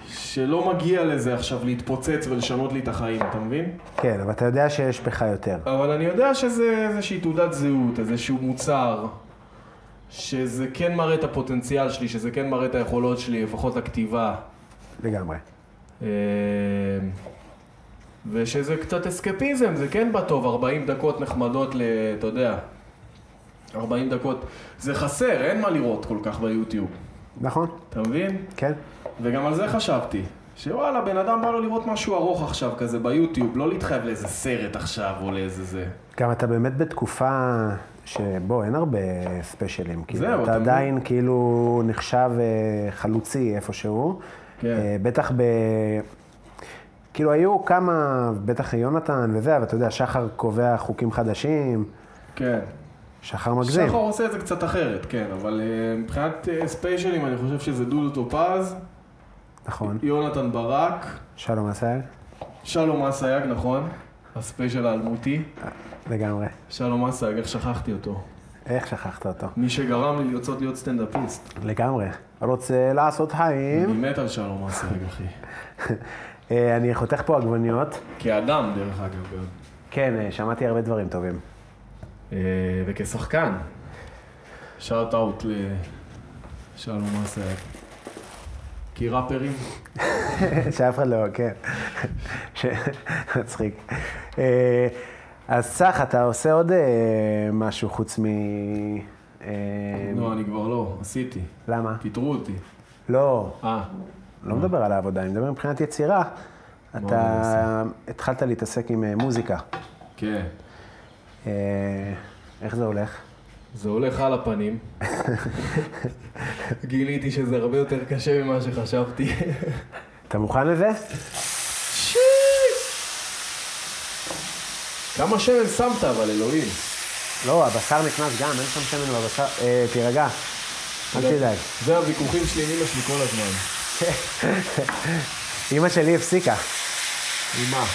[SPEAKER 3] שלא מגיע לזה עכשיו להתפוצץ ולשנות לי את החיים, אתה מבין?
[SPEAKER 2] כן, אבל אתה יודע שיש בך יותר.
[SPEAKER 3] אבל אני יודע שזה איזושהי תעודת זהות, איזשהו מוצר, שזה כן מראה את הפוטנציאל שלי, שזה כן מראה את היכולות שלי, לפחות לכתיבה.
[SPEAKER 2] לגמרי.
[SPEAKER 3] אה, ושזה קצת אסקפיזם, זה כן בא טוב, 40 דקות נחמדות ל... אתה יודע, 40 דקות. זה חסר, אין מה לראות כל כך ביוטיוב,
[SPEAKER 2] נכון?
[SPEAKER 3] אתה מבין?
[SPEAKER 2] כן?
[SPEAKER 3] וגם על זה חשבתי. שוואלה, בן אדם בא לו לראות משהו ארוך עכשיו כזה ביוטיוב, לא להתחייב לאיזה סרט עכשיו או לאיזה זה.
[SPEAKER 2] גם אתה באמת בתקופה שבו אין הרבה ספיישלים. כאילו,
[SPEAKER 3] זהו,
[SPEAKER 2] אתה
[SPEAKER 3] אתה מבין.
[SPEAKER 2] עדיין כאילו נחשב אה, חלוצי איפשהו.
[SPEAKER 3] כן.
[SPEAKER 2] אה, בטח ב... כאילו היו כמה, בטח יונתן וזה, אבל אתה יודע, שחר קובע חוקים חדשים,
[SPEAKER 3] כן.
[SPEAKER 2] שחר מגזים.
[SPEAKER 3] שחר עושה את זה קצת אחרת, כן, אבל אה, מבחינת אה, ספיישלים אני חושב שזה דודו טופז,
[SPEAKER 2] נכון.
[SPEAKER 3] יונתן ברק,
[SPEAKER 2] שלום אסייג,
[SPEAKER 3] שלום אסייג, נכון? הספיישל האלמותי.
[SPEAKER 2] לגמרי.
[SPEAKER 3] שלום אסייג, איך שכחתי אותו?
[SPEAKER 2] איך שכחת אותו?
[SPEAKER 3] מי שגרם לי לרצות להיות סטנדאפיסט.
[SPEAKER 2] לגמרי. רוצה לעשות חיים.
[SPEAKER 3] אני מת על שלום אסייג, אחי.
[SPEAKER 2] אה, אני חותך פה עגבניות.
[SPEAKER 3] כאדם, דרך אגב, גם.
[SPEAKER 2] כן, אה, שמעתי הרבה דברים טובים.
[SPEAKER 3] אה, וכשחקן. שאוט אאוט לשלום אסייג. כי ראפרים,
[SPEAKER 2] שאף אחד לא, כן. ש- מצחיק. אה, אז סך, אתה עושה עוד אה, משהו חוץ מ... אה,
[SPEAKER 3] לא, אני כבר לא, עשיתי.
[SPEAKER 2] למה?
[SPEAKER 3] פיטרו אותי.
[SPEAKER 2] לא,
[SPEAKER 3] אה,
[SPEAKER 2] לא מדבר על העבודה, אני מדבר מבחינת יצירה.
[SPEAKER 3] אני
[SPEAKER 2] אתה התחלת להתעסק עם אה, מוזיקה.
[SPEAKER 3] כן.
[SPEAKER 2] אה, איך זה הולך?
[SPEAKER 3] זה הולך על הפנים. גיליתי שזה הרבה יותר קשה ממה שחשבתי.
[SPEAKER 2] אתה מוכן לזה?
[SPEAKER 3] כמה שמן שמת, אבל אלוהים.
[SPEAKER 2] לא, הבשר נכנס גם, אין שם שמן בבשר. אה, תירגע, אל תדאג.
[SPEAKER 3] זה הוויכוחים שלי עם אמא שלי כל הזמן.
[SPEAKER 2] אימא שלי הפסיקה,
[SPEAKER 3] עם מה?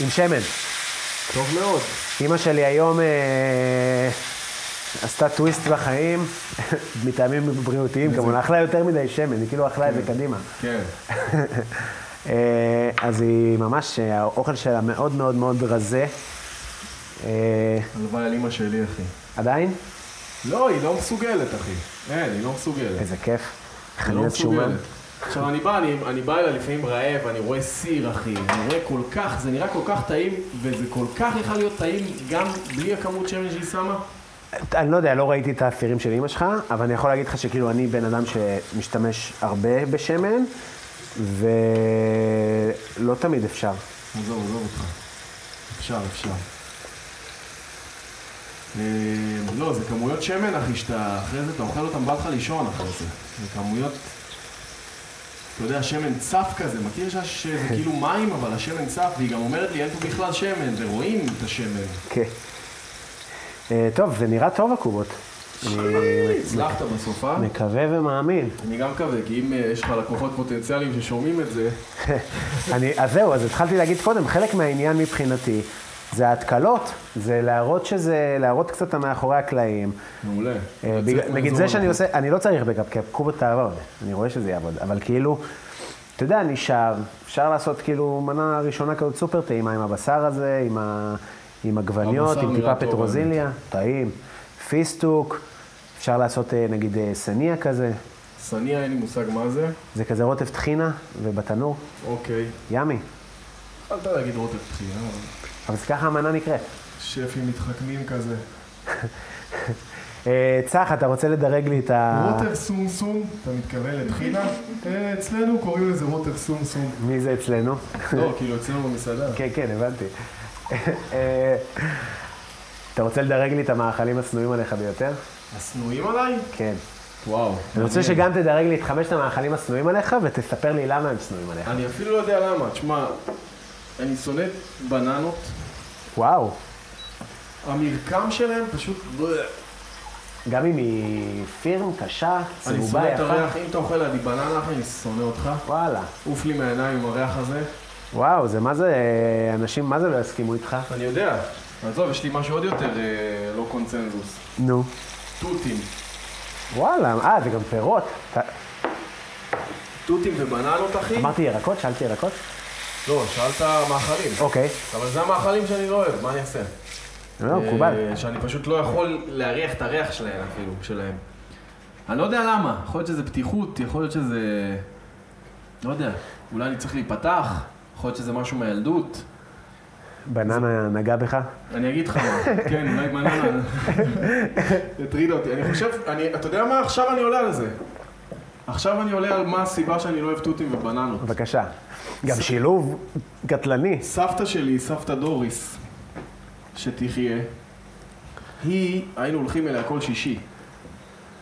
[SPEAKER 2] עם שמן.
[SPEAKER 3] טוב מאוד.
[SPEAKER 2] אימא שלי היום אה, עשתה טוויסט בחיים, מטעמים בריאותיים, כמובן, אכלה יותר מדי שמן, היא כאילו אכלה את זה קדימה.
[SPEAKER 3] כן.
[SPEAKER 2] אה, אז היא ממש, אה, האוכל שלה מאוד מאוד מאוד רזה. אה,
[SPEAKER 3] הלוואי על אמא שלי, אחי.
[SPEAKER 2] עדיין?
[SPEAKER 3] לא, היא לא מסוגלת, אחי. אין, היא לא מסוגלת.
[SPEAKER 2] איזה כיף.
[SPEAKER 3] היא לא
[SPEAKER 2] חנינת שומן.
[SPEAKER 3] מסוגלת. עכשיו, אני בא, אני, אני בא אליה לפעמים רעב, אני רואה סיר, אחי. אני רואה כל כך, זה נראה כל כך טעים, וזה כל כך יכול להיות טעים גם בלי הכמות שמן שהיא שמה.
[SPEAKER 2] אני לא יודע, לא ראיתי את האסירים של אימא שלך, אבל אני יכול להגיד לך שכאילו אני בן אדם שמשתמש הרבה בשמן, ולא תמיד אפשר.
[SPEAKER 3] עזוב, עזוב אותך. אפשר, אפשר. אה, לא, זה כמויות שמן, אחי, שאתה אחרי זה, אתה אוכל אותם, בא לך לישון אחרי זה. זה כמויות... אתה יודע, שמן צף כזה, מכיר ש- שזה כאילו מים, אבל השמן צף, והיא גם אומרת לי, אין פה בכלל שמן, ורואים את השמן.
[SPEAKER 2] כן. אה, טוב, זה נראה טוב הקובות. אני
[SPEAKER 3] הצלחת בסוף, אה?
[SPEAKER 2] מקווה ומאמין.
[SPEAKER 3] אני גם מקווה, כי אם אה, יש לך לקוחות פוטנציאליים ששומעים את זה,
[SPEAKER 2] אני, אז זהו, אז התחלתי להגיד קודם, חלק מהעניין מבחינתי זה ההתקלות, זה להראות שזה, להראות קצת את המאחורי הקלעים.
[SPEAKER 3] מעולה.
[SPEAKER 2] אה,
[SPEAKER 3] לצאת
[SPEAKER 2] בגלל- נגיד זה
[SPEAKER 3] מהאזור
[SPEAKER 2] שאני
[SPEAKER 3] הנוחות.
[SPEAKER 2] עושה, אני לא צריך בקאפ, כי הקובות תעבוד, אני רואה שזה יעבוד, אבל כאילו, אתה יודע, אני שר, אפשר לעשות כאילו מנה ראשונה כזאת סופר טעימה עם הבשר הזה, עם, ה, עם עגבניות,
[SPEAKER 3] הבשר
[SPEAKER 2] עם טיפה
[SPEAKER 3] נראה טוב,
[SPEAKER 2] פטרוזיליה, טעים, פיסטוק, אפשר לעשות אה, נגיד אה, סניה כזה,
[SPEAKER 3] סניה, אין לי מושג מה זה.
[SPEAKER 2] זה כזה רוטב טחינה ובתנור,
[SPEAKER 3] אוקיי.
[SPEAKER 2] ימי.
[SPEAKER 3] אל תדע להגיד רוטב תחייה, אבל...
[SPEAKER 2] אבל זה ככה המנה נקראת.
[SPEAKER 3] שפים מתחכמים כזה.
[SPEAKER 2] אה, צח, אתה רוצה לדרג לי את ה...
[SPEAKER 3] רוטב סומסום, אתה מתכוון לטחינה? אה, אצלנו קוראים לזה רוטב סומסום.
[SPEAKER 2] מי זה אצלנו?
[SPEAKER 3] לא, כאילו אצלנו במסעדה.
[SPEAKER 2] כן, כן, הבנתי. אה, אתה רוצה לדרג לי את המאכלים השנואים עליך ביותר?
[SPEAKER 3] השנואים עליי?
[SPEAKER 2] כן.
[SPEAKER 3] וואו.
[SPEAKER 2] אני רוצה שגם תדרג לי את חמשת המאכלים השנואים עליך, ותספר לי למה הם שנואים עליך.
[SPEAKER 3] אני אפילו לא יודע למה, תשמע, אני שונא בננות,
[SPEAKER 2] וואו,
[SPEAKER 3] המרקם שלהם פשוט... בלה.
[SPEAKER 2] גם אם היא פירם קשה,
[SPEAKER 3] אני
[SPEAKER 2] צהובה,
[SPEAKER 3] שונא את הריח,
[SPEAKER 2] יפה.
[SPEAKER 3] אם אתה אוכל לידי בננה, אחי, אני שונא אותך.
[SPEAKER 2] וואלה.
[SPEAKER 3] עוף לי מהעיניים עם הריח הזה.
[SPEAKER 2] וואו, זה מה זה, אנשים, מה זה לא יסכימו איתך?
[SPEAKER 3] אני יודע. עזוב, יש לי משהו עוד יותר אה, לא קונצנזוס.
[SPEAKER 2] נו.
[SPEAKER 3] תותים.
[SPEAKER 2] וואלה, אה, זה גם פירות. אתה-
[SPEAKER 3] תותים ובננות, אחי?
[SPEAKER 2] אמרתי ירקות? שאלתי ירקות?
[SPEAKER 3] לא, שאלת מאכלים.
[SPEAKER 2] אוהב. אוקיי.
[SPEAKER 3] אבל זה המאכלים שאני לא אוהב, מה אני אעשה?
[SPEAKER 2] לא, מקובל.
[SPEAKER 3] אה, שאני פשוט לא יכול להריח את הריח שלהם אפילו, שלהם. אני לא יודע למה, יכול להיות שזה פתיחות, יכול להיות שזה... לא יודע. אולי אני צריך להיפתח, יכול להיות שזה משהו מהילדות.
[SPEAKER 2] בננה נגע בך?
[SPEAKER 3] אני אגיד לך מה, כן, אולי בננה, זה הטריד אותי. אני חושב, אני, אתה יודע מה, עכשיו אני עולה על זה. עכשיו אני עולה על מה הסיבה שאני לא אוהב תותים ובננות.
[SPEAKER 2] בבקשה. גם שילוב קטלני.
[SPEAKER 3] סבתא שלי, סבתא דוריס, שתחיה, היא, היינו הולכים אליה כל שישי,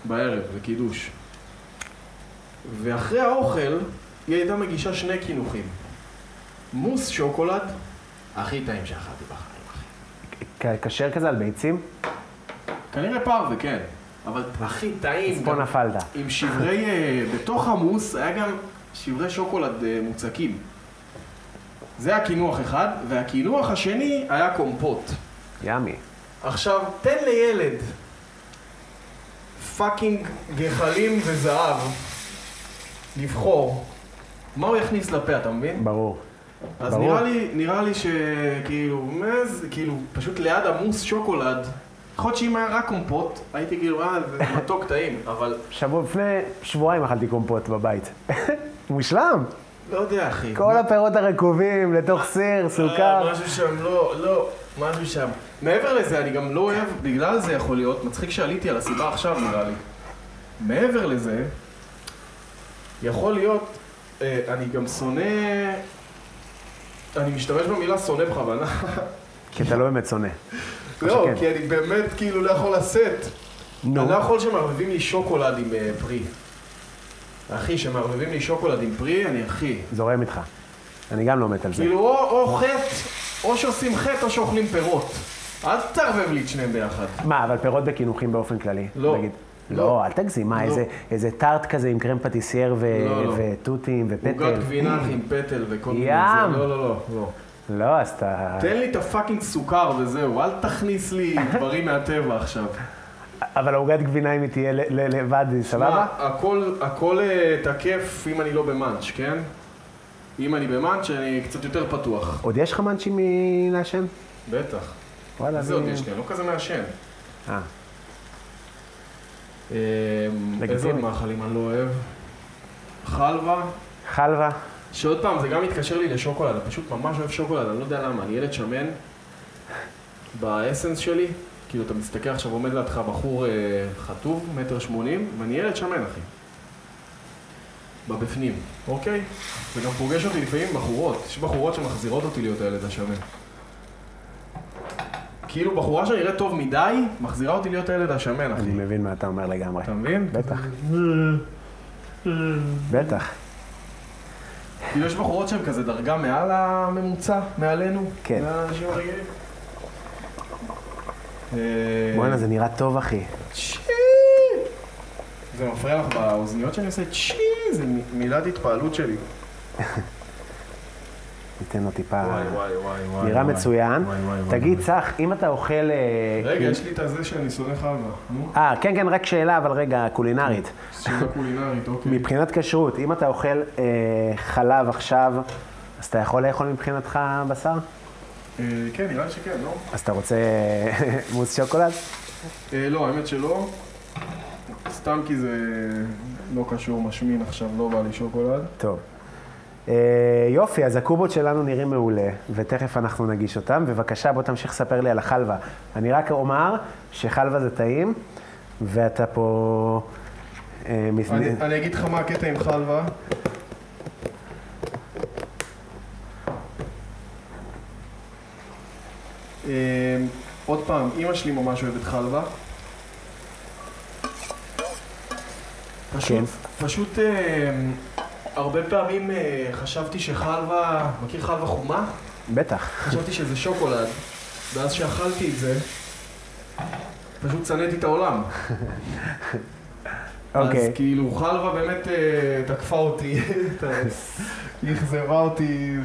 [SPEAKER 3] בערב, לקידוש. ואחרי האוכל, היא הייתה מגישה שני קינוחים. מוס שוקולד, הכי טעים שאכלתי בחיים, אחי.
[SPEAKER 2] ק- כשר כזה על ביצים?
[SPEAKER 3] כנראה פרווה, כן. אבל הכי טעים.
[SPEAKER 2] אז פה
[SPEAKER 3] גם
[SPEAKER 2] נפלת.
[SPEAKER 3] עם שברי, אה, בתוך המוס היה גם שברי שוקולד אה, מוצקים. זה היה קינוח אחד, והקינוח השני היה קומפוט.
[SPEAKER 2] ימי.
[SPEAKER 3] עכשיו, תן לילד פאקינג גחלים וזהב לבחור מה הוא יכניס לפה, אתה מבין?
[SPEAKER 2] ברור.
[SPEAKER 3] אז
[SPEAKER 2] ברור.
[SPEAKER 3] נראה לי, נראה לי שכאילו, מז, כאילו, פשוט ליד עמוס שוקולד, יכול להיות שאם היה רק קומפוט, הייתי כאילו, אה, זה מתוק טעים, אבל
[SPEAKER 2] שבוע לפני שבועיים אכלתי קומפוט בבית. מושלם.
[SPEAKER 3] לא יודע, אחי.
[SPEAKER 2] כל הפירות הרקובים לתוך סיר,
[SPEAKER 3] אה,
[SPEAKER 2] סוכר.
[SPEAKER 3] משהו שם, לא, לא, משהו שם. מעבר לזה, אני גם לא אוהב, בגלל זה יכול להיות, מצחיק שעליתי על הסיבה עכשיו נראה לי. מעבר לזה, יכול להיות, אה, אני גם שונא, אני משתמש במילה שונא בכוונה.
[SPEAKER 2] כי אתה לא באמת שונא.
[SPEAKER 3] לא,
[SPEAKER 2] שכן.
[SPEAKER 3] כי אני באמת כאילו לא יכול לשאת.
[SPEAKER 2] נו.
[SPEAKER 3] אני לא יכול שמערבבים לי שוקולד עם אה, פרי. אחי, שמערבבים לי שוקולד עם פרי, אני אחי.
[SPEAKER 2] זורם איתך. אני גם לא מת על זה.
[SPEAKER 3] כאילו, או, או חטא, או שעושים חטא או שאוכלים פירות. אל תערבב לי את שניהם ביחד.
[SPEAKER 2] מה, אבל פירות בקינוחים באופן כללי?
[SPEAKER 3] לא.
[SPEAKER 2] נגיד.
[SPEAKER 3] לא.
[SPEAKER 2] לא, אל תגזים, מה,
[SPEAKER 3] לא.
[SPEAKER 2] איזה- איזה טארט כזה עם קרם פטיסייר ו-
[SPEAKER 3] לא, לא.
[SPEAKER 2] ותותים
[SPEAKER 3] עוגת
[SPEAKER 2] ופטל?
[SPEAKER 3] גבינה אחי, עם פטל וכל מיני
[SPEAKER 2] ים.
[SPEAKER 3] זה. לא, לא, לא, לא.
[SPEAKER 2] לא, אז אתה...
[SPEAKER 3] תן לי את הפאקינג סוכר וזהו, אל תכניס לי דברים מהטבע עכשיו.
[SPEAKER 2] אבל העוגת גבינה, אם היא תהיה ל- ל- לבד, היא סבבה?
[SPEAKER 3] מה, הכל, הכל אה, תקף אם אני לא במאנץ', כן? אם אני במאנץ', אני קצת יותר פתוח.
[SPEAKER 2] עוד יש לך מאנצ'י מלעשן?
[SPEAKER 3] בטח.
[SPEAKER 2] וואלה,
[SPEAKER 3] איזה
[SPEAKER 2] אני-
[SPEAKER 3] עוד יש לי? אני לא כזה מעשן.
[SPEAKER 2] אה,
[SPEAKER 3] אה,
[SPEAKER 2] לגיטימי.
[SPEAKER 3] איזה עוד מאכלים אני לא אוהב? חלבה.
[SPEAKER 2] חלבה?
[SPEAKER 3] שעוד פעם, זה גם מתקשר לי לשוקולד, אני פשוט ממש אוהב שוקולד, אני לא יודע למה, אני ילד שמן באסנס שלי, כאילו אתה מסתכל עכשיו, עומד לידך בחור אה, חטוב, מטר שמונים, ואני ילד שמן, אחי. בבפנים, אוקיי? זה גם פוגש אותי לפעמים עם בחורות, יש בחורות שמחזירות אותי להיות הילד השמן. כאילו בחורה שנראית טוב מדי, מחזירה אותי להיות הילד השמן, אחי.
[SPEAKER 2] אני מבין מה אתה אומר לגמרי.
[SPEAKER 3] אתה מבין?
[SPEAKER 2] בטח. בטח,
[SPEAKER 3] כאילו יש בחורות שהן כזה דרגה מעל הממוצע, מעלינו.
[SPEAKER 2] כן.
[SPEAKER 3] מעל האנשים הרגילים.
[SPEAKER 2] בואנה זה נראה טוב אחי.
[SPEAKER 3] אה, צ'י! זה מפריע לך באוזניות שאני עושה צ'י! זה מ- מילת התפעלות שלי.
[SPEAKER 2] אה, ניתן לו טיפה.
[SPEAKER 3] וואי וואי וואי וואי.
[SPEAKER 2] נראה
[SPEAKER 3] וואי.
[SPEAKER 2] מצוין.
[SPEAKER 3] וואי, וואי, וואי,
[SPEAKER 2] תגיד
[SPEAKER 3] וואי.
[SPEAKER 2] צח, אם אתה אוכל... אה,
[SPEAKER 3] רגע,
[SPEAKER 2] כאילו-
[SPEAKER 3] יש לי את הזה שאני שונא חלבה. נו,
[SPEAKER 2] אה, כן כן, רק שאלה, אבל רגע,
[SPEAKER 3] כן,
[SPEAKER 2] קולינרית.
[SPEAKER 3] שאלה קולינרית, אוקיי.
[SPEAKER 2] מבחינת כשרות, אם אתה אוכל אה, חלב עכשיו, אז אתה יכול לאכול מבחינתך בשר?
[SPEAKER 3] אה, כן, נראה לי שכן, לא?
[SPEAKER 2] אז אתה רוצה מוס שוקולד?
[SPEAKER 3] אה, לא, האמת שלא. סתם כי זה לא קשור משמין עכשיו, לא בא לי שוקולד.
[SPEAKER 2] טוב. אה, יופי, אז הקובות שלנו נראים מעולה, ותכף אנחנו נגיש אותם. בבקשה, בוא תמשיך לספר לי על החלבה. אני רק אומר שחלבה זה טעים, ואתה פה... אה, מז-
[SPEAKER 3] אני, אני אגיד לך מה הקטע עם חלבה. אמ, עוד פעם, אימא שלי ממש אוהבת חלבה. פשוט, כן. פשוט אמ, הרבה פעמים אה, חשבתי שחלבה, מכיר חלבה חומה?
[SPEAKER 2] בטח.
[SPEAKER 3] חשבתי שזה שוקולד, ואז שאכלתי את זה, פשוט שנאתי את העולם. אז
[SPEAKER 2] אוקיי.
[SPEAKER 3] כאילו חלבה באמת אה, תקפה אותי, היא אכזבה אותי.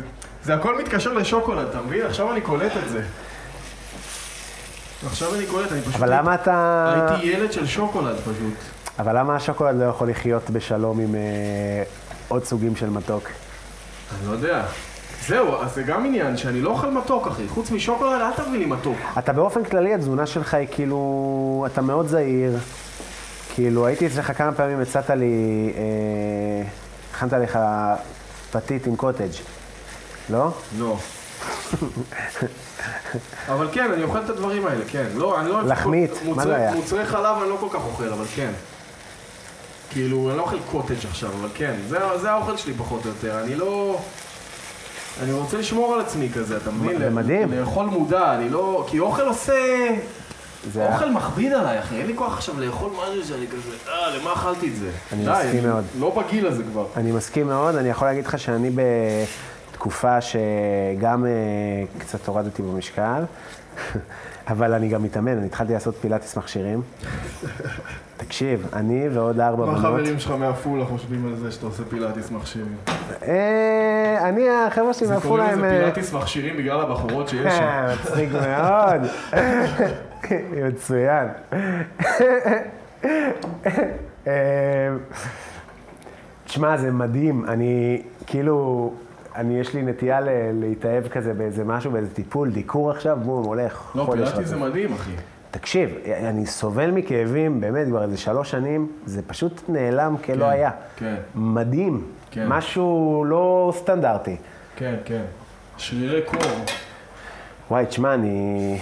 [SPEAKER 3] זה הכל מתקשר לשוקולד, אתה מבין? עכשיו אני קולט את זה. עכשיו אני קולט, אני פשוט...
[SPEAKER 2] אבל למה אתה...
[SPEAKER 3] הייתי ילד של שוקולד פשוט.
[SPEAKER 2] אבל למה השוקולד לא יכול לחיות בשלום עם אה, עוד סוגים של מתוק?
[SPEAKER 3] אני לא יודע. זהו, אז זה גם עניין שאני לא אוכל מתוק, אחי. חוץ משוקולד, אל תביא לי מתוק.
[SPEAKER 2] אתה באופן כללי, התזונה שלך היא כאילו... אתה מאוד זהיר. כאילו, הייתי אצלך כמה פעמים, הצעת לי... אה, הכנת לך פתית עם קוטג'. לא?
[SPEAKER 3] לא. אבל כן, אני אוכל את הדברים האלה, כן. לא, אני לא אוהב...
[SPEAKER 2] לחמית,
[SPEAKER 3] כל-
[SPEAKER 2] מה
[SPEAKER 3] מוצרי-
[SPEAKER 2] זה היה?
[SPEAKER 3] מוצרי חלב אני לא כל כך אוכל, אבל כן. כאילו, אני לא אוכל קוטג' עכשיו, אבל כן. זה, זה האוכל שלי פחות או יותר. אני לא... אני רוצה לשמור על עצמי כזה, אתה מבין?
[SPEAKER 2] זה
[SPEAKER 3] לא-
[SPEAKER 2] מדהים.
[SPEAKER 3] לאכול מודע, אני לא... כי אוכל עושה...
[SPEAKER 2] זה
[SPEAKER 3] אוכל מכביד עליי, אחי. אין לי כוח עכשיו לאכול משהו שאני כזה... אה, למה אכלתי את זה?
[SPEAKER 2] אני
[SPEAKER 3] די,
[SPEAKER 2] מסכים מאוד.
[SPEAKER 3] לא בגיל הזה כבר.
[SPEAKER 2] אני מסכים מאוד, אני יכול להגיד לך שאני בתקופה שגם אה, קצת הורדתי במשקל, אבל אני גם מתאמן, אני התחלתי לעשות פילאטיס מכשירים. תקשיב, אני ועוד ארבע
[SPEAKER 4] מה
[SPEAKER 2] בנות.
[SPEAKER 4] החברים שלך מעפולה חושבים על זה שאתה עושה פילאטיס מכשירים?
[SPEAKER 2] אה, אני, החבר'ה שלי
[SPEAKER 3] קוראים
[SPEAKER 2] מעפולה
[SPEAKER 3] לזה
[SPEAKER 2] הם... אה,
[SPEAKER 3] פילאטיס מכשירים בגלל הבחורות שיש שם.
[SPEAKER 2] אה, מצחיק מאוד. מצוין. אה, תשמע, זה מדהים. אני, כאילו, אני, יש לי נטייה ל- להתאהב כזה באיזה משהו, באיזה טיפול, דיקור עכשיו, בום, הולך.
[SPEAKER 3] לא,
[SPEAKER 2] חודש
[SPEAKER 3] פילאטיס זה
[SPEAKER 2] רצוף.
[SPEAKER 3] מדהים, אחי.
[SPEAKER 2] תקשיב, אני סובל מכאבים, באמת, כבר איזה שלוש שנים, זה פשוט נעלם כלא היה.
[SPEAKER 3] כן.
[SPEAKER 2] מדהים.
[SPEAKER 3] כן.
[SPEAKER 2] משהו לא סטנדרטי.
[SPEAKER 3] כן, כן. שרירי קור.
[SPEAKER 2] וואי, תשמע, אני...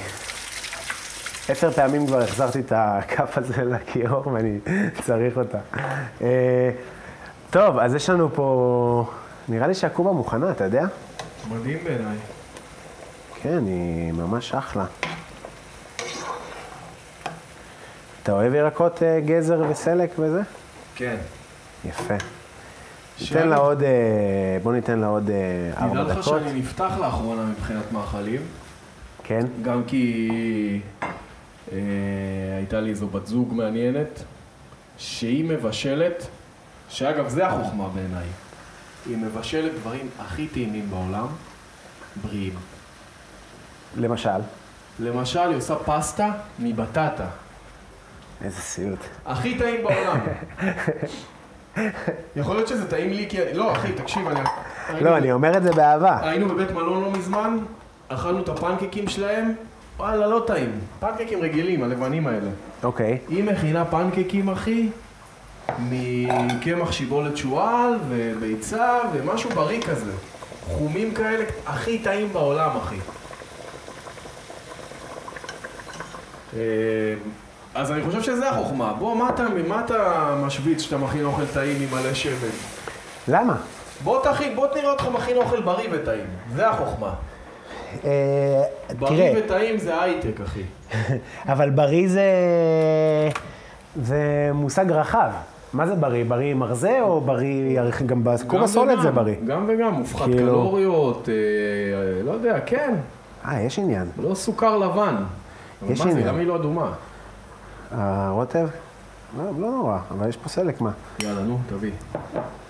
[SPEAKER 2] עשר פעמים כבר החזרתי את הכף הזה לכיור ואני צריך אותה. אה, טוב, אז יש לנו פה... נראה לי שהקובה מוכנה, אתה יודע?
[SPEAKER 4] מדהים בעיניי.
[SPEAKER 2] כן, היא ממש אחלה. אתה אוהב ירקות אה, גזר וסלק וזה?
[SPEAKER 3] כן.
[SPEAKER 2] יפה.
[SPEAKER 3] שאלה.
[SPEAKER 2] ניתן לה עוד... אה, בוא ניתן לה עוד אה,
[SPEAKER 3] תדע
[SPEAKER 2] ארבע
[SPEAKER 3] לך
[SPEAKER 2] דקות.
[SPEAKER 3] שאני נפתח לאחרונה מבחינת מאכלים,
[SPEAKER 2] כן?
[SPEAKER 3] גם כי אה, הייתה לי איזו בת זוג מעניינת, שהיא מבשלת, שאגב זה החוכמה בעיניי, היא מבשלת דברים הכי טעימים בעולם, בריאים.
[SPEAKER 2] למשל.
[SPEAKER 3] למשל, היא עושה פסטה מבטטה.
[SPEAKER 2] איזה סיוט.
[SPEAKER 3] הכי טעים בעולם. יכול להיות שזה טעים לי כי... אני- לא, אחי, תקשיב, אני...
[SPEAKER 2] לא, אני אומר את זה באהבה.
[SPEAKER 3] היינו בבית מלון לא מזמן, אכלנו את הפנקקים שלהם, וואלה, לא טעים. פנקקים רגילים, הלבנים האלה.
[SPEAKER 2] אוקיי.
[SPEAKER 3] היא מכינה פנקקים, אחי, מקמח שיבולת שועל וביצה ומשהו בריא כזה. חומים כאלה, הכי טעים בעולם, אחי. אה, אז אני חושב שזה החוכמה. בוא, מה אתה, מה אתה משוויץ שאתה מכין אוכל טעים עם מלא שמן?
[SPEAKER 2] למה?
[SPEAKER 3] בוא תכין, בוא תראה אותך מכין אוכל בריא וטעים. זה החוכמה.
[SPEAKER 2] אה, תראה,
[SPEAKER 3] בריא וטעים זה הייטק, אחי.
[SPEAKER 2] אבל בריא זה, זה מושג רחב. מה זה בריא? בריא מרזה או בריא ירח- גם בקובה סולד זה בריא?
[SPEAKER 3] גם וגם, מופחת
[SPEAKER 2] כאילו-
[SPEAKER 3] קלוריות, אה, אה, לא יודע, כן,
[SPEAKER 2] אה, יש עניין.
[SPEAKER 3] לא סוכר לבן. אבל
[SPEAKER 2] יש
[SPEAKER 3] מה זה,
[SPEAKER 2] עניין.
[SPEAKER 3] למה היא לא אדומה?
[SPEAKER 2] הרוטב? אה, לא, לא נורא, אבל יש פה סלק, מה?
[SPEAKER 3] יאללה, נו, תביא.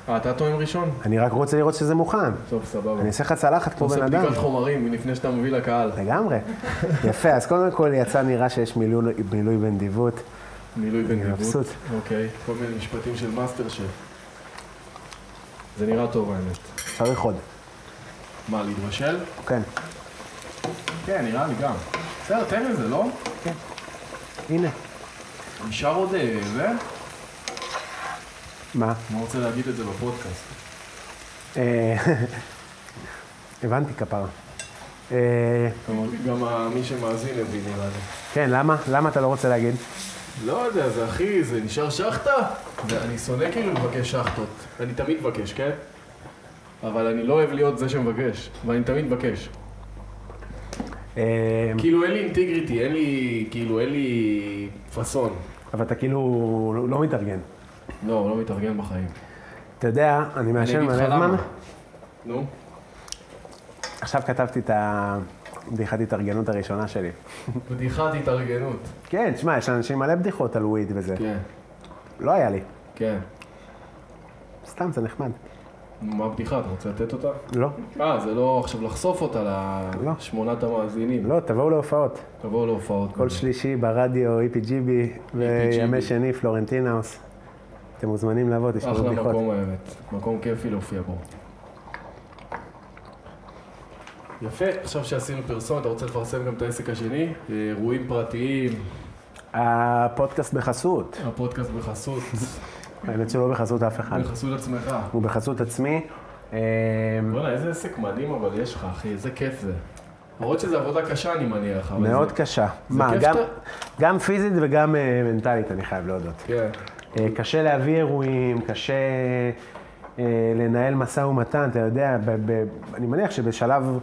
[SPEAKER 3] אה, אתה טועם ראשון?
[SPEAKER 2] אני רק רוצה לראות שזה מוכן.
[SPEAKER 3] טוב, סבבה.
[SPEAKER 2] אני אעשה לך צלחת כמו בן
[SPEAKER 3] עושה
[SPEAKER 2] אדם.
[SPEAKER 3] בדיקת חומרים לפני שאתה מביא לקהל.
[SPEAKER 2] לגמרי. יפה, אז קודם כל יצא נראה שיש מילוי מילוי בנדיבות.
[SPEAKER 3] מילוי
[SPEAKER 2] אני
[SPEAKER 3] בנדיבות.
[SPEAKER 2] מבסוט.
[SPEAKER 3] אוקיי, כל מיני משפטים של מאסטר שף. זה נראה טוב האמת.
[SPEAKER 2] צריך עוד.
[SPEAKER 3] מה, להתבשל?
[SPEAKER 2] כן.
[SPEAKER 3] כן, נראה לי גם. בסדר, תן לזה, לא?
[SPEAKER 2] הנה.
[SPEAKER 3] נשאר עוד אה, זה?
[SPEAKER 2] מה?
[SPEAKER 3] אני רוצה להגיד את זה בפודקאסט.
[SPEAKER 2] אה, הבנתי כפרה. אה,
[SPEAKER 3] גם- גם ה- מי שמאזין הבין נראה לי.
[SPEAKER 2] כן, למה? למה אתה לא רוצה להגיד?
[SPEAKER 3] לא יודע, זה אחי, זה נשאר שחטה? אני שונא כאילו לבקש שחטות. אני תמיד מבקש, כן? אבל אני לא אוהב להיות זה שמבקש, ואני תמיד מבקש.
[SPEAKER 2] אה,
[SPEAKER 3] כאילו אין לי אינטגריטי, אין לי, כאילו אין לי פאסון.
[SPEAKER 2] אבל אתה כאילו לא- לא מתארגן.
[SPEAKER 3] לא, לא מתארגן בחיים.
[SPEAKER 2] אתה יודע, אני מעשן
[SPEAKER 3] אני אגיד
[SPEAKER 2] מלא
[SPEAKER 3] לך
[SPEAKER 2] זמן,
[SPEAKER 3] למה. נו,
[SPEAKER 2] עכשיו כתבתי את הבדיחת התארגנות הראשונה שלי.
[SPEAKER 3] בדיחת התארגנות.
[SPEAKER 2] כן, תשמע, יש לאנשים מלא בדיחות על וויד וזה.
[SPEAKER 3] כן,
[SPEAKER 2] לא היה לי.
[SPEAKER 3] כן.
[SPEAKER 2] סתם, זה נחמד.
[SPEAKER 3] נו, מה הבדיחה? אתה רוצה לתת אותה?
[SPEAKER 2] לא,
[SPEAKER 3] אה, זה לא עכשיו לחשוף אותה
[SPEAKER 2] לא.
[SPEAKER 3] לשמונת המאזינים.
[SPEAKER 2] לא, תבואו להופעות.
[SPEAKER 3] תבואו להופעות.
[SPEAKER 2] כל שלישי ברדיו E איפי
[SPEAKER 3] E
[SPEAKER 2] ג'יבי, וימי שני פלורנטין האוס. אתם מוזמנים לבוא, תשמעו
[SPEAKER 3] אחלה
[SPEAKER 2] בדיחות.
[SPEAKER 3] מקום האמת, מקום כיפי להופיע בו. יפה, עכשיו שעשינו פרסומת, אתה רוצה לפרסם גם את העסק השני? אה, אירועים פרטיים,
[SPEAKER 2] הפודקאסט בחסות.
[SPEAKER 3] הפודקאסט בחסות,
[SPEAKER 2] האמת שלא בחסות אף אחד.
[SPEAKER 3] נכון. בחסות עצמך.
[SPEAKER 2] הוא בחסות עצמי. אמ,
[SPEAKER 3] בוא'נה, איזה עסק מדהים אבל יש לך, אחי, איזה כיף זה. למרות שזו עבודה קשה, אני מניח, אבל
[SPEAKER 2] מאוד
[SPEAKER 3] זה...
[SPEAKER 2] קשה. מה,
[SPEAKER 3] כיף
[SPEAKER 2] גם-
[SPEAKER 3] שאתה-
[SPEAKER 2] גם פיזית וגם אה, מנטלית, אני חייב להודות.
[SPEAKER 3] כן.
[SPEAKER 2] אה, קשה להביא אירועים, קשה אה, לנהל משא ומתן, אתה יודע, ב- ב- אני מניח שבשלב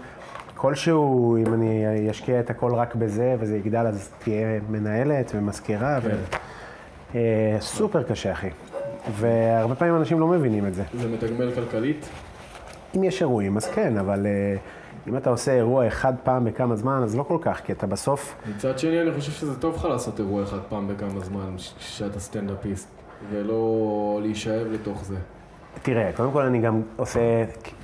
[SPEAKER 2] כלשהו, אם אני אשקיע את הכל רק בזה וזה יגדל, אז תהיה מנהלת ומזכירה.
[SPEAKER 3] כן.
[SPEAKER 2] ו- אה, סופר קשה, אחי. והרבה פעמים אנשים לא מבינים את זה.
[SPEAKER 3] זה מתגמל כלכלית?
[SPEAKER 2] אם יש אירועים, אז כן, אבל אה, אם אתה עושה אירוע אחד פעם בכמה זמן, אז לא כל כך, כי אתה בסוף...
[SPEAKER 3] מצד שני, אני חושב שזה טוב לך לעשות אירוע אחד פעם בכמה זמן, כש- כשאתה סטנדאפיסט, ולא להישאב לתוך זה.
[SPEAKER 2] תראה, קודם כל אני גם עושה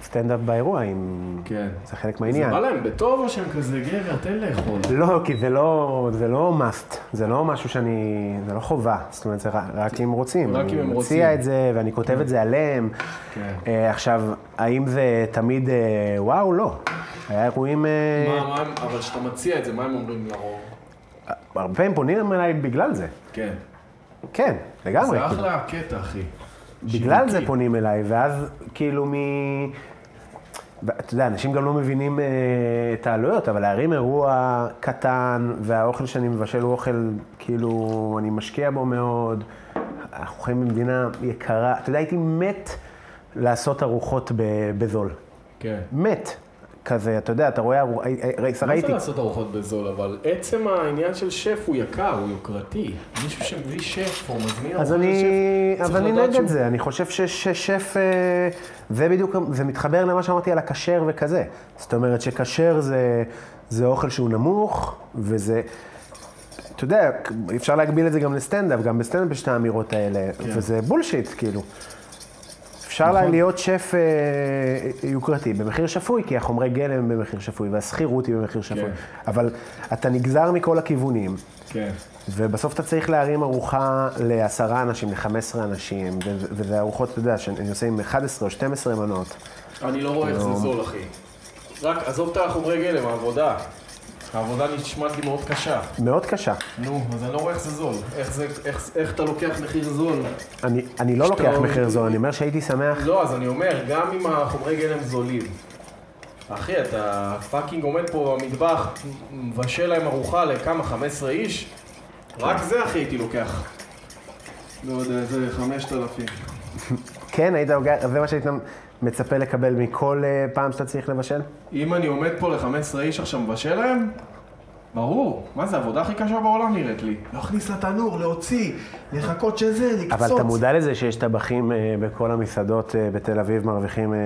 [SPEAKER 2] סטנדאפ באירוע, אם...
[SPEAKER 3] כן.
[SPEAKER 2] זה חלק
[SPEAKER 3] זה
[SPEAKER 2] מהעניין.
[SPEAKER 3] בא להם בטוב או שהם כזה גבר, תן לאכול.
[SPEAKER 2] לא, כי זה לא, זה לא must, זה לא משהו שאני, זה לא חובה, זאת אומרת, זה רק, רק אם רוצים.
[SPEAKER 3] רק אם הם
[SPEAKER 2] אני
[SPEAKER 3] רוצים.
[SPEAKER 2] מציע את זה, ואני כותב את זה עליהם.
[SPEAKER 3] כן.
[SPEAKER 2] אה, עכשיו, האם זה תמיד אה, וואו? לא. היה אירועים... אה,
[SPEAKER 3] מה, מה, הם- אבל כשאתה מציע את זה, מה הם אומרים לרוב?
[SPEAKER 2] הרבה פעמים פונים אליי בגלל זה.
[SPEAKER 3] כן.
[SPEAKER 2] כן, לגמרי.
[SPEAKER 3] זה אחלה הקטע, אחי.
[SPEAKER 2] בגלל זה
[SPEAKER 3] שיווקי.
[SPEAKER 2] פונים אליי, ואז כאילו מ... אתה יודע, אנשים גם לא מבינים אה, את העלויות, אבל להרים אירוע קטן, והאוכל שאני מבשל הוא אוכל, כאילו, אני משקיע בו מאוד. אנחנו חיים במדינה יקרה. אתה יודע, הייתי מת לעשות ארוחות ב- בזול.
[SPEAKER 3] כן.
[SPEAKER 2] מת. כזה, אתה יודע, אתה רואה, ארוח- הי- הי-
[SPEAKER 3] מה זה
[SPEAKER 2] ראיתי,
[SPEAKER 3] לא לעשות ארוחות בזול, אבל עצם העניין של שף הוא יקר, הוא יוקרתי. מישהו שמביא שף או מזמין
[SPEAKER 2] אז
[SPEAKER 3] ארוחה
[SPEAKER 2] אני,
[SPEAKER 3] לשף, לא
[SPEAKER 2] אז
[SPEAKER 3] צריך
[SPEAKER 2] אני
[SPEAKER 3] לדעת
[SPEAKER 2] נגד
[SPEAKER 3] שהוא-
[SPEAKER 2] זה, אני חושב שש- ששף, אה, זה בדיוק, זה מתחבר למה שאמרתי על הכשר וכזה. זאת אומרת שכשר זה, זה אוכל שהוא נמוך, וזה, אתה יודע, אפשר להגביל את זה גם לסטנדאפ, גם בסטנדאפ יש את האמירות האלה,
[SPEAKER 3] כן.
[SPEAKER 2] וזה בולשיט, כאילו. אפשר נכון. להיות שף אה, יוקרתי במחיר שפוי, כי החומרי גלם הם במחיר שפוי, והשכירות היא במחיר שפוי. אבל אתה נגזר מכל הכיוונים.
[SPEAKER 3] כן.
[SPEAKER 2] ובסוף אתה צריך להרים ארוחה לעשרה אנשים, ל-15 אנשים, ו- ו- וזה ארוחות, אתה יודע, שאני עושה עם 11 או 12 מנות.
[SPEAKER 3] אני לא רואה איך זה זול, אחי. רק עזוב את החומרי גלם, העבודה. העבודה נשמעת לי מאוד קשה.
[SPEAKER 2] מאוד קשה.
[SPEAKER 3] נו, אז אני לא רואה איך זה זול. איך זה, איך, איך אתה לוקח מחיר זול?
[SPEAKER 2] אני, אני לא לוקח
[SPEAKER 3] שאתה-
[SPEAKER 2] מחיר זול, אני אומר שהייתי שמח.
[SPEAKER 3] לא, אז אני אומר, גם אם החומרי גלם זולים. אחי, אתה פאקינג עומד פה במטבח, מבשל להם ארוחה לכמה? 15 איש? רק זה, אחי, הייתי לוקח.
[SPEAKER 4] כן. לא יודע, איזה 5,000.
[SPEAKER 2] כן, היית לוקח, זה מה שהיית מצפה לקבל מכל אה, פעם שאתה צריך לבשל?
[SPEAKER 3] אם אני עומד פה ל-15 איש עכשיו מבשל להם? ברור. מה זה, העבודה הכי קשה בעולם נראית לי.
[SPEAKER 4] להכניס לתנור, להוציא, לחכות שזה, לקפוץ.
[SPEAKER 2] אבל אתה מודע לזה שיש טבחים אה, בכל המסעדות אה, בתל אביב מרוויחים אה,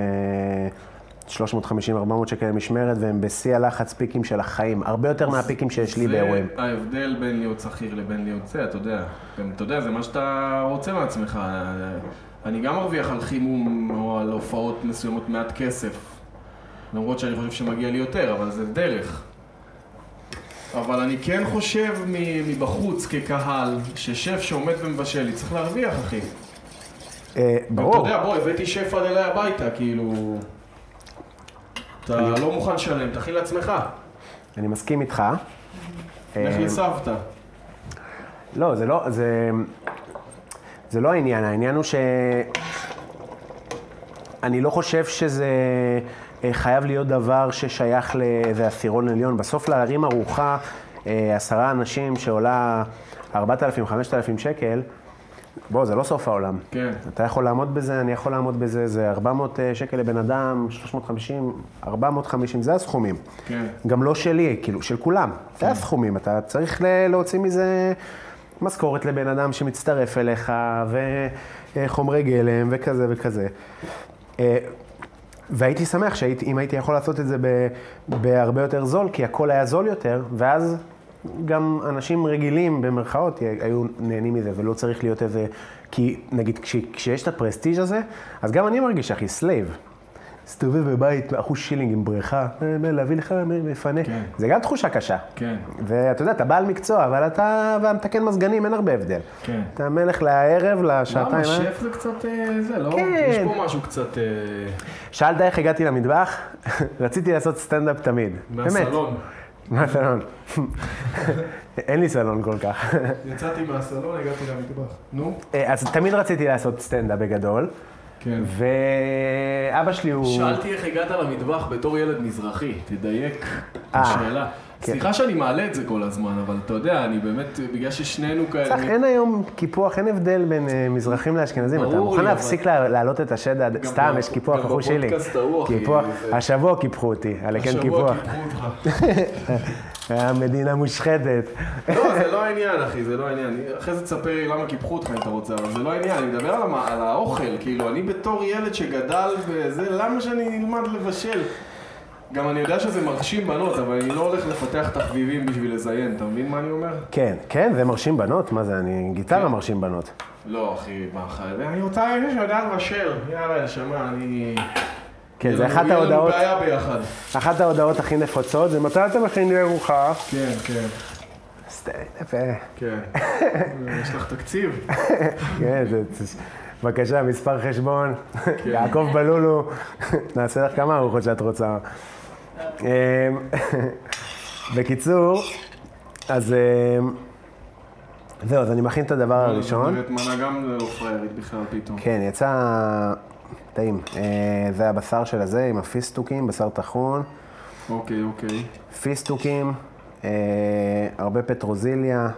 [SPEAKER 2] 350-400 שקל למשמרת, והם בשיא הלחץ פיקים של החיים, הרבה יותר מהפיקים שיש לי באירועים.
[SPEAKER 3] זה ההבדל בין להיות שכיר לבין להיות זה, אתה יודע. גם, אתה יודע, זה מה שאתה רוצה מעצמך. אני גם מרוויח על חימום או על הופעות מסוימות מעט כסף. למרות שאני חושב שמגיע לי יותר, אבל זה דרך. אבל אני כן חושב מ- מבחוץ כקהל, ששף שעומד ומבשל לי צריך להרוויח, אחי.
[SPEAKER 2] אה,
[SPEAKER 3] ברור. אתה
[SPEAKER 2] ברור.
[SPEAKER 3] יודע, בוא, הבאתי שף עד אליי הביתה, כאילו... אתה לא מוכן לשלם, תכין לעצמך.
[SPEAKER 2] אני מסכים איתך.
[SPEAKER 3] לך
[SPEAKER 2] אה,
[SPEAKER 3] לסבתא.
[SPEAKER 2] לא, זה לא, זה... זה לא העניין, העניין הוא ש... אני לא חושב שזה אה, חייב להיות דבר ששייך לאיזה עשירון עליון. בסוף להרים ארוחה, אה, עשרה אנשים שעולה 4,000-5,000 שקל, בוא, זה לא סוף העולם.
[SPEAKER 3] כן.
[SPEAKER 2] אתה יכול לעמוד בזה, אני יכול לעמוד בזה, זה 400 אה, שקל לבן אדם, 350, 450, זה הסכומים.
[SPEAKER 3] כן.
[SPEAKER 2] גם לא שלי, כאילו, של כולם. זה הסכומים, אתה צריך ל- להוציא מזה משכורת לבן אדם שמצטרף אליך, וחומרי גלם, וכזה וכזה. אה, והייתי שמח שהייתי, אם הייתי יכול לעשות את זה ב, בהרבה יותר זול, כי הכל היה זול יותר, ואז גם אנשים רגילים, במרכאות, היו נהנים מזה, ולא צריך להיות איזה... כי נגיד, כש, כשיש את הפרסטיג' הזה, אז גם אני מרגיש, אחי, סלייב. מסתובב בבית, אחוז שילינג עם בריכה, אה, מה, להביא לך מה, מפנה.
[SPEAKER 3] כן.
[SPEAKER 2] זה גם תחושה קשה.
[SPEAKER 3] כן.
[SPEAKER 2] ואתה יודע, אתה בעל מקצוע, אבל אתה והמתקן מזגנים, אין הרבה הבדל.
[SPEAKER 3] כן.
[SPEAKER 2] אתה מלך לערב, לשעתיים.
[SPEAKER 3] למה
[SPEAKER 2] אה?
[SPEAKER 3] שף זה קצת אה, זה, לא?
[SPEAKER 2] כן.
[SPEAKER 3] יש פה משהו קצת אה,
[SPEAKER 2] שאלת איך הגעתי למטבח? רציתי לעשות סטנדאפ תמיד.
[SPEAKER 3] מהסלון.
[SPEAKER 2] מהסלון. אין לי סלון כל כך.
[SPEAKER 4] יצאתי מהסלון, הגעתי למטבח.
[SPEAKER 3] נו,
[SPEAKER 2] אה, אז תמיד רציתי לעשות סטנדאפ בגדול,
[SPEAKER 3] כן.
[SPEAKER 2] ואבא שלי הוא...
[SPEAKER 3] שאלתי איך הגעת למטבח בתור ילד מזרחי, תדייק
[SPEAKER 2] אה,
[SPEAKER 3] בשאלה.
[SPEAKER 2] כן.
[SPEAKER 3] סליחה שאני מעלה את זה כל הזמן, אבל אתה יודע, אני באמת, בגלל ששנינו
[SPEAKER 2] צח,
[SPEAKER 3] כאלה...
[SPEAKER 2] אין היום קיפוח, אין הבדל בין אה, מזרחים לאשכנזים. אתה
[SPEAKER 3] ברור לי,
[SPEAKER 2] מוכן
[SPEAKER 3] אבל-
[SPEAKER 2] להפסיק לה- להעלות את השד? עד- סתם,
[SPEAKER 3] ב-
[SPEAKER 2] יש קיפוח,
[SPEAKER 3] גם
[SPEAKER 2] אחו שלי.
[SPEAKER 3] בפודקאסט ההוא, אחי,
[SPEAKER 2] קיפוח,
[SPEAKER 3] זה-
[SPEAKER 2] השבוע קיפחו אותי, על כן
[SPEAKER 3] השבוע
[SPEAKER 2] קיפוח.
[SPEAKER 3] קיפחו אותך.
[SPEAKER 2] המדינה מושחתת.
[SPEAKER 3] לא, זה לא העניין, אחי, זה לא העניין. אחרי זה תספר לי למה קיפחו אותך אם אתה רוצה, אבל זה לא העניין, אני מדבר על, המ- על האוכל, כאילו, אני בתור ילד שגדל וזה, למה שאני אלמד לבשל? גם אני יודע שזה מרשים בנות, אבל אני לא הולך לפתח תחביבים בשביל לזיין, אתה מבין מה אני אומר?
[SPEAKER 2] כן, כן, זה מרשים בנות, מה זה, אני גיטרה
[SPEAKER 3] כן.
[SPEAKER 2] מרשים בנות.
[SPEAKER 3] לא, אחי, מה חייב? אני רוצה מישהו שיודע לבשל. יאללה, נשמה, אני...
[SPEAKER 2] כן, זה
[SPEAKER 3] יהיה
[SPEAKER 2] אחת
[SPEAKER 3] לנו-
[SPEAKER 2] ההודעות,
[SPEAKER 3] יהיה לנו בעיה ביחד.
[SPEAKER 2] אחת ההודעות הכי נפוצות, זה מתי אתם מכינים לי ארוחה?
[SPEAKER 3] כן, כן,
[SPEAKER 2] סתם, יפה.
[SPEAKER 3] כן. יש לך תקציב?
[SPEAKER 2] כן, זה... זה- בבקשה, מספר חשבון, יעקב בלולו, נעשה לך כמה ארוחות שאת רוצה. אמ, בקיצור, אז אמ, זהו, אז אני מכין את
[SPEAKER 3] אה,
[SPEAKER 2] הדבר הראשון.
[SPEAKER 3] את מנה גם לא פריירית בכלל פתאום.
[SPEAKER 2] כן, יצא טעים. אה, זה הבשר של הזה עם הפיסטוקים, בשר טחון,
[SPEAKER 3] אוקיי, אוקיי.
[SPEAKER 2] פיסטוקים, אה, הרבה פטרוזיליה,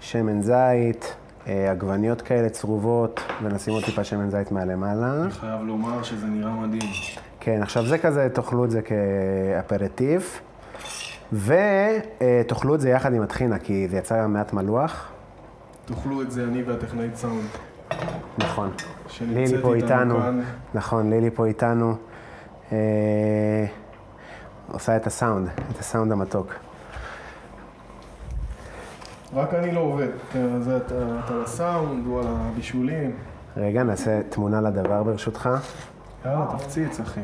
[SPEAKER 2] שמן זית, אה, עגבניות כאלה צרובות, ונשים עוד טיפה שמן זית מעלמעלה.
[SPEAKER 3] אני חייב לומר שזה נראה מדהים.
[SPEAKER 2] כן, עכשיו זה כזה, תאכלו את זה כאפרטיב, ותאכלו את זה יחד עם הטחינה, כי זה יצא מעט מלוח.
[SPEAKER 3] תאכלו את זה אני והטכנאית סאונד.
[SPEAKER 2] נכון.
[SPEAKER 3] שנמצאת
[SPEAKER 2] לילי פה
[SPEAKER 3] איתנו
[SPEAKER 2] איתנו.
[SPEAKER 3] כאן.
[SPEAKER 2] נכון, לילי פה איתנו. אה, עושה את הסאונד, את הסאונד המתוק.
[SPEAKER 3] רק אני לא עובד. כן, זה אתה אתה על הסאונד, הוא על הבישולים.
[SPEAKER 2] רגע, נעשה תמונה לדבר ברשותך.
[SPEAKER 3] יאללה, תפציץ, אחי.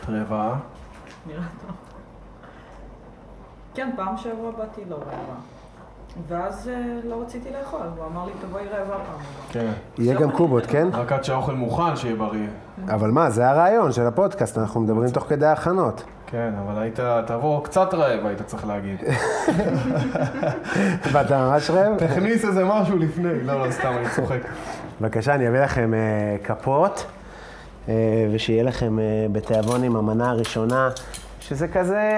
[SPEAKER 3] את רבע.
[SPEAKER 5] נראה טוב. כן, פעם שעברה באתי לא רעבה. ואז אה, לא רציתי לאכול, הוא אמר לי, תבואי רעבה פעם הבאה.
[SPEAKER 3] כן.
[SPEAKER 2] יהיה גם קובות, כן?
[SPEAKER 3] רק עד שהאוכל מוכן, שיהיה בריא.
[SPEAKER 2] אבל מה, זה הרעיון של הפודקאסט, אנחנו מדברים תוך כדי הכנות.
[SPEAKER 3] כן, אבל היית, תבוא קצת רעב, היית צריך להגיד.
[SPEAKER 2] ואתה ממש רעב?
[SPEAKER 3] תכניס איזה משהו לפני. לא, לא, סתם, אני צוחק.
[SPEAKER 2] בבקשה, אני אביא לכם אה, כפות, אה, ושיהיה לכם אה, בתיאבון עם המנה הראשונה, שזה כזה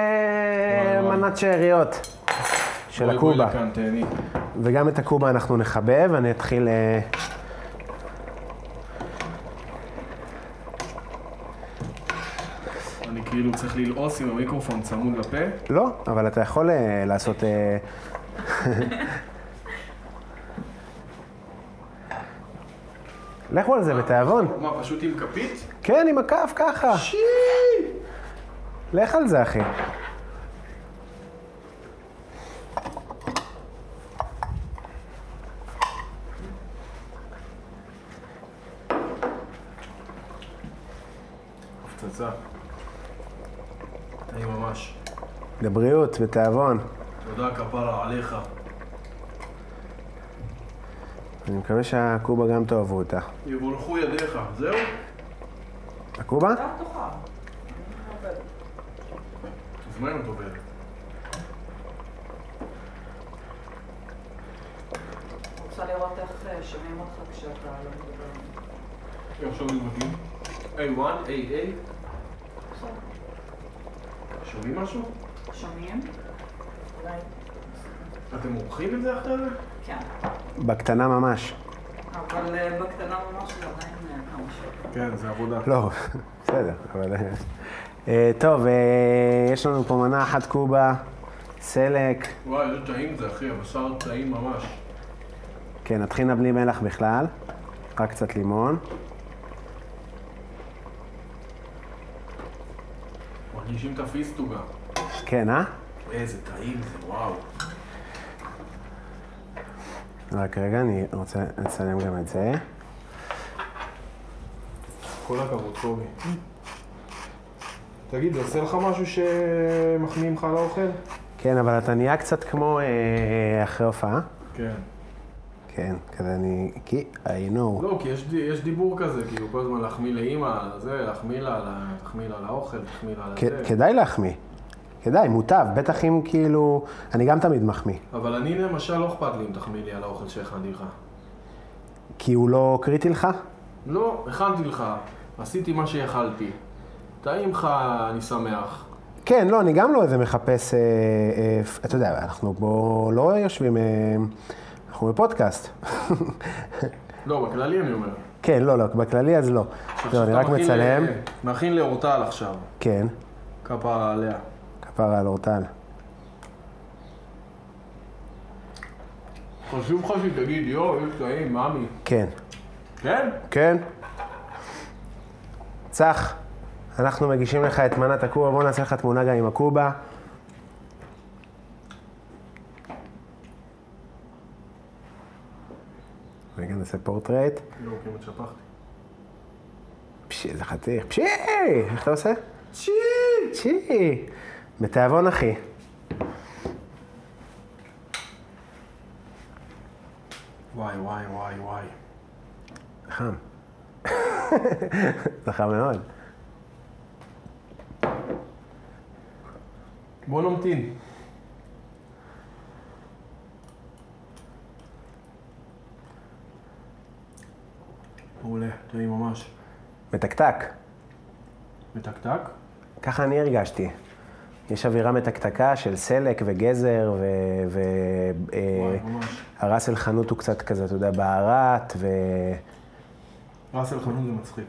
[SPEAKER 3] וואי, וואי.
[SPEAKER 2] מנת שאריות של
[SPEAKER 3] בואי, בואי
[SPEAKER 2] הקובה.
[SPEAKER 3] לכאן, תהני.
[SPEAKER 2] וגם את הקובה אנחנו נכבה, ואני אתחיל... אה,
[SPEAKER 3] אני כאילו צריך ללעוס עם המיקרופון צמוד לפה.
[SPEAKER 2] לא, אבל אתה יכול אה, לעשות... אה, לכו על זה בתיאבון.
[SPEAKER 3] מה, פשוט עם כפית?
[SPEAKER 2] כן, עם הכף, ככה. שי! לך על זה, אחי.
[SPEAKER 3] הפצצה. אני ממש.
[SPEAKER 2] לבריאות, בתיאבון.
[SPEAKER 3] תודה כפרה עליך.
[SPEAKER 2] אני מקווה שהקובה גם תאהבו אותה.
[SPEAKER 3] יבורכו ידיך. זהו?
[SPEAKER 2] הקובה?
[SPEAKER 5] אתה תאכל.
[SPEAKER 3] אז מה אם את עובדת?
[SPEAKER 5] רוצה לראות איך אה, שומעים אותך כשאתה לא מדבר.
[SPEAKER 3] יום שוב נדבקים. A1, AA.
[SPEAKER 5] בסדר.
[SPEAKER 3] שומעים משהו?
[SPEAKER 5] שומעים? אולי.
[SPEAKER 3] אתם עורכים את זה אחרי זה?
[SPEAKER 5] כן.
[SPEAKER 2] בקטנה ממש.
[SPEAKER 5] אבל אה, בקטנה ממש זה עדיין אה, כמה שעות.
[SPEAKER 3] כן, זה עבודה.
[SPEAKER 2] לא, בסדר, אבל... אה, אה, טוב, אה, יש לנו פה מנה אחת קובה, סלק.
[SPEAKER 3] וואי, איזה טעים זה, אחי, הבשר טעים ממש.
[SPEAKER 2] כן, הטחינה בלי מלח בכלל, רק קצת לימון.
[SPEAKER 3] מרגישים את הפיסטוגה.
[SPEAKER 2] כן, אה?
[SPEAKER 3] איזה טעים זה, וואו.
[SPEAKER 2] רק רגע, אני רוצה לצלם גם את זה.
[SPEAKER 3] כל הכבוד, קובי. תגיד, זה עושה לך משהו שמחמיאים לך על האוכל?
[SPEAKER 2] כן, אבל אתה נהיה קצת כמו אה, אחרי הופעה.
[SPEAKER 3] כן.
[SPEAKER 2] כן, כזה אני... כי I know.
[SPEAKER 3] לא, כי יש, די- יש דיבור כזה, כאילו כל הזמן להחמיא לאימא על זה, להחמיא לה, על ה- תחמיא לה על האוכל, תחמיא לה על
[SPEAKER 2] כ-
[SPEAKER 3] זה.
[SPEAKER 2] כדאי להחמיא. כדאי, מוטב, בטח אם כאילו... אני גם תמיד מחמיא.
[SPEAKER 3] אבל אני למשל לא אכפת לי אם תחמיא לי על האוכל שהכנתי לך.
[SPEAKER 2] כי הוא לא קריטי לך?
[SPEAKER 3] לא, הכנתי לך, עשיתי מה שיכלתי. טעים לך, אני שמח.
[SPEAKER 2] כן, לא, אני גם לא איזה מחפש, אה, אה, פ- אתה יודע, אנחנו פה לא יושבים, אה, אנחנו בפודקאסט.
[SPEAKER 3] לא, בכללי אני אומר.
[SPEAKER 2] כן, לא, לא, בכללי אז לא. לא, אני רק
[SPEAKER 3] שאתה מכין אה,
[SPEAKER 2] מצלם.
[SPEAKER 3] ל- מכין לאורטל עכשיו,
[SPEAKER 2] כן,
[SPEAKER 3] כפרה עליה.
[SPEAKER 2] כפרה על אורטל.
[SPEAKER 3] חשוב לך שתגיד, יואו, יש טעים, מאמי.
[SPEAKER 2] כן,
[SPEAKER 3] כן?
[SPEAKER 2] כן. צח, אנחנו מגישים לך את מנת הקובה, בוא נעשה לך תמונה גם עם הקובה. רגע, נעשה פורטרייט.
[SPEAKER 3] לא, כמעט שפכתי.
[SPEAKER 2] פשי, איזה חתיך. פשי! איך אתה עושה? צ'י! צ'י! בתיאבון, אחי.
[SPEAKER 3] וואי, וואי, וואי, וואי.
[SPEAKER 2] חם. זה חם מאוד.
[SPEAKER 3] בוא נמתין. מעולה, טעים ממש.
[SPEAKER 2] מתקתק.
[SPEAKER 3] מתקתק?
[SPEAKER 2] ככה אני הרגשתי. יש אווירה מתקתקה של סלק וגזר ו... ו... אה,
[SPEAKER 3] וואי, ממש.
[SPEAKER 2] הרס אל חנות הוא קצת כזה, אתה יודע, בערת, ו...
[SPEAKER 3] ראסל חנון זה מצחיק.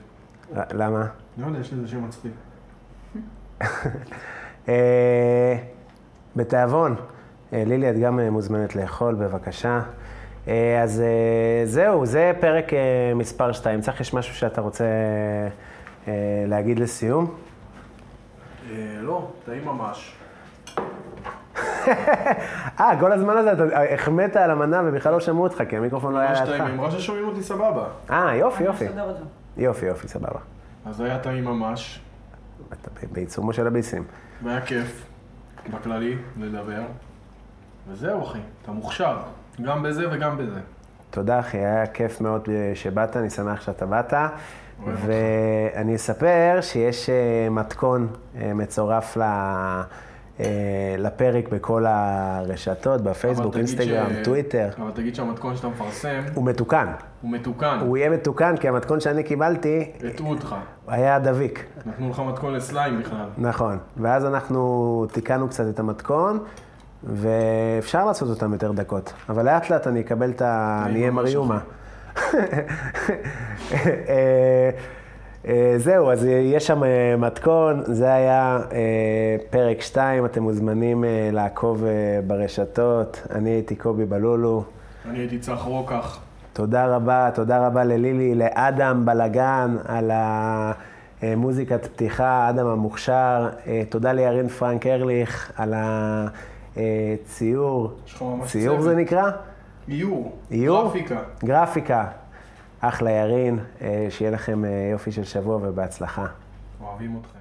[SPEAKER 2] ר- למה?
[SPEAKER 3] לא יודע, יש לזה שם מצחיק.
[SPEAKER 2] אה, בתיאבון. אה, לילי, את גם אה, מוזמנת לאכול, בבקשה. אה, אז אה, זהו, זה פרק אה, מספר 2. צריך, יש משהו שאתה רוצה אה, להגיד לסיום?
[SPEAKER 3] אה, לא, טעים ממש.
[SPEAKER 2] אה, כל הזמן הזה אתה אה, החמאת על המנה ובכלל לא שמעו אותך, כי המיקרופון לא היה
[SPEAKER 3] ממש
[SPEAKER 2] לידך.
[SPEAKER 3] טעים, היא אמרה ששומעים אותי סבבה.
[SPEAKER 2] אה, יופי, יופי.
[SPEAKER 5] אני אסדר את זה.
[SPEAKER 2] יופי, יופי, סבבה.
[SPEAKER 3] אז היה טעים ממש,
[SPEAKER 2] אתה ב- בעיצומו של הביסים.
[SPEAKER 3] והיה כיף, בכללי, לדבר. וזהו אחי, אתה מוכשר, גם בזה וגם בזה.
[SPEAKER 2] תודה אחי, היה כיף מאוד אה, שבאת, אני שמח שאתה באת.
[SPEAKER 3] אותך.
[SPEAKER 2] ואני אספר שיש אה, מתכון אה, מצורף ל... אה, לפרק בכל הרשתות, בפייסבוק,
[SPEAKER 3] אבל תגיד
[SPEAKER 2] אינסטגרם,
[SPEAKER 3] ש- אה.
[SPEAKER 2] טוויטר.
[SPEAKER 3] אבל תגיד שהמתכון שאתה מפרסם
[SPEAKER 2] הוא מתוקן.
[SPEAKER 3] הוא מתוקן,
[SPEAKER 2] הוא יהיה מתוקן, כי המתכון שאני קיבלתי
[SPEAKER 3] הטעו אותך.
[SPEAKER 2] היה דביק.
[SPEAKER 3] נתנו לך מתכון לסליים בכלל.
[SPEAKER 2] נכון. ואז אנחנו תיקנו קצת את המתכון, ואפשר לעשות אותם יותר דקות. אבל לאט לאט אני אקבל את ה... אני לא אהיה
[SPEAKER 3] ממש
[SPEAKER 2] מריומה. אה, אה, זהו, אז יש שם אה, מתכון, זה היה אה, פרק 2, אתם מוזמנים אה, לעקוב אה, ברשתות. אני הייתי קובי בלולו.
[SPEAKER 3] אני הייתי צח רוקח.
[SPEAKER 2] תודה רבה, תודה רבה ללילי, לאדם בלגן על המוזיקת פתיחה, אדם המוכשר. אה, תודה לירין פרנק ארליך על הציור.
[SPEAKER 3] יש לך ממש
[SPEAKER 2] ציור
[SPEAKER 3] צוות.
[SPEAKER 2] זה נקרא?
[SPEAKER 3] איור.
[SPEAKER 2] איור?
[SPEAKER 3] גרפיקה.
[SPEAKER 2] גרפיקה. אחלה ירין, אה, שיהיה לכם אה, יופי של שבוע ובהצלחה.
[SPEAKER 3] אוהבים אותך.